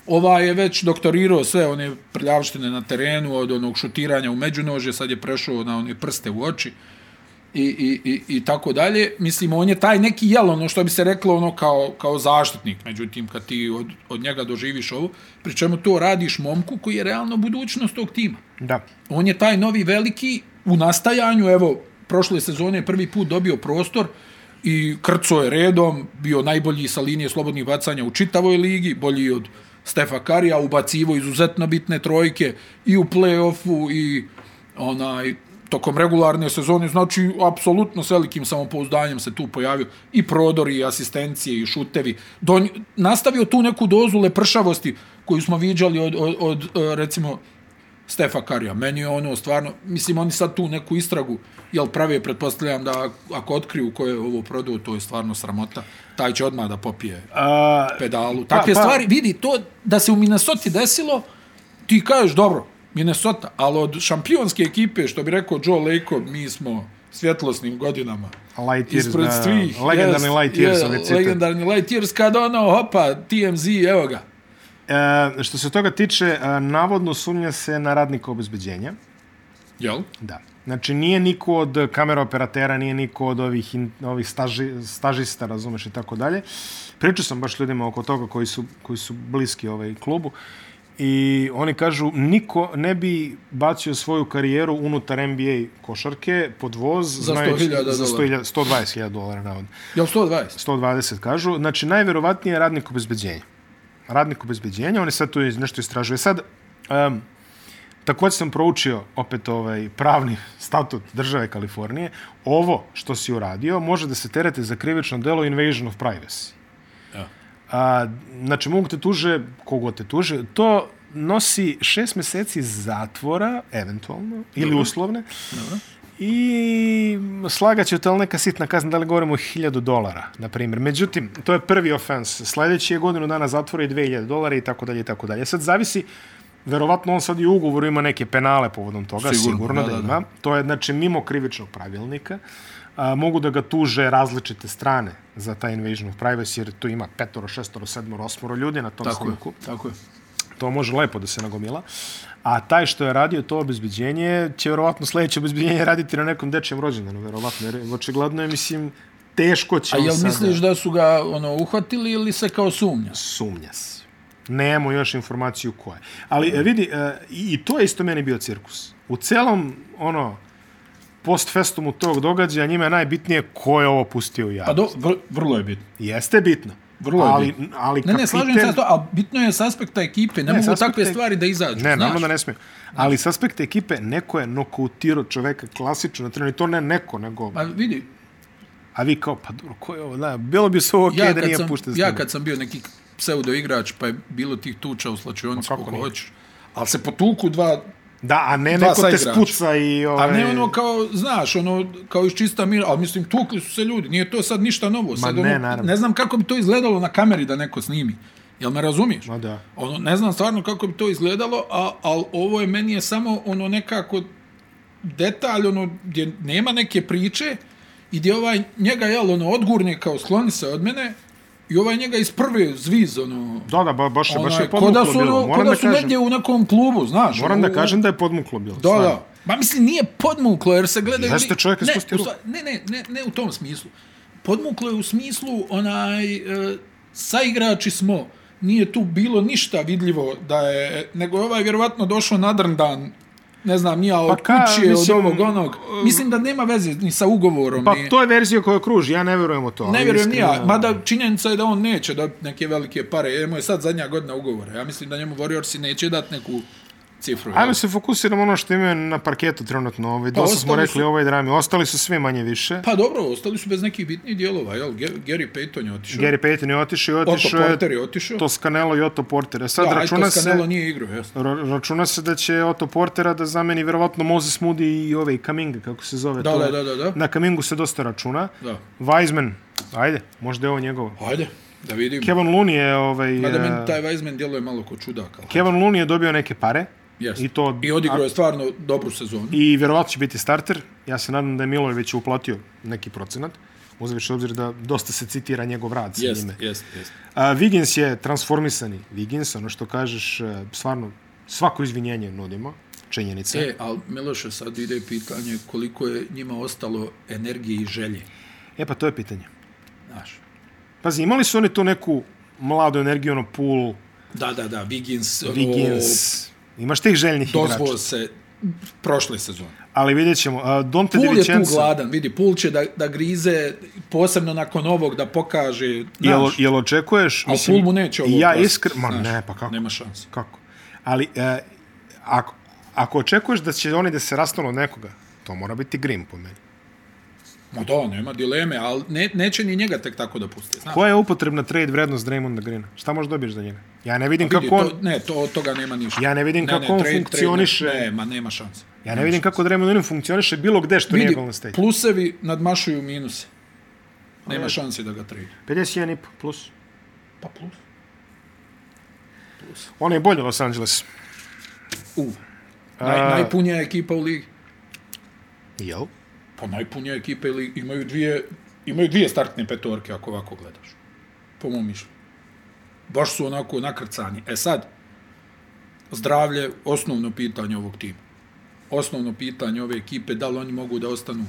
[SPEAKER 1] Ova je već doktorirao sve one prljavštine na terenu, od onog šutiranja u međunožje, sad je prešao na one prste u oči. i, i, i, i tako dalje. Mislim, on je taj neki jel, ono što bi se reklo ono kao, kao zaštitnik. Međutim, kad ti od, od njega doživiš ovo, pri čemu to radiš momku koji je realno budućnost tog tima.
[SPEAKER 2] Da.
[SPEAKER 1] On je taj novi veliki u nastajanju, evo, prošle sezone je prvi put dobio prostor i krco je redom, bio najbolji sa linije slobodnih bacanja u čitavoj ligi, bolji od Stefa Karija, ubacivo izuzetno bitne trojke i u play-offu i onaj tokom regularne sezone, znači apsolutno s velikim samopouzdanjem se tu pojavio i prodori, i asistencije, i šutevi. Donj, nastavio tu neku dozu lepršavosti koju smo viđali od, od, od recimo Stefa Karija. Meni je ono stvarno, mislim oni sad tu neku istragu, jel prave, pretpostavljam da ako otkriju ko je ovo prodao, to je stvarno sramota. Taj će odmah da popije
[SPEAKER 2] A,
[SPEAKER 1] pedalu. Takve pa, pa. stvari, vidi, to da se u Minnesota desilo, ti kažeš, dobro, Minnesota, ali od šampionske ekipe, što bi rekao Joe Lejko, mi smo svjetlosnim godinama.
[SPEAKER 2] Light years,
[SPEAKER 1] Ispred
[SPEAKER 2] da,
[SPEAKER 1] svih.
[SPEAKER 2] legendarni light years, ovaj citat.
[SPEAKER 1] Legendarni Light Years, kada ono, hopa, TMZ, evo ga.
[SPEAKER 2] e, što se toga tiče, e, navodno sumnja se na radnika obezbeđenja.
[SPEAKER 1] Jel?
[SPEAKER 2] Da. Znači, nije niko od kameroperatera, nije niko od ovih, in, ovih staži, stažista, razumeš i tako dalje. Pričao sam baš ljudima oko toga koji su, koji su bliski ovaj klubu i oni kažu niko ne bi bacio svoju karijeru unutar NBA košarke pod voz
[SPEAKER 1] Za 100.000
[SPEAKER 2] za
[SPEAKER 1] dolara.
[SPEAKER 2] 100.000 120.000 dolara navodno.
[SPEAKER 1] Jel 120?
[SPEAKER 2] 120 kažu. Znači, najverovatnije je radnik obezbeđenja. Radnik obezbeđenja, oni sad tu iz- nešto istražuje. Sad, um, također sam proučio opet ovaj pravni statut države Kalifornije. Ovo što si uradio može da se terete za krivično delo invasion of privacy.
[SPEAKER 1] Ja.
[SPEAKER 2] A, znači, mogu te tuže, kogo te tuže, to nosi šest meseci zatvora, eventualno, ili
[SPEAKER 1] Dobro.
[SPEAKER 2] uslovne, I slagaću te, ali neka sitna kazna, da li govorimo o 1000 dolara, na primjer. Međutim, to je prvi ofens. Sljedeći je godinu dana zatvora i 2000 dolara i tako dalje i tako dalje. Sad zavisi, verovatno on sad i u ugovoru ima neke penale povodom toga, sigurno, sigurno da, da, da, ima. To je, znači, mimo krivičnog pravilnika. A, mogu da ga tuže različite strane za taj invasion of privacy, jer tu ima petoro, šestoro, sedmoro, osmoro ljudi na tom
[SPEAKER 1] Tako je,
[SPEAKER 2] snimku
[SPEAKER 1] tako je.
[SPEAKER 2] to može lepo da se nagomila. A taj što je radio to obezbeđenje će verovatno sljedeće obezbeđenje raditi na nekom dečijem rođendanu, verovatno. Jer očigledno je, mislim, teško će
[SPEAKER 1] A
[SPEAKER 2] on
[SPEAKER 1] jel
[SPEAKER 2] sada-
[SPEAKER 1] misliš da su ga ono uhvatili ili se kao sumnja?
[SPEAKER 2] Sumnja se. Nemo još informaciju ko je. Ali e, vidi, e, i i to je isto meni bio cirkus. U celom, ono, post festumu tog događaja njima je najbitnije ko je ovo pustio u javnost.
[SPEAKER 1] Pa do, vr, vrlo je bitno.
[SPEAKER 2] Jeste bitno.
[SPEAKER 1] Vrlo je
[SPEAKER 2] ali,
[SPEAKER 1] bitno.
[SPEAKER 2] Ali
[SPEAKER 1] Ne,
[SPEAKER 2] kapiten...
[SPEAKER 1] ne, slažem se sa to, ali bitno je s aspekta ekipe. Ne,
[SPEAKER 2] Ne, s
[SPEAKER 1] mogu
[SPEAKER 2] aspekta
[SPEAKER 1] takve
[SPEAKER 2] ekipe.
[SPEAKER 1] stvari da izađu.
[SPEAKER 2] Ne,
[SPEAKER 1] znaš.
[SPEAKER 2] naravno da ne smije. Ali s aspekta ekipe, neko je nokautirao čoveka klasično na trenu. I to ne neko, nego...
[SPEAKER 1] Pa vidi,
[SPEAKER 2] A vi kao, pa dobro, ko je ovo? Da, bilo bi se ovo okej
[SPEAKER 1] ja,
[SPEAKER 2] da
[SPEAKER 1] kad
[SPEAKER 2] nije
[SPEAKER 1] sam,
[SPEAKER 2] pušten
[SPEAKER 1] ja
[SPEAKER 2] snimak.
[SPEAKER 1] kad sam bio neki pseudo igrač, pa je bilo tih tuča u slačionici
[SPEAKER 2] Ma kako
[SPEAKER 1] kako
[SPEAKER 2] nije?
[SPEAKER 1] hoćeš. Ali se potuku dva,
[SPEAKER 2] Da, a ne
[SPEAKER 1] Dva
[SPEAKER 2] neko te
[SPEAKER 1] saigrača.
[SPEAKER 2] spuca i... ovaj- Ove...
[SPEAKER 1] a ne ono kao, znaš, ono kao iz čista mira, ali mislim, tukli su se ljudi, nije to sad ništa novo. Sad,
[SPEAKER 2] ne,
[SPEAKER 1] ono,
[SPEAKER 2] naravno.
[SPEAKER 1] ne znam kako bi to izgledalo na kameri da neko snimi. Jel me razumiješ?
[SPEAKER 2] Ma da.
[SPEAKER 1] Ono, ne znam stvarno kako bi to izgledalo, a, ali ovo je meni je samo ono nekako detalj, ono, gdje nema neke priče i gdje ovaj njega, jel, ono, odgurne kao skloni se od mene i ovaj njega iz prve zviz, ono,
[SPEAKER 2] Da, da, ba, baš, je- baš
[SPEAKER 1] onaj,
[SPEAKER 2] je
[SPEAKER 1] ko
[SPEAKER 2] podmuklo
[SPEAKER 1] da su,
[SPEAKER 2] bilo.
[SPEAKER 1] ono, ko
[SPEAKER 2] Moram
[SPEAKER 1] da,
[SPEAKER 2] da
[SPEAKER 1] su negdje
[SPEAKER 2] kažem,
[SPEAKER 1] u nekom klubu, znaš.
[SPEAKER 2] moram
[SPEAKER 1] ono,
[SPEAKER 2] da kažem da je podmuklo bilo.
[SPEAKER 1] Da,
[SPEAKER 2] stvarno.
[SPEAKER 1] da. Ma mislim, nije podmuklo, jer se gledaju...
[SPEAKER 2] Jeste,
[SPEAKER 1] ljudi-
[SPEAKER 2] čovjek je
[SPEAKER 1] ne,
[SPEAKER 2] spustio
[SPEAKER 1] u stvari- Ne, ne, ne, ne u tom smislu. Podmuklo je u smislu onaj... E, saigrači smo, nije tu bilo ništa vidljivo da je... Nego je ovaj vjerovatno došao nadrndan ne znam, nija od
[SPEAKER 2] Pa ka,
[SPEAKER 1] kuće,
[SPEAKER 2] mislim, e,
[SPEAKER 1] od ovog onog. Mislim da nema veze ni sa ugovorom.
[SPEAKER 2] Pa
[SPEAKER 1] ni...
[SPEAKER 2] to je verzija koja kruži, ja ne vjerujem u to.
[SPEAKER 1] Ne
[SPEAKER 2] ali
[SPEAKER 1] vjerujem ni ja,
[SPEAKER 2] iskreno-
[SPEAKER 1] mada činjenica je da on neće dobiti neke velike pare, jer mu je sad zadnja godina ugovora. Ja mislim da njemu Warriorsi neće dati neku cifru. jel?
[SPEAKER 2] Ajmo se fokusiramo na ono što imaju na parketu trenutno. Ovaj, dosta smo
[SPEAKER 1] Pa, ostali
[SPEAKER 2] rekli
[SPEAKER 1] su-
[SPEAKER 2] o ovoj drami. Ostali su sve manje više.
[SPEAKER 1] Pa dobro, ostali su bez nekih bitnih dijelova, jel? Ge- Gary Payton je otišao.
[SPEAKER 2] Gary Payton je otišao i
[SPEAKER 1] Otto
[SPEAKER 2] otišao je
[SPEAKER 1] Porter je otišao. To
[SPEAKER 2] Toscanello i Otto Porter. E Sad
[SPEAKER 1] da,
[SPEAKER 2] računa se...
[SPEAKER 1] Canelo nije igrao, jasno.
[SPEAKER 2] ra- Računa se da će Otto Portera da zameni vjerovatno Moses Moody i ove Kaminga, kako se zove.
[SPEAKER 1] Da,
[SPEAKER 2] to
[SPEAKER 1] da,
[SPEAKER 2] je-
[SPEAKER 1] da, da, da.
[SPEAKER 2] Na Kamingu se dosta računa.
[SPEAKER 1] Da.
[SPEAKER 2] Weizman, ajde, možda je ovo njegovo.
[SPEAKER 1] Ajde, da vidimo. Kev...
[SPEAKER 2] Kevin Looney je ovaj...
[SPEAKER 1] Mada
[SPEAKER 2] e,
[SPEAKER 1] meni taj Weizman djeluje malo ko čudak, ali...
[SPEAKER 2] Kevin Looney je dobio neke pare.
[SPEAKER 1] Yes.
[SPEAKER 2] I to...
[SPEAKER 1] I odigrao je stvarno dobru sezonu.
[SPEAKER 2] I vjerovatno će biti starter. Ja se nadam da je Milojević uplatio neki procenat. Uzeviš obzir da dosta se citira njegov rad sa
[SPEAKER 1] Jest,
[SPEAKER 2] njime.
[SPEAKER 1] jest, jest.
[SPEAKER 2] A, Vigins je transformisani Vigins, ono što kažeš, e, stvarno, svako eh, izvinjenje nudimo činjenice.
[SPEAKER 1] E, ali Miloše, sad ide pitanje koliko je njima ostalo energije i želje.
[SPEAKER 2] E pa to je pitanje.
[SPEAKER 1] Znaš,
[SPEAKER 2] Pazi, imali su oni tu neku mladu energiju, ono pool,
[SPEAKER 1] da, da, da, Vigins,
[SPEAKER 2] Wiggins, imaš tih željnih
[SPEAKER 1] o,
[SPEAKER 2] igrača.
[SPEAKER 1] dozvo se prošle sezone.
[SPEAKER 2] Ali vidjet ćemo, uh, Dante Di
[SPEAKER 1] Pul je tu
[SPEAKER 2] Vincenzo,
[SPEAKER 1] gladan, vidi, Pul će da, da grize, posebno nakon ovog, da pokaže,
[SPEAKER 2] jel,
[SPEAKER 1] znaš,
[SPEAKER 2] jel očekuješ?
[SPEAKER 1] ali Pul mu neće ovo
[SPEAKER 2] Ja
[SPEAKER 1] oprostiti,
[SPEAKER 2] iskr... Ma
[SPEAKER 1] znaš,
[SPEAKER 2] ne, pa kako?
[SPEAKER 1] Nema šanse.
[SPEAKER 2] Kako? Ali, e, ako, ako očekuješ da će oni da se rastanu od nekoga, to mora biti Grim po meni.
[SPEAKER 1] Ma da, nema dileme, ali ne, neće ni njega tek tako da puste. Znaš,
[SPEAKER 2] Koja je upotrebna trade vrednost Draymonda Greena? Šta možeš dobiješ za njega? Ja ne vidim
[SPEAKER 1] vidi,
[SPEAKER 2] kako on...
[SPEAKER 1] to, ne, to, od toga nema ništa.
[SPEAKER 2] Ja ne vidim kako on funkcioniše.
[SPEAKER 1] Trade, ne, ma nema šanse.
[SPEAKER 2] Ja ne vidim kako Draymond Green funkcioniše bilo gde što nije
[SPEAKER 1] Vidi,
[SPEAKER 2] Golden State.
[SPEAKER 1] plusevi nadmašuju minuse. Nema šanse da ga trade.
[SPEAKER 2] 51,5 plus.
[SPEAKER 1] Pa plus.
[SPEAKER 2] On je bolji Los Angeles.
[SPEAKER 1] U. Naj,
[SPEAKER 2] A-
[SPEAKER 1] najpunija ekipa u ligi.
[SPEAKER 2] Jel?
[SPEAKER 1] Pa najpunija ekipa ili imaju dvije, imaju dvije startne petorke ako ovako gledaš. Po mom mišljenju. Baš su onako nakrcani. E sad, zdravlje, osnovno pitanje ovog tima. Osnovno pitanje ove ekipe, da li oni mogu da ostanu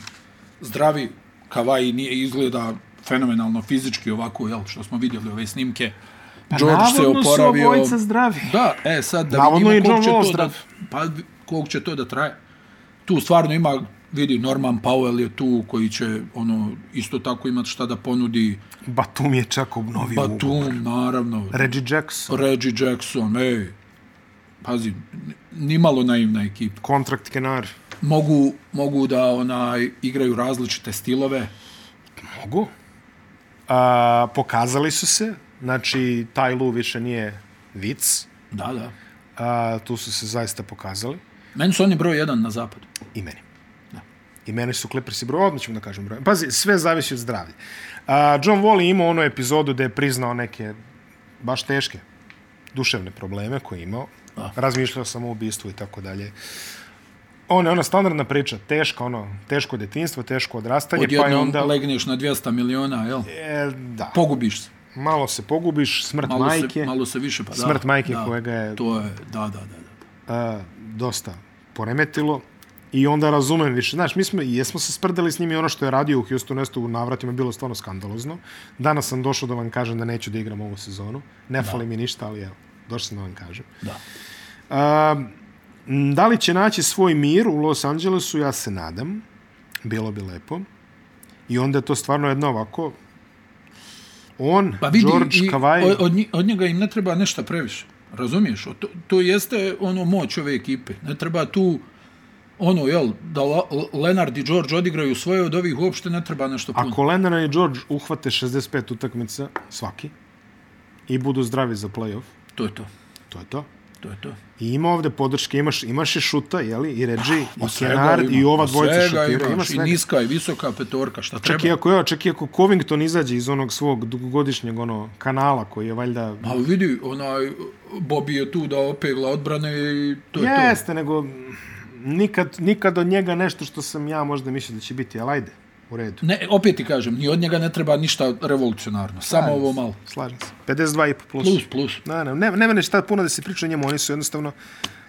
[SPEAKER 1] zdravi. Kavaji nije izgleda fenomenalno fizički ovako, jel, što smo vidjeli ove snimke. Pa George se oporavio.
[SPEAKER 2] zdravi.
[SPEAKER 1] Da, e sad da
[SPEAKER 2] Navodno je
[SPEAKER 1] vidimo
[SPEAKER 2] John
[SPEAKER 1] koliko će,
[SPEAKER 2] Wall
[SPEAKER 1] to da,
[SPEAKER 2] zdrav.
[SPEAKER 1] pa, koliko će to da traje. Tu stvarno ima, vidi, Norman Powell je tu koji će ono isto tako imati šta da ponudi.
[SPEAKER 2] Batum je čak obnovio ugovor.
[SPEAKER 1] Batum, naravno.
[SPEAKER 2] Reggie Jackson.
[SPEAKER 1] Reggie Jackson, ej. Pazi, n- nimalo naivna ekipa.
[SPEAKER 2] Kontrakt Kenari.
[SPEAKER 1] Mogu, mogu da onaj, igraju različite stilove.
[SPEAKER 2] Mogu. A, pokazali su se. Znači, taj Lu više nije vic.
[SPEAKER 1] Da, da.
[SPEAKER 2] A, tu su se zaista pokazali.
[SPEAKER 1] Meni su oni broj jedan na zapadu.
[SPEAKER 2] I meni. I meni su Clippersi broj, odmah ćemo da kažem broj. Pazi, sve zavisi od zdravlja. A, John Wall je imao onu epizodu da je priznao neke baš teške duševne probleme koje je imao.
[SPEAKER 1] Da.
[SPEAKER 2] Razmišljao sam o ubistvu i tako dalje. Ona je ona standardna priča, teško, ono, teško detinstvo, teško odrastanje, pa je
[SPEAKER 1] Odjednom
[SPEAKER 2] onda...
[SPEAKER 1] onda... legneš na 200 miliona, jel?
[SPEAKER 2] E, da,
[SPEAKER 1] Pogubiš se.
[SPEAKER 2] malo se pogubiš, smrt
[SPEAKER 1] Malo
[SPEAKER 2] majke,
[SPEAKER 1] se, malo se više, pa da.
[SPEAKER 2] smrt majke
[SPEAKER 1] da.
[SPEAKER 2] kojega je
[SPEAKER 1] To je, da, da, da. da.
[SPEAKER 2] a, dosta poremetilo i onda razumem više. Znaš, mi smo, jesmo se sprdali s njim i ono što je radio u Houstonu Estu u navratima je bilo stvarno skandalozno. Danas sam došao da vam kažem da neću da igram ovu sezonu. Ne da. fali mi ništa, ali evo, došao sam da vam kažem.
[SPEAKER 1] Da.
[SPEAKER 2] A, m, da li će naći svoj mir u Los Angelesu? Ja se nadam. Bilo bi lepo. I onda je to stvarno jedno ovako on,
[SPEAKER 1] Pa vidi,
[SPEAKER 2] George,
[SPEAKER 1] i,
[SPEAKER 2] Kawhi...
[SPEAKER 1] od- od, nji- od njega im ne treba nešto previše. Razumiješ? O, To, to jeste ono moć ove ekipe. Ne treba tu ono, jel, da La, Lenard i George odigraju svoje od ovih uopšte ne treba nešto puno.
[SPEAKER 2] Ako Lennon i George uhvate 65 utakmica svaki i budu zdravi za play-off,
[SPEAKER 1] To je to.
[SPEAKER 2] to je to.
[SPEAKER 1] To je to.
[SPEAKER 2] I ima ovde podrške, imaš, imaš i Šuta, jeli, i Reggie, i
[SPEAKER 1] Ma Pa, svega
[SPEAKER 2] Kenard,
[SPEAKER 1] ima, znači,
[SPEAKER 2] i ova
[SPEAKER 1] ma
[SPEAKER 2] dvojica
[SPEAKER 1] svega
[SPEAKER 2] šutira.
[SPEAKER 1] imaš, I
[SPEAKER 2] Ima svega.
[SPEAKER 1] niska i visoka petorka, šta treba.
[SPEAKER 2] Čak i ako, ja, čak i ako Covington izađe iz onog svog dugogodišnjeg ono, kanala koji je valjda...
[SPEAKER 1] A vidi, onaj, Bobby je tu da opegla odbrane i to je to.
[SPEAKER 2] Jeste, nego mm, nikad, nikad od njega nešto što sam ja možda mislio da će biti, ali ajde, u redu.
[SPEAKER 1] Ne, opet ti kažem, ni od njega ne treba ništa revolucionarno. Samo ovo malo.
[SPEAKER 2] Slažem se. 52,5 plus.
[SPEAKER 1] Plus, plus.
[SPEAKER 2] Ne, ne, ne, ne mene šta puno da se priča o njemu, oni su jednostavno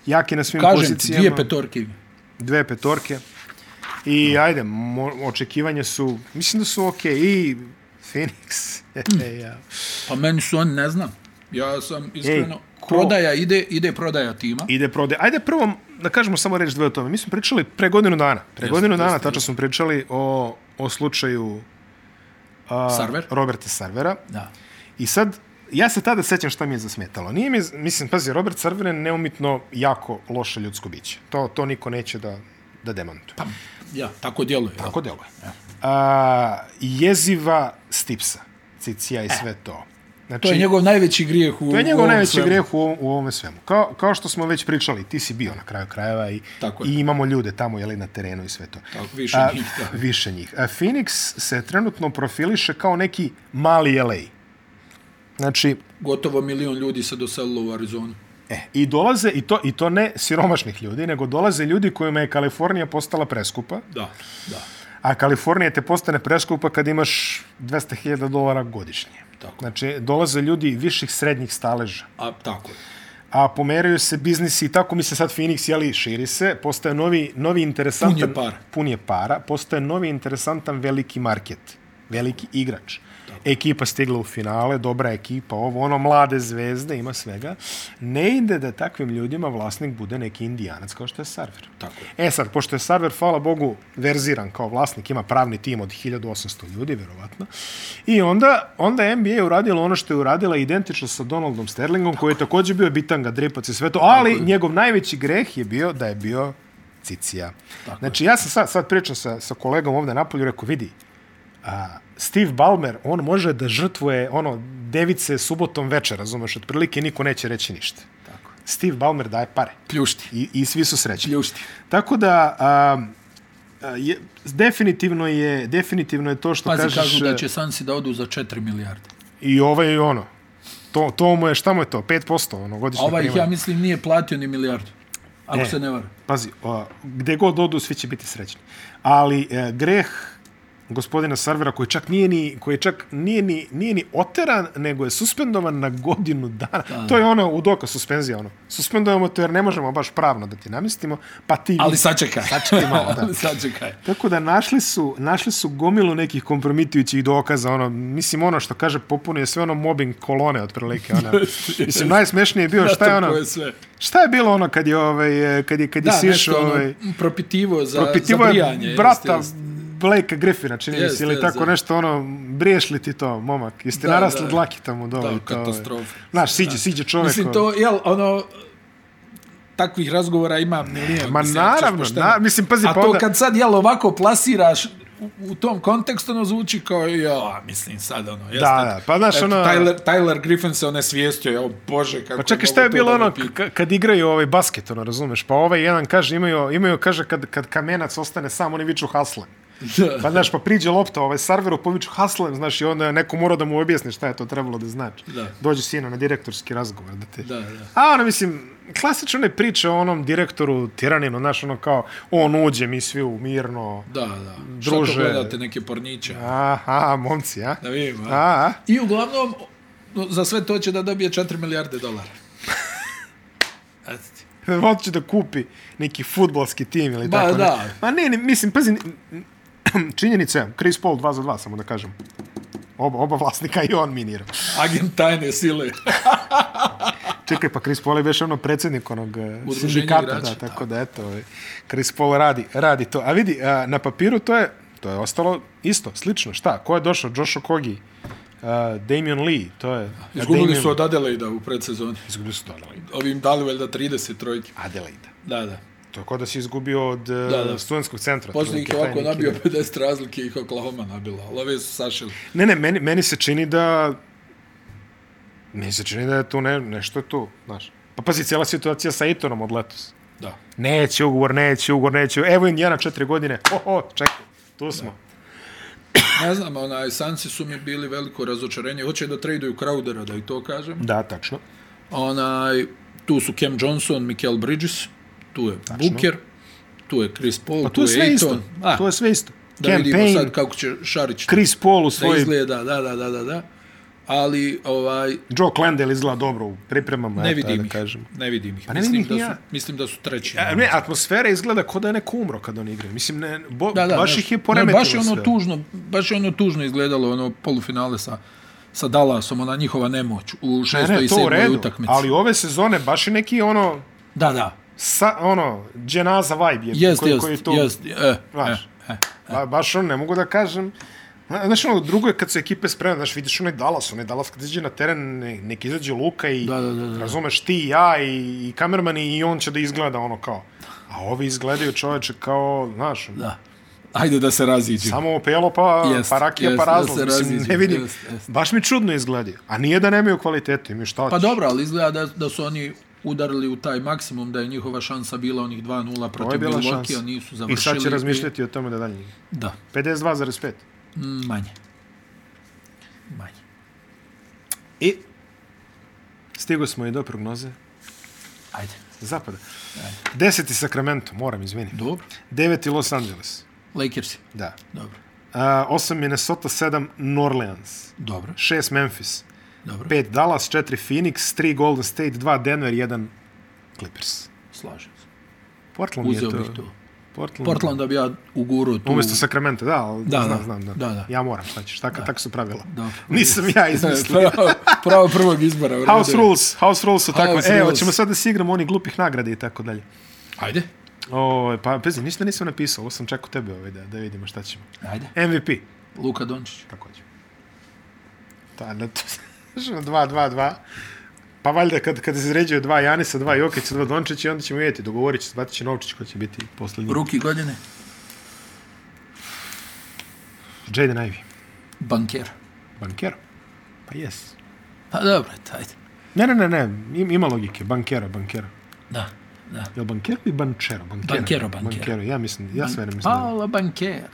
[SPEAKER 2] jaki na svim
[SPEAKER 1] Kažem ti,
[SPEAKER 2] pozicijama.
[SPEAKER 1] dvije petorke ima.
[SPEAKER 2] dve petorke. I no. ajde, mo, očekivanja su, mislim da su okej. Okay. I Phoenix.
[SPEAKER 1] Hm.
[SPEAKER 2] E, ja.
[SPEAKER 1] Pa meni su oni, ne znam. Ja sam iskreno...
[SPEAKER 2] Ej, ko-
[SPEAKER 1] prodaja ide, ide prodaja tima.
[SPEAKER 2] Ide prode. Ajde prvo, da kažemo samo reći dve o tome. Mi smo pričali pre godinu dana. Pre
[SPEAKER 1] Jeste,
[SPEAKER 2] godinu dana
[SPEAKER 1] jeste,
[SPEAKER 2] tačno smo pričali o, o slučaju a,
[SPEAKER 1] Sarver?
[SPEAKER 2] Roberta Sarvera.
[SPEAKER 1] Da.
[SPEAKER 2] I sad, ja se tada sećam šta mi je zasmetalo. Nije mi, mislim, pazi, Robert Sarver je neumitno jako loše ljudsko biće. To, to niko neće da, da demantuje.
[SPEAKER 1] Pa, ja, tako djeluje.
[SPEAKER 2] Tako deluje. A, jeziva stipsa, cicija i sve to. Znači,
[SPEAKER 1] E. To je njegov najveći grijeh u
[SPEAKER 2] to je
[SPEAKER 1] u
[SPEAKER 2] njegov
[SPEAKER 1] ovom
[SPEAKER 2] najveći
[SPEAKER 1] svemu.
[SPEAKER 2] grijeh u, ovom- u ovome svemu. Kao, kao što smo već pričali, ti si bio na kraju krajeva i,
[SPEAKER 1] Tako je.
[SPEAKER 2] i imamo ljude tamo jeli, na terenu i sve to.
[SPEAKER 1] Tako, više njih, da.
[SPEAKER 2] Više njih. A, Phoenix se trenutno profiliše kao neki mali LA. Znači,
[SPEAKER 1] Gotovo milion ljudi se doselilo u Arizonu.
[SPEAKER 2] E, i dolaze, i to, i to ne siromašnih ljudi, nego dolaze ljudi kojima je Kalifornija postala preskupa,
[SPEAKER 1] Da, da.
[SPEAKER 2] a Kalifornija te postane preskupa kad imaš 200.000 dolara godišnje.
[SPEAKER 1] Tako.
[SPEAKER 2] Znači, dolaze ljudi viših srednjih staleža.
[SPEAKER 1] A tako je.
[SPEAKER 2] a pomeraju se biznisi i tako mi se sad Phoenix, jeli, širi se, postaje novi, novi interesantan...
[SPEAKER 1] Pun je para.
[SPEAKER 2] Pun je para, postaje novi interesantan veliki market, veliki igrač. Ekipa stigla u finale, dobra ekipa, ovo, ono, mlade zvezde, ima svega. Ne ide da takvim ljudima vlasnik bude neki indijanac kao što je Sarver.
[SPEAKER 1] Tako je.
[SPEAKER 2] E sad, pošto je Sarver, hvala Bogu, verziran kao vlasnik, ima pravni tim od 1800 ljudi, verovatno. I onda, onda je NBA uradila ono što je uradila identično sa Donaldom Sterlingom, koji je također bio bitanga, dripac i sve to, ali njegov najveći greh je bio da je bio cicija. Tako znači, ja sam sad, sad pričao sa, sa kolegom ovde napolju, rekao, vidi, a, Steve Ballmer, on može da žrtvuje ono, device subotom večer, razumeš, otprilike niko neće reći ništa. Tako. Steve Ballmer daje pare.
[SPEAKER 1] Pljušti.
[SPEAKER 2] I, i svi su srećni.
[SPEAKER 1] Pljušti.
[SPEAKER 2] Tako da, a, a, je, definitivno je, definitivno je to što
[SPEAKER 1] Pazi,
[SPEAKER 2] Pa kažeš... e-
[SPEAKER 1] kažu da će Sansi da odu za 4 milijarde.
[SPEAKER 2] I ovaj i ono. To, to mu je, šta mu je to? 5% ono,
[SPEAKER 1] A
[SPEAKER 2] godišnje
[SPEAKER 1] ovaj, ih,
[SPEAKER 2] primanje.
[SPEAKER 1] ja mislim, nije platio ni milijardu. Ako
[SPEAKER 2] E.
[SPEAKER 1] se ne vara.
[SPEAKER 2] Pazi, a, gde god odu, svi će biti srećni. Ali e, greh gospodina Sarvera koji čak nije ni koji čak nije ni nije ni oteran nego je suspendovan na godinu dana. Da. To je ono u doka suspenzija ono. Suspendujemo te jer ne možemo baš pravno da ti namestimo, pa ti
[SPEAKER 1] Ali sačekaj.
[SPEAKER 2] Sačekaj malo, da.
[SPEAKER 1] Ali sačekaj.
[SPEAKER 2] Tako da našli su, našli su gomilu nekih kompromitujućih dokaza, ono, mislim ono što kaže Popunu je sve ono mobbing kolone otprilike, ono. mislim najsmešnije je bio šta je ono,
[SPEAKER 1] Tako je sve.
[SPEAKER 2] šta je bilo ono kad je ovaj eh, kad je kad je
[SPEAKER 1] Da,
[SPEAKER 2] Siš
[SPEAKER 1] nešto
[SPEAKER 2] ovaj
[SPEAKER 1] ono, propitivo za,
[SPEAKER 2] propitivo
[SPEAKER 1] za
[SPEAKER 2] je
[SPEAKER 1] brijanje.
[SPEAKER 2] brata
[SPEAKER 1] jeste, jeste.
[SPEAKER 2] Blakea Griffina, čini mi
[SPEAKER 1] Jeste,
[SPEAKER 2] se, ili
[SPEAKER 1] jeste.
[SPEAKER 2] tako nešto, ono, briješ li ti to, momak? Jeste
[SPEAKER 1] Da,
[SPEAKER 2] narasli
[SPEAKER 1] da.
[SPEAKER 2] dlaki tamo dole?
[SPEAKER 1] Da,
[SPEAKER 2] i to, ovaj.
[SPEAKER 1] katastrofa.
[SPEAKER 2] Znaš, siđe, siđe čovjek.
[SPEAKER 1] Mislim,
[SPEAKER 2] ovaj.
[SPEAKER 1] to, jel, ono, takvih razgovora ima milijon.
[SPEAKER 2] Ma
[SPEAKER 1] mislim, ako ćeš
[SPEAKER 2] naravno,
[SPEAKER 1] pošteno.
[SPEAKER 2] na, mislim, pazi,
[SPEAKER 1] A
[SPEAKER 2] pa
[SPEAKER 1] to
[SPEAKER 2] onda...
[SPEAKER 1] kad sad, jel, ovako plasiraš u, u tom kontekstu, ono zvuči kao, jo, a mislim, sad, ono, jeste.
[SPEAKER 2] da, pa znaš,
[SPEAKER 1] Eto,
[SPEAKER 2] ono-
[SPEAKER 1] Tyler, Tyler Griffin se onesvijestio, jo, bože, kako...
[SPEAKER 2] Pa čekaj,
[SPEAKER 1] mogu
[SPEAKER 2] šta je
[SPEAKER 1] to
[SPEAKER 2] bilo
[SPEAKER 1] da me
[SPEAKER 2] ono
[SPEAKER 1] pita?
[SPEAKER 2] k- kad igraju ovaj basket, ono, razumeš? Pa ovaj jedan kaže, imaju, imaju kaže, kad, kad kamenac ostane sam, oni viču haslen.
[SPEAKER 1] Da.
[SPEAKER 2] Pa znaš, pa priđe lopta ovaj serveru, pa viču haslen, znaš, i onda je neko mora da mu objasni šta je to trebalo da znači.
[SPEAKER 1] Da.
[SPEAKER 2] Dođe sino na direktorski razgovor da te...
[SPEAKER 1] Da, da.
[SPEAKER 2] A ono, mislim, klasično ne priča o onom direktoru tiraninu, znaš, ono kao, on uđe, mi svi u mirno,
[SPEAKER 1] Da, da. Druže.
[SPEAKER 2] Druže.
[SPEAKER 1] Što to gledate, neke porniće?
[SPEAKER 2] aha, momci, a?
[SPEAKER 1] Da vidim, a?
[SPEAKER 2] A, a?
[SPEAKER 1] I uglavnom, no, za sve to će da dobije 4 milijarde dolara. Eto ti.
[SPEAKER 2] Hoće da kupi neki futbalski tim ili
[SPEAKER 1] Ba,
[SPEAKER 2] tako. ne-
[SPEAKER 1] da.
[SPEAKER 2] Ma ne, ne, mislim, pazi, n- n- činjenica je, Chris Paul 2 za 2, samo da kažem. Oba, oba vlasnika i on minira.
[SPEAKER 1] Agent tajne sile.
[SPEAKER 2] Čekaj, pa Chris Paul je već ono predsjednik onog eh,
[SPEAKER 1] Udruženja
[SPEAKER 2] sindikata,
[SPEAKER 1] igrača,
[SPEAKER 2] da, tako da, eto, ovaj, Chris Paul radi, radi to. A vidi, a, na papiru to je, to je ostalo isto, slično, šta? Ko je došao? Josh Okogi, a, Damian Lee, to je... a,
[SPEAKER 1] Izgubili
[SPEAKER 2] Damian-
[SPEAKER 1] su od Adelaida u predsezoni.
[SPEAKER 2] Izgubili su od Adelaide.
[SPEAKER 1] Ovim dali valjda 30 trojke.
[SPEAKER 2] Adelaide.
[SPEAKER 1] Da, da.
[SPEAKER 2] To je kao da si izgubio od da,
[SPEAKER 1] da.
[SPEAKER 2] da. studentskog centra.
[SPEAKER 1] Posle ih
[SPEAKER 2] otprilike,
[SPEAKER 1] je
[SPEAKER 2] taj
[SPEAKER 1] ovako
[SPEAKER 2] neki
[SPEAKER 1] nabio
[SPEAKER 2] igrač.
[SPEAKER 1] 50 razlike ih Oklahoma nabila, ali ove su sašili.
[SPEAKER 2] Ne, ne, meni, meni se čini da... Meni se čini da je tu ne, nešto je tu, znaš. Pa pazi, cijela situacija sa Itonom od letos.
[SPEAKER 1] Da.
[SPEAKER 2] Neće ugovor, neće ugovor, neće... Evo Indiana četiri godine. Ho, ho, čekaj, tu smo.
[SPEAKER 1] Ne znam, onaj, Sansi su mi bili veliko razočarenje. Hoće da traduju Crowdera, da i to kažem.
[SPEAKER 2] Da, tačno.
[SPEAKER 1] Onaj, tu su Cam Johnson, Mikel Bridges, tu je Tačno. Booker, tu je Chris Paul,
[SPEAKER 2] Pa tu je sve
[SPEAKER 1] Ayton.
[SPEAKER 2] isto.
[SPEAKER 1] A,
[SPEAKER 2] To je sve isto.
[SPEAKER 1] da vidimo
[SPEAKER 2] Campaign,
[SPEAKER 1] sad kako će Šarić
[SPEAKER 2] Chris Paul u
[SPEAKER 1] da
[SPEAKER 2] svoj...
[SPEAKER 1] izgleda, da, da, da, da, da. Ali, ovaj,
[SPEAKER 2] Joe Clandell izgleda dobro u pripremama.
[SPEAKER 1] ne
[SPEAKER 2] eto, ajde
[SPEAKER 1] vidim
[SPEAKER 2] da
[SPEAKER 1] ih.
[SPEAKER 2] kažemo.
[SPEAKER 1] Ne vidim ih.
[SPEAKER 2] ne
[SPEAKER 1] mislim,
[SPEAKER 2] vidim ih
[SPEAKER 1] da
[SPEAKER 2] ni
[SPEAKER 1] su,
[SPEAKER 2] ja.
[SPEAKER 1] mislim da su treći.
[SPEAKER 2] A, E, ne, atmosfera izgleda kao da je neko umro kad oni igraju. Mislim, ne, bo, da, da, baš
[SPEAKER 1] ne,
[SPEAKER 2] ih je
[SPEAKER 1] ne,
[SPEAKER 2] poremetilo
[SPEAKER 1] baš je ono
[SPEAKER 2] sve.
[SPEAKER 1] tužno, baš je ono tužno izgledalo ono polufinale sa sa Dallasom, ona njihova nemoć u
[SPEAKER 2] Ne,
[SPEAKER 1] šestoj i
[SPEAKER 2] ne, to u
[SPEAKER 1] sedmoj
[SPEAKER 2] redu,
[SPEAKER 1] utakmici.
[SPEAKER 2] ali ove sezone baš je neki ono
[SPEAKER 1] Da, da.
[SPEAKER 2] sa, ono, dženaza vibe je.
[SPEAKER 1] Jest,
[SPEAKER 2] koji,
[SPEAKER 1] jest,
[SPEAKER 2] koji je to,
[SPEAKER 1] jest. E,
[SPEAKER 2] Znaš.
[SPEAKER 1] e, e.
[SPEAKER 2] Ba, baš ono, ne mogu da kažem. Zna- Znaš, ono, drugo je kad su ekipe spremne, znaš, vidiš onaj Dallas, onaj Dallas kad izađe na teren, ne- nek izađe Luka i
[SPEAKER 1] Da, da, da, da.
[SPEAKER 2] razumeš ti i ja i, i kamerman i on će da izgleda ono kao. A ovi izgledaju čoveče kao, znaš, da.
[SPEAKER 1] Da. Ajde da se raziđe.
[SPEAKER 2] samo opelo pa,
[SPEAKER 1] Jest,
[SPEAKER 2] jest, pa rakija
[SPEAKER 1] jest,
[SPEAKER 2] pa
[SPEAKER 1] da
[SPEAKER 2] razlaz.
[SPEAKER 1] se
[SPEAKER 2] Mislim,
[SPEAKER 1] raziđu,
[SPEAKER 2] ne vidim.
[SPEAKER 1] jest, jest.
[SPEAKER 2] Baš mi čudno izgledaju. A nije da nemaju kvalitete, mi šta
[SPEAKER 1] Pa
[SPEAKER 2] ćeš?
[SPEAKER 1] dobro, ali izgleda da, da su oni udarili u taj maksimum, da je njihova šansa bila onih 2-0
[SPEAKER 2] Ovo
[SPEAKER 1] protiv
[SPEAKER 2] je bila
[SPEAKER 1] Milwaukee,
[SPEAKER 2] šansa.
[SPEAKER 1] a nisu
[SPEAKER 2] I
[SPEAKER 1] završili.
[SPEAKER 2] sad će razmišljati o tome da dalje. igra.
[SPEAKER 1] Da,
[SPEAKER 2] 52,5.
[SPEAKER 1] mm, manje. Manje.
[SPEAKER 2] I stigo smo i do prognoze
[SPEAKER 1] Ajde.
[SPEAKER 2] zapada. Deseti Sacramento, moram izviniti.
[SPEAKER 1] Dobro.
[SPEAKER 2] Deveti Los Angeles.
[SPEAKER 1] Lakersi.
[SPEAKER 2] Da.
[SPEAKER 1] Dobro.
[SPEAKER 2] A, osam Minnesota, sedam New Orleans.
[SPEAKER 1] Dobro.
[SPEAKER 2] Šest Memphis.
[SPEAKER 1] Dobro.
[SPEAKER 2] 5 Dallas, 4 Phoenix, 3 Golden State, 2 Denver, 1 Clippers.
[SPEAKER 1] Slažem se.
[SPEAKER 2] Portland
[SPEAKER 1] Uzeo
[SPEAKER 2] je to.
[SPEAKER 1] bih to.
[SPEAKER 2] Portland.
[SPEAKER 1] Portland da bi ja uguro tu...
[SPEAKER 2] Umjesto Sacramento, da, ali
[SPEAKER 1] Da,
[SPEAKER 2] znam,
[SPEAKER 1] da.
[SPEAKER 2] znam, da.
[SPEAKER 1] Da, da.
[SPEAKER 2] Ja moram, šta ćeš, tako, tako su pravila.
[SPEAKER 1] Da.
[SPEAKER 2] Nisam ja izmislio.
[SPEAKER 1] pravo, pravo prvog izbora. u redu.
[SPEAKER 2] House rules, house rules su tako.
[SPEAKER 1] House
[SPEAKER 2] E,
[SPEAKER 1] rules.
[SPEAKER 2] hoćemo sad da si igramo onih glupih nagrada i tako dalje.
[SPEAKER 1] Ajde,
[SPEAKER 2] O, pa, pazi, ništa nisam napisao, ovo sam čekao tebe ovaj da, da vidimo šta ćemo.
[SPEAKER 1] ajde.
[SPEAKER 2] MVP,
[SPEAKER 1] Luka Dončić.
[SPEAKER 2] također. Ta, na to, znaš, dva, dva, dva. Pa valjda kad, kad se izređuje dva Janisa, dva Jokića, dva Dončića, onda ćemo vidjeti, dogovorit će se, zbatit će Novčić ko će biti posljednji.
[SPEAKER 1] Ruki godine.
[SPEAKER 2] Jaden Ivey,
[SPEAKER 1] Banker.
[SPEAKER 2] bankero. Pa jes.
[SPEAKER 1] Pa dobro, eto, ajde.
[SPEAKER 2] Ne, ne, ne, ne, im- ima logike, bankera, bankera.
[SPEAKER 1] Da, da.
[SPEAKER 2] Jel bankero ili bančero? Bankero,
[SPEAKER 1] Bankero, bankero. Mm.
[SPEAKER 2] bankero. Ja mislim, ja sve ne mislim. da je-
[SPEAKER 1] Paola Bankera.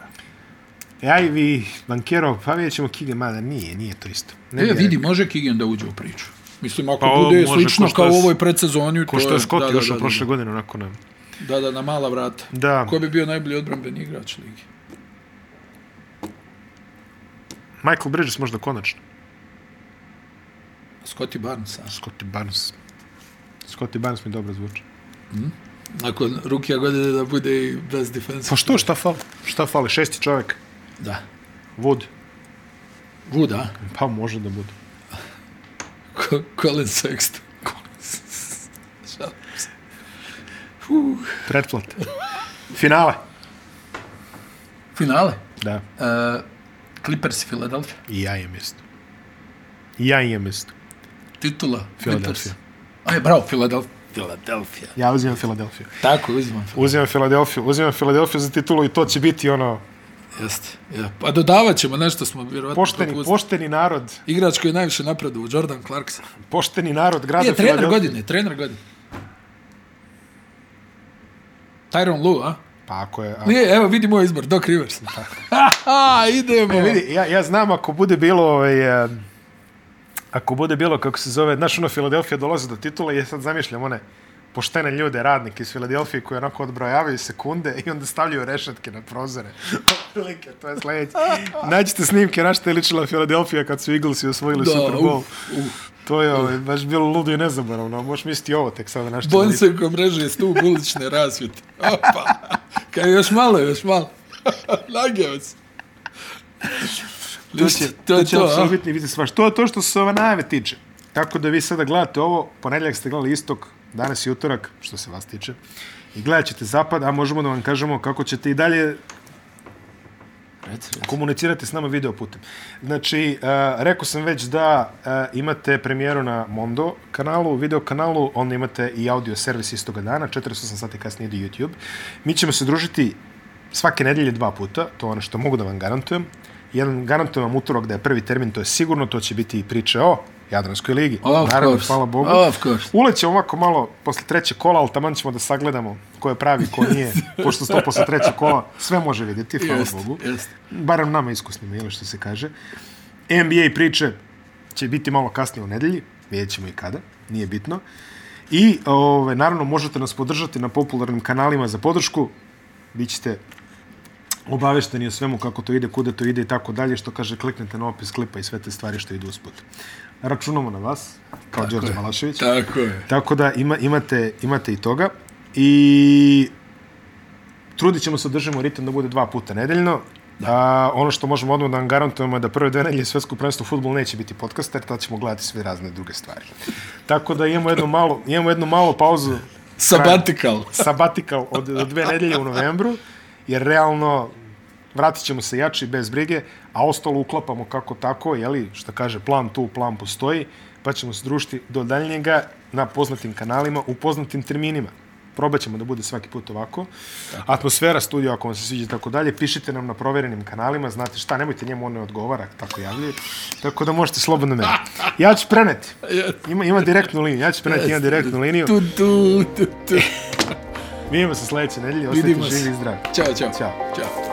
[SPEAKER 2] Aj vi, bankero, pa vidjet ćemo Kige, mada nije, nije to isto.
[SPEAKER 1] Ne, e,
[SPEAKER 2] bi
[SPEAKER 1] vidi, može Kigen da uđe u priču. Mislim, ako
[SPEAKER 2] Pa ovo
[SPEAKER 1] bude
[SPEAKER 2] može
[SPEAKER 1] slično
[SPEAKER 2] ko što
[SPEAKER 1] kao
[SPEAKER 2] je-
[SPEAKER 1] u ovoj predsezoni,
[SPEAKER 2] Ko što je Scott
[SPEAKER 1] da,
[SPEAKER 2] došao
[SPEAKER 1] da,
[SPEAKER 2] prošle godine, onako na...
[SPEAKER 1] Da, da, na mala vrata.
[SPEAKER 2] Da,
[SPEAKER 1] Ko bi bio najbolji odbranbeni igrač ligi?
[SPEAKER 2] Michael Bridges možda konačno.
[SPEAKER 1] Scotty Barnes, a?
[SPEAKER 2] Scotty Barnes. Scotty Barnes mi dobro zvuči.
[SPEAKER 1] Nakon rukija godine da bude i bez defensa.
[SPEAKER 2] Pa što, šta fali? Šta fali? Šesti čovjek.
[SPEAKER 1] Da.
[SPEAKER 2] Wood.
[SPEAKER 1] Wood, a?
[SPEAKER 2] Pa može da bude.
[SPEAKER 1] Co- Colin Sexton. Šalim se. Fuh.
[SPEAKER 2] Pretplate. Finale.
[SPEAKER 1] Finale.
[SPEAKER 2] Da.
[SPEAKER 1] Uh, Clippers i Philadelphia.
[SPEAKER 2] I ja imam isto. I ja imam isto.
[SPEAKER 1] Titula. Clippers.
[SPEAKER 2] Philadelphia.
[SPEAKER 1] Aj, bravo, Philadelphia. Philadelphia.
[SPEAKER 2] Ja uzimam Filadelfiju.
[SPEAKER 1] Tako, uzimam. Phil-
[SPEAKER 2] Uzimam Filadelfiju. Uzimam Filadelfiju za titulu i to će biti ono
[SPEAKER 1] Jeste. Ja. Pa dodavat ćemo nešto smo vjerovatno
[SPEAKER 2] pošteni,
[SPEAKER 1] propustili.
[SPEAKER 2] pošteni narod,
[SPEAKER 1] Igrač koji je najviše napredu, Jordan Clarkson.
[SPEAKER 2] pošteni narod grada
[SPEAKER 1] Je, trener
[SPEAKER 2] Filadelfije.
[SPEAKER 1] godine, trener godine. Tyron Lue, a?
[SPEAKER 2] Pa ako je... Ako...
[SPEAKER 1] Nije, evo vidi moj izbor, Doc Rivers. idemo.
[SPEAKER 2] E, vidi, ja, ja znam ako bude bilo ovaj, e, ako bude bilo kako se zove, znaš ono Filadelfija dolazi do titula i ja sad zamišljam one poštene ljude, radnike iz Filadelfije koji onako odbrojavaju sekunde i onda stavljaju rešetke na prozore. Otprilike, to je sledeće. Nađite snimke na što je ličila Filadelfija kad su Eaglesi osvojili
[SPEAKER 1] Da,
[SPEAKER 2] Super Bowl.
[SPEAKER 1] uf, uf.
[SPEAKER 2] To je ovaj, baš bilo ludo i nezaboravno. Možeš misliti ovo tek sada na što je
[SPEAKER 1] Bonce ko mreže stup ulične rasvjete. Opa. Kaj još malo, još malo. Nageo se.
[SPEAKER 2] to će,
[SPEAKER 1] to
[SPEAKER 2] to
[SPEAKER 1] je
[SPEAKER 2] će
[SPEAKER 1] to, a?
[SPEAKER 2] apsolutno biti svaš. To je to što se ove najave tiče. Tako da vi sada gledate ovo, ponedjeljak ste gledali istok, danas je utorak, što se vas tiče. I gledat ćete zapad, a možemo da vam kažemo kako ćete i dalje komunicirati s nama video putem. Znači, uh, rekao sam već da uh, imate premijeru na Mondo kanalu, video kanalu, onda imate i audio servis istoga dana, 48 sati kasnije ide YouTube. Mi ćemo se družiti svake nedelje dva puta, to je ono što mogu da vam garantujem. Jedan garantujem vam utorak da je prvi termin, to je sigurno, to će biti i priče o Jadranskoj ligi.
[SPEAKER 1] Of
[SPEAKER 2] Naravno,
[SPEAKER 1] course.
[SPEAKER 2] hvala Bogu.
[SPEAKER 1] Of course.
[SPEAKER 2] Ulećemo ovako malo posle trećeg kola, ali taman ćemo da sagledamo ko je pravi, ko nije, pošto sto posle trećeg kola sve može vidjeti, hvala
[SPEAKER 1] Jeste,
[SPEAKER 2] Bogu
[SPEAKER 1] jeste.
[SPEAKER 2] barem nama iskusnima, jel što se kaže. NBA priče će biti malo kasnije u nedelji, vidjet ćemo i kada, nije bitno. I, ove, naravno, možete nas podržati na popularnim kanalima za podršku, Bićete obavešteni o svemu kako to ide, kuda to ide i tako dalje, što kaže kliknete na opis klipa i sve te stvari što idu usput. Računamo na vas, kao Đorđe Malašević.
[SPEAKER 1] Tako je.
[SPEAKER 2] Tako da ima, imate, imate i toga. I trudit ćemo se da držimo ritam da bude dva puta nedeljno. A, ono što možemo odmah da vam garantujemo je da prve dve nedelje svetsko prvenstvo futbol neće biti podcast, jer tada ćemo gledati sve razne druge stvari. Tako da imamo jednu malo, imamo jednu malo pauzu,
[SPEAKER 1] Sabatikal.
[SPEAKER 2] sabatikal od, od dve nedelje u novembru, jer realno vratit ćemo se jači bez brige, a ostalo uklapamo kako tako, jeli, što kaže, plan tu, plan postoji, pa ćemo se družiti do daljnjega na poznatim kanalima, u poznatim terminima. Probat ćemo da bude svaki put ovako. Atmosfera studija, ako vam se sviđa i tako dalje, pišite nam na proverenim kanalima, znate šta, nemojte njemu on ne odgovara, tako javljaju, tako da možete slobodno mene. Ja ću preneti. Ima, ima direktnu liniju, ja ću preneti, ima direktnu liniju.
[SPEAKER 1] Tu, tu, tu, tu.
[SPEAKER 2] Vidimo se sljedeće nedelje,
[SPEAKER 1] Vidimo
[SPEAKER 2] ostajte
[SPEAKER 1] se.
[SPEAKER 2] živi i zdravi.
[SPEAKER 1] Ćao, čao.
[SPEAKER 2] Ćao.
[SPEAKER 1] Ćao.